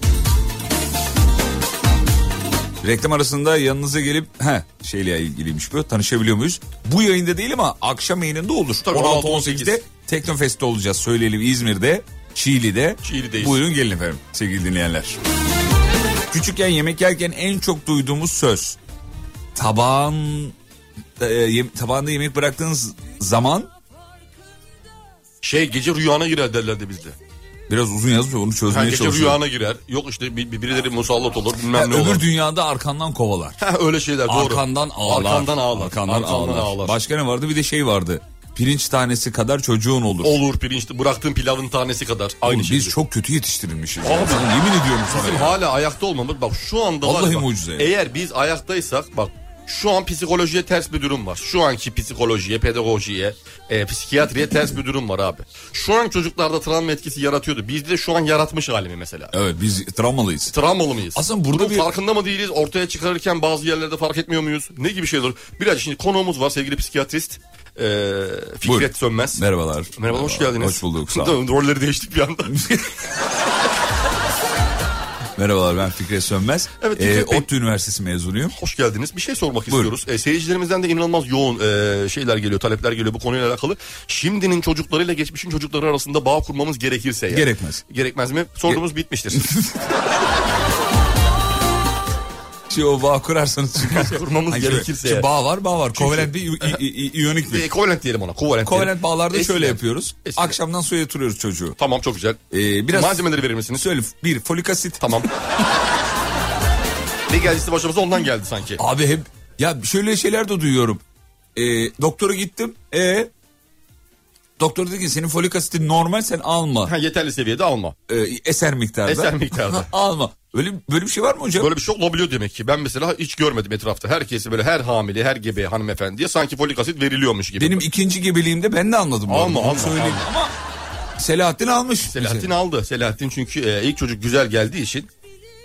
[SPEAKER 1] Reklam arasında yanınıza gelip he şeyle ilgiliymiş bu tanışabiliyor muyuz? Bu yayında değil ama akşam yayınında olur.
[SPEAKER 3] Tabii,
[SPEAKER 1] 16-18'de Teknofest'te olacağız söyleyelim İzmir'de, Çiğli'de.
[SPEAKER 3] Çiğli'deyiz.
[SPEAKER 1] Buyurun gelin efendim sevgili dinleyenler. Küçükken yemek yerken en çok duyduğumuz söz. Tabağın e, yem- tabağında yemek bıraktığınız zaman
[SPEAKER 3] Şey gece rüyana girer derlerdi bizde.
[SPEAKER 1] biraz uzun yazıyor onu
[SPEAKER 3] Ha,
[SPEAKER 1] çözmeye
[SPEAKER 3] gece
[SPEAKER 1] çalışıyorum.
[SPEAKER 3] rüyana girer. Yok işte bir, bir- birileri musallat olur
[SPEAKER 1] Ha,
[SPEAKER 3] bilmem ne
[SPEAKER 1] öbür
[SPEAKER 3] olur.
[SPEAKER 1] dünyada arkandan kovalar.
[SPEAKER 3] Ha, öyle şeyler doğru.
[SPEAKER 1] Arkandan ağlar.
[SPEAKER 3] Arkandan ağlar.
[SPEAKER 1] Arkandan ağlar. Başka ne vardı? Bir de şey vardı. pirinç tanesi kadar çocuğun olur.
[SPEAKER 3] Olur pirinçli bıraktığın pilavın tanesi kadar. Aynı
[SPEAKER 1] Oğlum,
[SPEAKER 3] şekilde.
[SPEAKER 1] Biz çok kötü yetiştirilmişiz.
[SPEAKER 3] Abi,
[SPEAKER 1] Sana yemin ediyorum sana.
[SPEAKER 3] Bizim
[SPEAKER 1] ya.
[SPEAKER 3] hala ayakta olmamız bak şu anda var
[SPEAKER 1] Vallahi
[SPEAKER 3] ya bak,
[SPEAKER 1] mucize ya.
[SPEAKER 3] Eğer biz ayaktaysak bak şu an psikolojiye ters bir durum var. Şu anki psikolojiye, pedagojiye, e, psikiyatriye ters bir durum var abi. Şu an çocuklarda travma etkisi yaratıyordu. Bizde şu an yaratmış halimi mesela.
[SPEAKER 1] Evet biz travmalıyız.
[SPEAKER 3] Travmalı mıyız?
[SPEAKER 1] Aslında burada
[SPEAKER 3] Bunun
[SPEAKER 1] bir-
[SPEAKER 3] farkında mı değiliz? Ortaya çıkarırken bazı yerlerde fark etmiyor muyuz? Ne gibi şeyler? Biraz şimdi konuğumuz var sevgili psikiyatrist. E, Fikret
[SPEAKER 1] Buyurun.
[SPEAKER 3] Sönmez.
[SPEAKER 1] Merhabalar.
[SPEAKER 3] Merhaba, hoş geldiniz.
[SPEAKER 1] Hoş bulduk sağ ol.
[SPEAKER 3] Rolleri değiştik bir anda.
[SPEAKER 1] Merhabalar ben Fikret Sönmez.
[SPEAKER 3] Evet,
[SPEAKER 1] Ee,
[SPEAKER 3] Fikret Bey.
[SPEAKER 1] ODTÜ Üniversitesi mezunuyum.
[SPEAKER 3] Hoş geldiniz. Bir şey sormak
[SPEAKER 1] Buyurun.
[SPEAKER 3] istiyoruz. E, seyircilerimizden de inanılmaz yoğun e, şeyler geliyor, talepler geliyor bu konuyla alakalı. Şimdinin çocuklarıyla geçmişin çocukları arasında bağ kurmamız gerekirse yani.
[SPEAKER 1] Gerekmez.
[SPEAKER 3] Gerekmez mi? Sorduğumuz bitmiştir.
[SPEAKER 1] Şey o bağ kurarsanız çıkar.
[SPEAKER 3] Kurmamız
[SPEAKER 1] Hani şöyle,
[SPEAKER 3] gerekirse
[SPEAKER 1] şu
[SPEAKER 3] eğer.
[SPEAKER 1] bağ var bağ var. Kovalent bir i- i- i- iyonik
[SPEAKER 3] e,
[SPEAKER 1] bir.
[SPEAKER 3] kovalent diyelim ona. Kovalent,
[SPEAKER 1] Kovalent
[SPEAKER 3] diyelim.
[SPEAKER 1] bağlarda şöyle
[SPEAKER 3] Eskiden.
[SPEAKER 1] yapıyoruz.
[SPEAKER 3] Eskiden.
[SPEAKER 1] Akşamdan suya yatırıyoruz çocuğu.
[SPEAKER 3] Tamam çok güzel.
[SPEAKER 1] Ee, biraz
[SPEAKER 3] Malzemeleri verir misiniz?
[SPEAKER 1] Söyle bir folik asit.
[SPEAKER 3] Tamam. ne geldiyse başımıza ondan geldi sanki.
[SPEAKER 1] Abi hep ya şöyle şeyler de duyuyorum. Ee, doktora gittim. E Doktor dedi ki senin folik asitin normal sen alma.
[SPEAKER 3] Ha, yeterli seviyede alma.
[SPEAKER 1] Ee, eser miktarda.
[SPEAKER 3] Eser miktarda.
[SPEAKER 1] alma. Öyle böyle bir şey var mı hocam?
[SPEAKER 3] Böyle bir şey olabiliyor demek ki. Ben mesela hiç görmedim etrafta. Herkesi böyle her hamile, her gebe hanımefendiye sanki folik asit veriliyormuş gibi.
[SPEAKER 1] Benim ikinci gebeliğimde ben de anladım. bu
[SPEAKER 3] Alma,
[SPEAKER 1] arada. Onu
[SPEAKER 3] alma,
[SPEAKER 1] söyleyeyim. Ama Selahattin almış.
[SPEAKER 3] Selahattin
[SPEAKER 1] bizi.
[SPEAKER 3] aldı. Selahattin çünkü e, ilk çocuk güzel geldiği için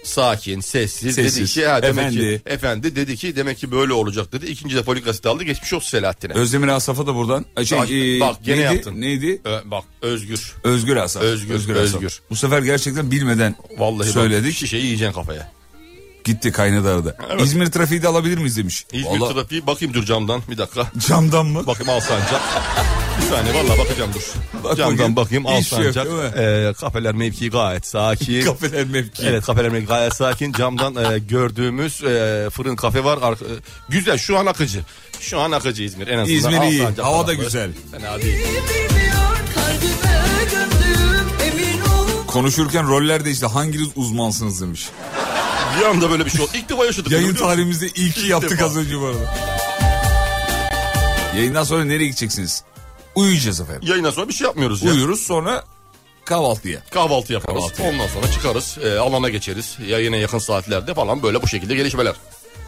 [SPEAKER 3] sakin, sessiz, dedi
[SPEAKER 1] Sessiz.
[SPEAKER 3] ki ha, demek
[SPEAKER 1] Efendi.
[SPEAKER 3] ki efendi dedi ki demek ki böyle olacak dedi. İkinci de folik asit aldı. Geçmiş olsun Selahattin'e.
[SPEAKER 1] Özdemir Asaf'a da buradan. Ay, Şey,
[SPEAKER 3] Bak-
[SPEAKER 1] e,
[SPEAKER 3] bak, gene
[SPEAKER 1] neydi?
[SPEAKER 3] yaptın.
[SPEAKER 1] Neydi?
[SPEAKER 3] Ö- bak Özgür.
[SPEAKER 1] Özgür Asaf.
[SPEAKER 3] Özgür,
[SPEAKER 1] Asaf.
[SPEAKER 3] Özgür.
[SPEAKER 1] Bu sefer gerçekten bilmeden
[SPEAKER 3] Vallahi
[SPEAKER 1] söyledik.
[SPEAKER 3] Bak, şey- şişeyi yiyeceksin kafaya.
[SPEAKER 1] Gitti kaynadı arada. İzmir trafiği de alabilir miyiz demiş.
[SPEAKER 3] İzmir
[SPEAKER 1] Vallahi-
[SPEAKER 3] trafiği bakayım dur camdan bir dakika.
[SPEAKER 1] Camdan mı?
[SPEAKER 3] Bakayım Alsancak. Bir saniye valla bakacağım dur.
[SPEAKER 1] Bak bakayım.
[SPEAKER 3] Camdan bakayım
[SPEAKER 1] Hiç şey yok,
[SPEAKER 3] Alsancak.
[SPEAKER 1] değil mi?
[SPEAKER 3] Ee, kafeler mevki gayet sakin.
[SPEAKER 1] Kafeler mevki.
[SPEAKER 3] Evet kafeler mevki gayet sakin. Camdan e, gördüğümüz e, fırın kafe var. Arka- e, güzel şu an akıcı. Şu an akıcı İzmir en azından.
[SPEAKER 1] İzmir iyi.
[SPEAKER 3] Alsancak
[SPEAKER 1] Hava
[SPEAKER 3] falan
[SPEAKER 1] da
[SPEAKER 3] böyle.
[SPEAKER 1] güzel.
[SPEAKER 3] Fena değil.
[SPEAKER 1] Konuşurken roller değişti. Hanginiz uzmansınız demiş.
[SPEAKER 3] Bir anda böyle bir şey oldu. İlk defa yaşadık.
[SPEAKER 1] Yayın
[SPEAKER 3] Biliyor musun?
[SPEAKER 1] tarihimizde iyi ki yaptık
[SPEAKER 3] defa.
[SPEAKER 1] az önce bu arada. Yayından sonra nereye gideceksiniz? Uyuyacağız efendim.
[SPEAKER 3] Yayından sonra bir şey yapmıyoruz ya.
[SPEAKER 1] Uyuruz sonra kahvaltıya.
[SPEAKER 3] Kahvaltı yaparız.
[SPEAKER 1] Kahvaltı.
[SPEAKER 3] Ondan sonra çıkarız. E, alana geçeriz. Yayına yakın saatlerde falan böyle bu şekilde gelişmeler.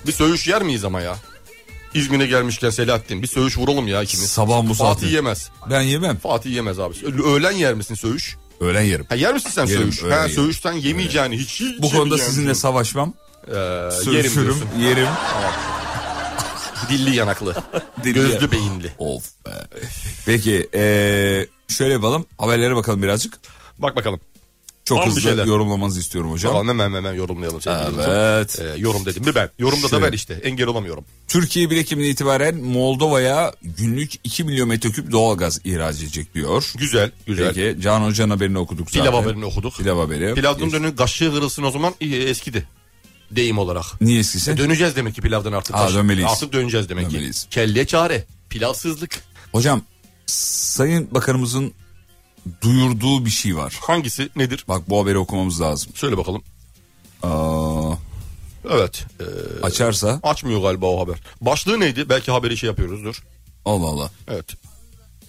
[SPEAKER 3] Bir söğüş yer miyiz ama ya? İzmir'e gelmişken Selahattin bir söğüş vuralım ya ikimiz.
[SPEAKER 1] Sabahın bu
[SPEAKER 3] Fatih
[SPEAKER 1] saati.
[SPEAKER 3] yemez.
[SPEAKER 1] Ben yemem.
[SPEAKER 3] Fatih yemez abi. Ö- Öğlen yer misin söğüş?
[SPEAKER 1] Öğlen yerim.
[SPEAKER 3] Ha, yer misin sen
[SPEAKER 1] Yerim,
[SPEAKER 3] söğüş?
[SPEAKER 1] öğlen
[SPEAKER 3] Ha,
[SPEAKER 1] yerim.
[SPEAKER 3] söğüşten yemeyeceğini hiç,
[SPEAKER 1] Bu
[SPEAKER 3] hiç
[SPEAKER 1] konuda
[SPEAKER 3] yemeyeceğini
[SPEAKER 1] sizinle savaşmam.
[SPEAKER 3] Ee, Şey yerim
[SPEAKER 1] Sürüşürüm,
[SPEAKER 3] diyorsun.
[SPEAKER 1] yerim.
[SPEAKER 3] Dilli yanaklı.
[SPEAKER 1] Dilli
[SPEAKER 3] Gözlü
[SPEAKER 1] yanaklı.
[SPEAKER 3] beyinli.
[SPEAKER 1] Of be. Peki eee, şöyle yapalım. Haberlere bakalım birazcık.
[SPEAKER 3] Bak bakalım.
[SPEAKER 1] Çok
[SPEAKER 3] Al bir
[SPEAKER 1] hızlı
[SPEAKER 3] şeyler.
[SPEAKER 1] yorumlamanızı istiyorum hocam.
[SPEAKER 3] Tamam hemen hemen yorumlayalım. sevgili
[SPEAKER 1] Evet.
[SPEAKER 3] dinleyiciler. Ee, yorum dedim mi ben? Yorumda da
[SPEAKER 1] Şöyle.
[SPEAKER 3] ben işte. Engel olamıyorum.
[SPEAKER 1] Türkiye bile kimden itibaren Moldova'ya günlük 2 milyon metreküp doğalgaz ihraç edecek diyor.
[SPEAKER 3] Güzel. Güzel.
[SPEAKER 1] Peki Can Hoca'nın haberini okuduk zaten.
[SPEAKER 3] Pilav haberini okuduk.
[SPEAKER 1] Pilav haberi.
[SPEAKER 3] Pilavdan dönün kaşığı kırılsın o zaman iyi, eskidi. Deyim olarak.
[SPEAKER 1] Niye eskisi?
[SPEAKER 3] Döneceğiz demek ki pilavdan artık.
[SPEAKER 1] Aa,
[SPEAKER 3] Kaş-
[SPEAKER 1] dönmeliyiz.
[SPEAKER 3] Artık döneceğiz demek
[SPEAKER 1] Dönmeliyiz.
[SPEAKER 3] ki. Kelleye çare. Pilavsızlık.
[SPEAKER 1] Hocam Sayın Bakanımızın duyurduğu bir şey var.
[SPEAKER 3] Hangisi nedir?
[SPEAKER 1] Bak bu haberi okumamız lazım.
[SPEAKER 3] Söyle bakalım.
[SPEAKER 1] Aa,
[SPEAKER 3] Evet. ee,
[SPEAKER 1] açarsa
[SPEAKER 3] açmıyor galiba o haber. Başlığı neydi? Belki haberi şey yapıyoruzdur.
[SPEAKER 1] Allah Allah.
[SPEAKER 3] Evet.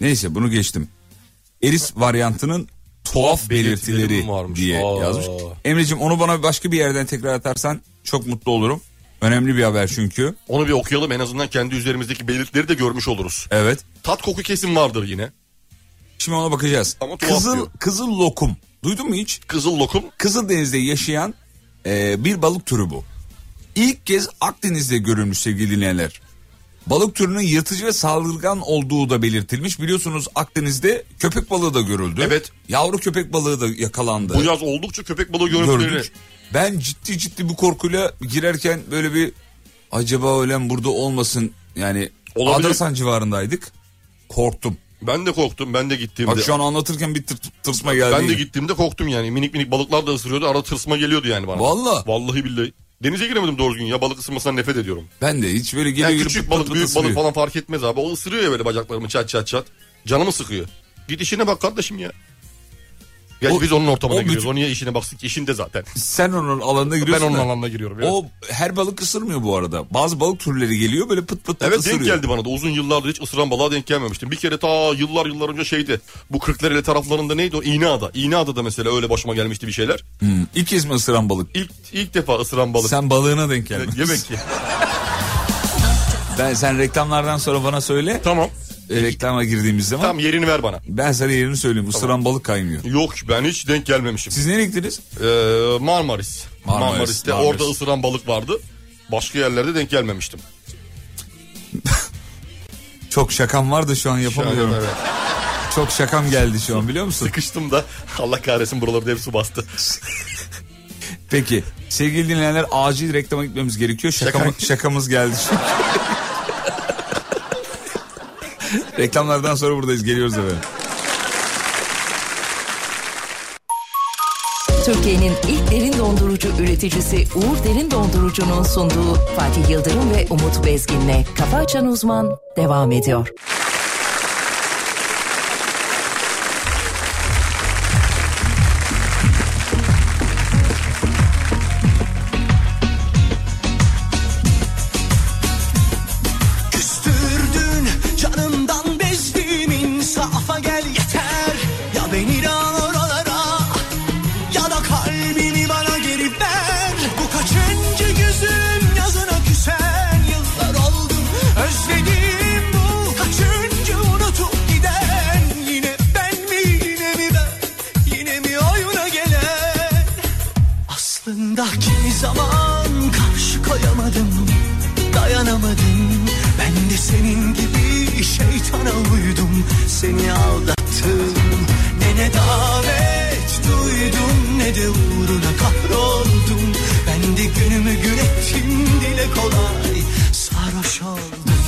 [SPEAKER 1] Neyse bunu geçtim. Eris varyantının tuhaf
[SPEAKER 3] belirtileri
[SPEAKER 1] belirtileri
[SPEAKER 3] varmış.
[SPEAKER 1] diye
[SPEAKER 3] Aa.
[SPEAKER 1] yazmış. Emre'cim onu bana başka bir yerden tekrar atarsan çok mutlu olurum. Önemli bir haber çünkü.
[SPEAKER 3] Onu bir okuyalım en azından kendi üzerimizdeki belirtileri de görmüş oluruz.
[SPEAKER 1] Evet.
[SPEAKER 3] Tat koku kesin vardır yine.
[SPEAKER 1] Şimdi ona bakacağız.
[SPEAKER 3] Ama tuhaf
[SPEAKER 1] Kızıl,
[SPEAKER 3] diyor.
[SPEAKER 1] kızıl lokum. Duydun mu hiç?
[SPEAKER 3] Kızıl lokum
[SPEAKER 1] Kızıldeniz'de yaşayan e, bir balık türü bu. İlk kez Akdeniz'de görülmüş sevgili dinleyenler. Balık türünün yırtıcı ve saldırgan olduğu da belirtilmiş. Biliyorsunuz Akdeniz'de köpek balığı da görüldü.
[SPEAKER 3] Evet.
[SPEAKER 1] Yavru köpek balığı da yakalandı.
[SPEAKER 3] bu yaz oldukça köpek balığı görüntüleri.
[SPEAKER 1] gördük. Ben ciddi ciddi bir korkuyla girerken böyle bir acaba ölen burada olmasın yani
[SPEAKER 3] Olabilir.
[SPEAKER 1] Adrasan civarındaydık. Korktum.
[SPEAKER 3] Ben de korktum ben de gittiğimde.
[SPEAKER 1] Bak şu an anlatırken bir tır, tırsma geldi.
[SPEAKER 3] Ben de
[SPEAKER 1] yine.
[SPEAKER 3] gittiğimde korktum yani. Minik minik balıklar da ısırıyordu. Ara tırsma geliyordu yani bana.
[SPEAKER 1] Valla.
[SPEAKER 3] Vallahi billahi. Denize giremedim doğru gün ya. Balık ısırmasından nefret ediyorum.
[SPEAKER 1] Ben de hiç böyle geliyor
[SPEAKER 3] Yani
[SPEAKER 1] gelip
[SPEAKER 3] küçük
[SPEAKER 1] pıt pıt
[SPEAKER 3] balık,
[SPEAKER 1] pıt
[SPEAKER 3] büyük
[SPEAKER 1] ısırıyor.
[SPEAKER 3] balık falan fark etmez abi. O ısırıyor ya böyle bacaklarımı çat çat çat. Canımı sıkıyor. Gidişine bak kardeşim ya. Gerçi
[SPEAKER 1] O-
[SPEAKER 3] biz onun ortamına
[SPEAKER 1] o
[SPEAKER 3] giriyoruz.
[SPEAKER 1] bütün-
[SPEAKER 3] O niye işine baksın ki? İşinde zaten.
[SPEAKER 1] Sen onun alanına
[SPEAKER 3] Ben
[SPEAKER 1] giriyorsun.
[SPEAKER 3] onun
[SPEAKER 1] da,
[SPEAKER 3] alanına giriyorum. evet.
[SPEAKER 1] O her balık ısırmıyor bu arada. Bazı balık türleri geliyor böyle pıt pıt pıt
[SPEAKER 3] Evet
[SPEAKER 1] ısırıyor.
[SPEAKER 3] denk geldi bana da uzun yıllardır hiç ısıran balığa denk gelmemiştim. Bir kere ta yıllar yıllar önce şeydi bu Kırklareli taraflarında neydi o İğneada. İğneada'da mesela öyle başıma gelmişti bir şeyler.
[SPEAKER 1] Hmm, İlk kez mi ısıran balık?
[SPEAKER 3] İlk, ilk defa ısıran balık.
[SPEAKER 1] Sen balığına denk geldin.
[SPEAKER 3] Yemek ki.
[SPEAKER 1] Ben sen reklamlardan sonra bana söyle.
[SPEAKER 3] Tamam.
[SPEAKER 1] E, reklama girdiğimiz zaman
[SPEAKER 3] Tam yerini ver bana.
[SPEAKER 1] ben sana yerini söyleyeyim. Isıran balık kaynıyor.
[SPEAKER 3] Yok ben hiç denk gelmemişim.
[SPEAKER 1] Siz nereye gittiniz?
[SPEAKER 3] Ee, Marmaris.
[SPEAKER 1] Marmaris,
[SPEAKER 3] Marmaris'te
[SPEAKER 1] Marmaris.
[SPEAKER 3] orada ısıran balık vardı. Başka yerlerde denk gelmemiştim.
[SPEAKER 1] Çok şakam var da şu an yapamıyorum.
[SPEAKER 3] Evet.
[SPEAKER 1] Çok şakam geldi şu an biliyor musun?
[SPEAKER 3] Sıkıştım da Allah kahretsin buralarda hep su bastı.
[SPEAKER 1] Peki sevgili dinleyenler acil reklama gitmemiz gerekiyor. Şakam, şakamız geldi çünkü. Reklamlardan sonra buradayız geliyoruz efendim.
[SPEAKER 5] Türkiye'nin ilk derin dondurucu üreticisi Uğur Derin Dondurucu'nun sunduğu Fatih Yıldırım ve Umut Bezgin'le Kafa Açan Uzman devam ediyor.
[SPEAKER 6] Küstürdün canımdan bezdim insafa gel yeter Ya beni de al oralara ya da kalbini bana geri ver Bu kaçıncı yüzün yazına küsen yıllar oldu Özledim bu kaçıncı unutup giden Yine ben mi yine mi ben yine mi oyuna gelen Aslında kimi zaman karşı koyamadım Dayanamadım Ben de senin gibi şeytana uydum Seni aldattım Ne nedamet duydum Ne de uğruna kahroldum Ben de günümü gün ettim Dile kolay sarhoş oldum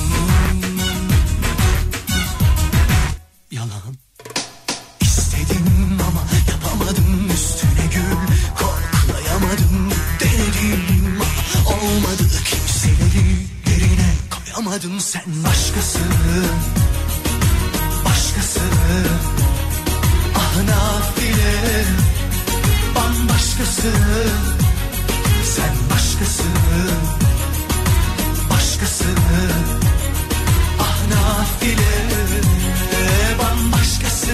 [SPEAKER 6] Yalan İstedim ama yapamadım üstüne gül Koklayamadım denedim ama olmadı Kimseleri derine koyamadın sen başkası Başkası Ah, ahına bile bambaşkası Sen başkası Başkası Ah, ahına bile bambaşkası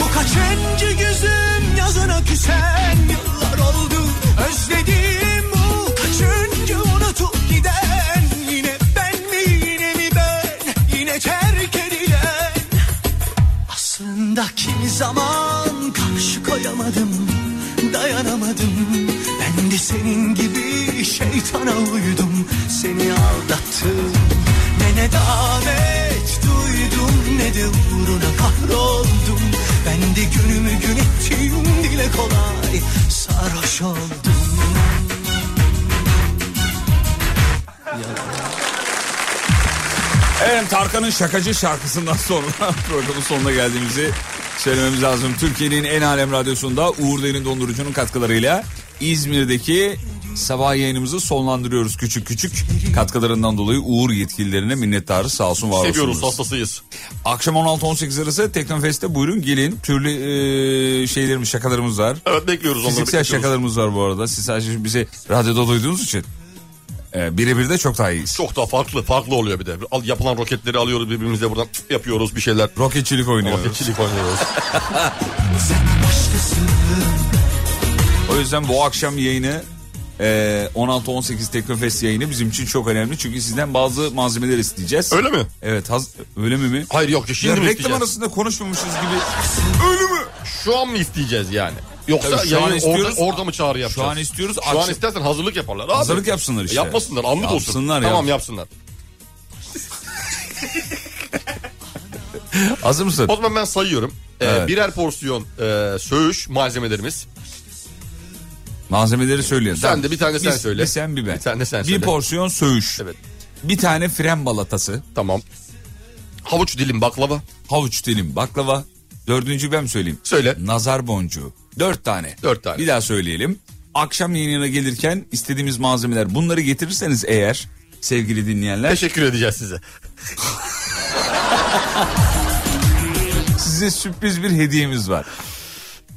[SPEAKER 6] Bu kaçıncı gözüm yazına küsen yıllar oldu Özledim bu kaçıncı unutup giden Yine ben mi yine mi ben yine terk edilen Aslında kimi zaman karşı koyamadım Dayanamadım Ben de senin gibi şeytana uydum Seni aldattım Ne nedamet duydum Ne de uğruna kahroldum Ben de günümü gün ettim Dile kolay sarhoş oldum
[SPEAKER 1] Efendim Tarkan'ın şakacı şarkısından sonra programın sonuna geldiğimizi söylememiz lazım. Türkiye'nin en alem radyosunda Uğur Derin Dondurucu'nun katkılarıyla İzmir'deki sabah yayınımızı sonlandırıyoruz küçük küçük. Katkılarından dolayı Uğur yetkililerine minnettarız sağ olsun var olsunlar.
[SPEAKER 3] Seviyoruz hastasıyız.
[SPEAKER 1] Akşam 16-18 arası Teknofest'te buyurun gelin. Türlü e, şeylerimiz, şakalarımız var.
[SPEAKER 3] Evet bekliyoruz onları.
[SPEAKER 1] Fiziksel
[SPEAKER 3] bekliyoruz.
[SPEAKER 1] şakalarımız var bu arada. Siz sadece bizi radyoda duyduğunuz için e, birebir de çok daha iyiyiz.
[SPEAKER 3] Çok daha farklı farklı oluyor bir de. Al, yapılan roketleri alıyoruz birbirimize buradan tık yapıyoruz bir şeyler.
[SPEAKER 1] Roketçilik oynuyoruz.
[SPEAKER 3] Roketçilik oynuyoruz.
[SPEAKER 1] O yüzden bu akşam yayını e, 16-18 Teknofest yayını bizim için çok önemli. Çünkü sizden bazı malzemeler isteyeceğiz.
[SPEAKER 3] Öyle mi?
[SPEAKER 1] Evet. haz- öyle mi mi?
[SPEAKER 3] Hayır yok ya
[SPEAKER 1] Ya
[SPEAKER 3] şimdi mi
[SPEAKER 1] reklam
[SPEAKER 3] isteyeceğiz?
[SPEAKER 1] arasında konuşmamışız gibi.
[SPEAKER 3] Öyle mi? Şu an mı isteyeceğiz yani? Yoksa
[SPEAKER 1] Tabii şu an
[SPEAKER 3] yayın
[SPEAKER 1] istiyoruz.
[SPEAKER 3] orada, orada mı çağrı
[SPEAKER 1] Şu
[SPEAKER 3] yapacağız?
[SPEAKER 1] an istiyoruz.
[SPEAKER 3] Şu an
[SPEAKER 1] akşam-
[SPEAKER 3] istersen hazırlık yaparlar abi.
[SPEAKER 1] Hazırlık yapsınlar işte.
[SPEAKER 3] Yapmasınlar anlık olsun.
[SPEAKER 1] Yapsınlar,
[SPEAKER 3] Tamam
[SPEAKER 1] yap-
[SPEAKER 3] yapsınlar.
[SPEAKER 1] Hazır mısın?
[SPEAKER 3] O zaman ben sayıyorum. Ee,
[SPEAKER 1] Evet.
[SPEAKER 3] Birer porsiyon e, söğüş malzemelerimiz.
[SPEAKER 1] Malzemeleri söyleyelim.
[SPEAKER 3] Sen de bir tane sen
[SPEAKER 1] Bir-
[SPEAKER 3] söyle.
[SPEAKER 1] Bir sen bir ben.
[SPEAKER 3] Bir tane sen
[SPEAKER 1] bir
[SPEAKER 3] söyle.
[SPEAKER 1] porsiyon söğüş.
[SPEAKER 3] Evet.
[SPEAKER 1] Bir tane fren balatası.
[SPEAKER 3] Tamam. Havuç dilim baklava.
[SPEAKER 1] Havuç dilim baklava. Dördüncü ben mi söyleyeyim?
[SPEAKER 3] Söyle.
[SPEAKER 1] Nazar boncuğu. Dört tane.
[SPEAKER 3] Dört tane.
[SPEAKER 1] Bir daha söyleyelim. Akşam yayınına gelirken istediğimiz malzemeler bunları getirirseniz eğer sevgili dinleyenler
[SPEAKER 3] Teşekkür edeceğiz size.
[SPEAKER 1] size sürpriz bir hediyemiz var.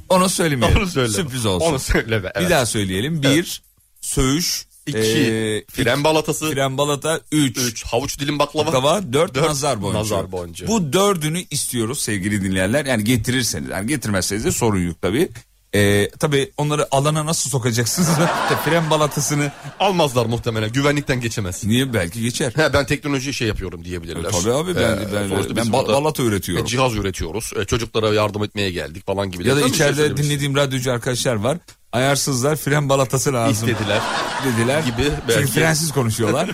[SPEAKER 1] Onu söylemeyelim.
[SPEAKER 3] Onu söyle.
[SPEAKER 1] Sürpriz olsun.
[SPEAKER 3] Onu söyleme. Evet.
[SPEAKER 1] Bir daha söyleyelim. Bir, söğüş.
[SPEAKER 3] İki.
[SPEAKER 1] eee,
[SPEAKER 3] fren balatası.
[SPEAKER 1] Ee, fren balata. Üç.
[SPEAKER 3] 3. Havuç dilim baklava.
[SPEAKER 1] Baklava, dört,
[SPEAKER 3] Dört
[SPEAKER 1] nazar boncuğu.
[SPEAKER 3] nazar boncuğu.
[SPEAKER 1] Bu dördünü istiyoruz sevgili dinleyenler. Yani getirirseniz. Yani getirmezseniz de sorun yok tabii. Eee tabii onları alana nasıl sokacaksınız? İşte fren balatasını.
[SPEAKER 3] Almazlar muhtemelen. Güvenlikten geçemez.
[SPEAKER 1] Niye? Belki geçer.
[SPEAKER 3] He, ben teknoloji şey yapıyorum diyebilirler.
[SPEAKER 1] E, Tabii abi ben,
[SPEAKER 3] Ee,
[SPEAKER 1] ben,
[SPEAKER 3] sonuçta
[SPEAKER 1] ben,
[SPEAKER 3] biz
[SPEAKER 1] ba-
[SPEAKER 3] burada
[SPEAKER 1] balata üretiyorum.
[SPEAKER 3] Cihaz üretiyoruz. Ee, Çocuklara yardım etmeye geldik falan gibi.
[SPEAKER 1] Ya da
[SPEAKER 3] Tabii
[SPEAKER 1] içeride
[SPEAKER 3] şey
[SPEAKER 1] dinlediğim radyocu arkadaşlar var. Ayarsızlar fren balatası lazım.
[SPEAKER 3] İstediler.
[SPEAKER 1] Dediler.
[SPEAKER 3] Gibi belki.
[SPEAKER 1] Çünkü frensiz konuşuyorlar.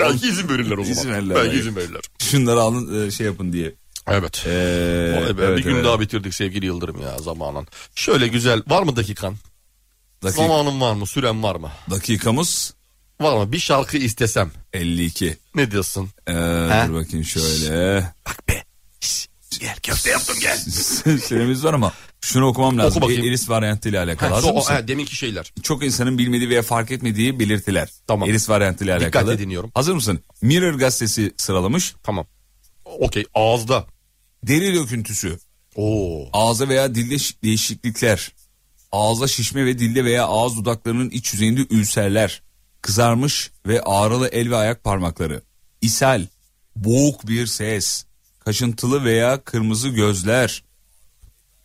[SPEAKER 3] Belki izin verirler o zaman.
[SPEAKER 1] İzin verirler,
[SPEAKER 3] Belki
[SPEAKER 1] belki.
[SPEAKER 3] izin verirler.
[SPEAKER 1] Şunları alın e, şey yapın diye.
[SPEAKER 3] Evet.
[SPEAKER 1] Ee,
[SPEAKER 3] Vay be, bir
[SPEAKER 1] evet,
[SPEAKER 3] gün
[SPEAKER 1] evet.
[SPEAKER 3] daha bitirdik sevgili Yıldırım ya zamanın. Şöyle güzel. Var mı dakikan?
[SPEAKER 1] Dakika-
[SPEAKER 3] Zamanın var mı? Süren var mı?
[SPEAKER 1] dakikamız
[SPEAKER 3] Var mı? Bir şarkı istesem.
[SPEAKER 1] 52.
[SPEAKER 3] Ne diyorsun?
[SPEAKER 1] Ee, dur bakayım şöyle.
[SPEAKER 3] Bak be. Şş, gel köfte yaptım gel.
[SPEAKER 1] Süremiz var ama şunu okumam lazım.
[SPEAKER 3] bakayım.
[SPEAKER 1] E- Eris varyantı ile alakalı.
[SPEAKER 3] Ha,
[SPEAKER 1] Hazır
[SPEAKER 3] şu- o-
[SPEAKER 1] mısın?
[SPEAKER 3] ha, deminki şeyler.
[SPEAKER 1] Çok insanın bilmediği veya fark etmediği belirtiler.
[SPEAKER 3] Tamam.
[SPEAKER 1] Eris varyantı ile alakalı.
[SPEAKER 3] Dikkatle dinliyorum.
[SPEAKER 1] Hazır mısın? Mirror gazetesi sıralamış.
[SPEAKER 3] Tamam. Okey ağızda.
[SPEAKER 1] Deri döküntüsü.
[SPEAKER 3] Oo.
[SPEAKER 1] Ağza veya dilde şi- değişiklikler. Ağza şişme ve dilde veya ağız dudaklarının iç yüzeyinde ülserler. Kızarmış ve ağrılı el ve ayak parmakları. İshal, boğuk bir ses, kaşıntılı veya kırmızı gözler.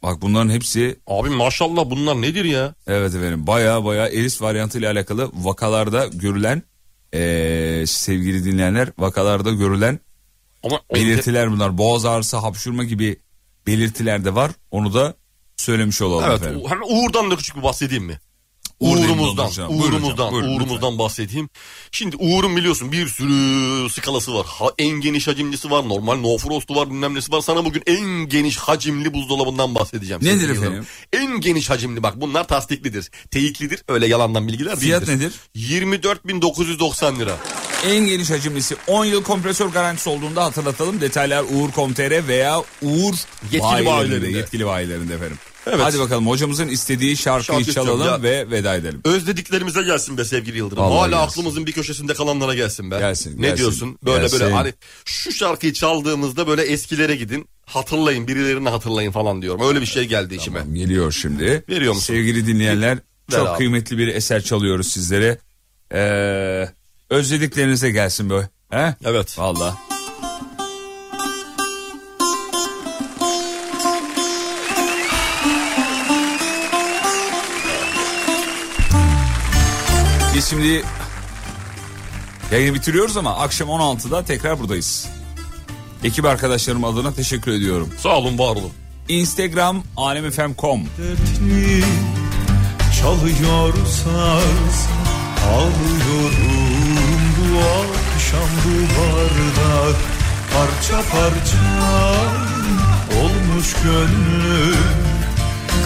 [SPEAKER 1] Bak bunların hepsi
[SPEAKER 3] Abi maşallah bunlar nedir ya?
[SPEAKER 1] evet efendim baya baya eris varyantı ile alakalı vakalarda görülen eee, sevgili dinleyenler vakalarda görülen
[SPEAKER 3] Ama
[SPEAKER 1] belirtiler bunlar. Boğaz ağrısı, hapşurma gibi belirtiler de var. Onu da söylemiş olalım
[SPEAKER 3] Evet,
[SPEAKER 1] efendim.
[SPEAKER 3] u- hemen Uğur'dan da küçük bir bahsedeyim mi?
[SPEAKER 1] Uğur deyin
[SPEAKER 3] Uğur'umuzdan,
[SPEAKER 1] oğlum hocam. Buyurun hocam,
[SPEAKER 3] Uğur'umuzdan,
[SPEAKER 1] buyurun lütfen.
[SPEAKER 3] Uğur'umuzdan bahsedeyim. Şimdi Uğur'un biliyorsun bir sürü skalası var. Ha, en geniş hacimlisi var, normal no frost'u var, bilmem nesi var. Sana bugün en geniş hacimli buzdolabından bahsedeceğim.
[SPEAKER 1] Nedir
[SPEAKER 3] sevgili
[SPEAKER 1] efendim?
[SPEAKER 3] yıldırım. En geniş hacimli bak bunlar tasdiklidir. Teyitlidir, öyle yalandan bilgiler
[SPEAKER 1] Fiyat
[SPEAKER 3] değildir.
[SPEAKER 1] nedir?
[SPEAKER 3] 24.990 lira.
[SPEAKER 1] En geniş hacimlisi 10 yıl kompresör garantisi olduğunda hatırlatalım. Detaylar Uğur.com.tr veya Uğur
[SPEAKER 3] Yetkili bayilerinde.
[SPEAKER 1] Yetkili bayilerinde efendim.
[SPEAKER 3] Evet.
[SPEAKER 1] Hadi bakalım hocamızın istediği şarkıyı
[SPEAKER 3] Şarkı istiyorum
[SPEAKER 1] çalalım
[SPEAKER 3] ya.
[SPEAKER 1] ve veda edelim.
[SPEAKER 3] Özlediklerimize gelsin be sevgili Yıldırım.
[SPEAKER 1] Vallahi
[SPEAKER 3] Hala
[SPEAKER 1] gelsin.
[SPEAKER 3] aklımızın bir köşesinde kalanlara gelsin be.
[SPEAKER 1] Gelsin,
[SPEAKER 3] ne
[SPEAKER 1] gelsin,
[SPEAKER 3] diyorsun? Böyle böyle
[SPEAKER 1] gelsin.
[SPEAKER 3] hani şu şarkıyı çaldığımızda böyle eskilere gidin. Hatırlayın birilerini hatırlayın falan diyorum. Öyle bir şey geldi içime.
[SPEAKER 1] Geliyor şimdi.
[SPEAKER 3] Veriyor musun?
[SPEAKER 1] Sevgili dinleyenler
[SPEAKER 3] Ver
[SPEAKER 1] çok
[SPEAKER 3] abi.
[SPEAKER 1] kıymetli bir eser çalıyoruz sizlere. Ee, özlediklerinize gelsin böyle. He?
[SPEAKER 3] Evet.
[SPEAKER 1] Valla. Biz şimdi yayını bitiriyoruz ama akşam 16'da tekrar buradayız. Ekip arkadaşlarım adına teşekkür ediyorum.
[SPEAKER 3] Sağ olun var olun.
[SPEAKER 1] Instagram alemfm.com
[SPEAKER 9] dertli çalıyorsanız Ağlıyorum bu akşam bu bardak Parça parça olmuş gönlüm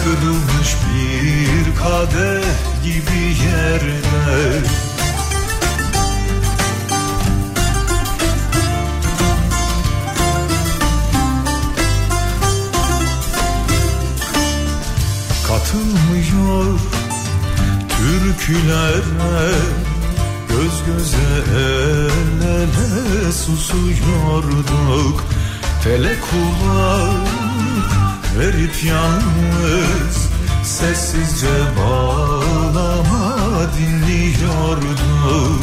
[SPEAKER 9] Kırılmış bir kadeh gibi yerde Katılmıyor türkülerle Göz göze el ele susuyorduk Tele kulak verip yalnız Sessizce bağlama dinliyorduk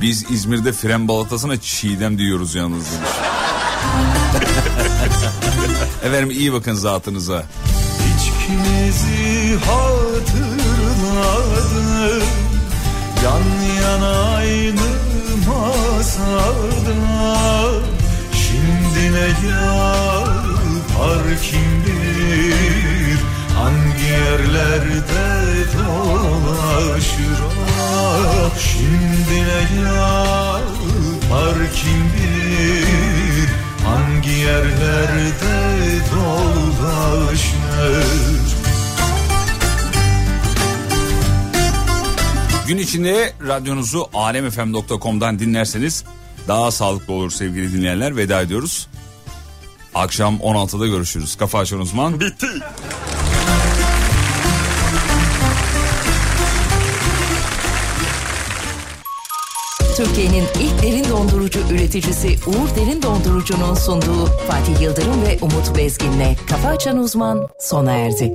[SPEAKER 1] Biz İzmir'de fren balatasına çiğdem diyoruz yalnız. demiş. Efendim iyi bakın zatınıza.
[SPEAKER 9] İçkimizi hatırladım Yan yana aynı masada Şimdi ne yapar kim bilir Hangi yerlerde dolaşır ah? Şimdi ne yapar kim bilir Hangi yerlerde dolaşır
[SPEAKER 1] Gün içinde radyonuzu alemfm.com'dan dinlerseniz daha sağlıklı olur sevgili dinleyenler. Veda ediyoruz. Akşam 16'da görüşürüz. Kafa Açan Uzman.
[SPEAKER 3] Bitti.
[SPEAKER 5] Türkiye'nin ilk derin dondurucu üreticisi Uğur Derin Dondurucu'nun sunduğu Fatih Yıldırım ve Umut Bezgin'le Kafa Açan Uzman sona erdi.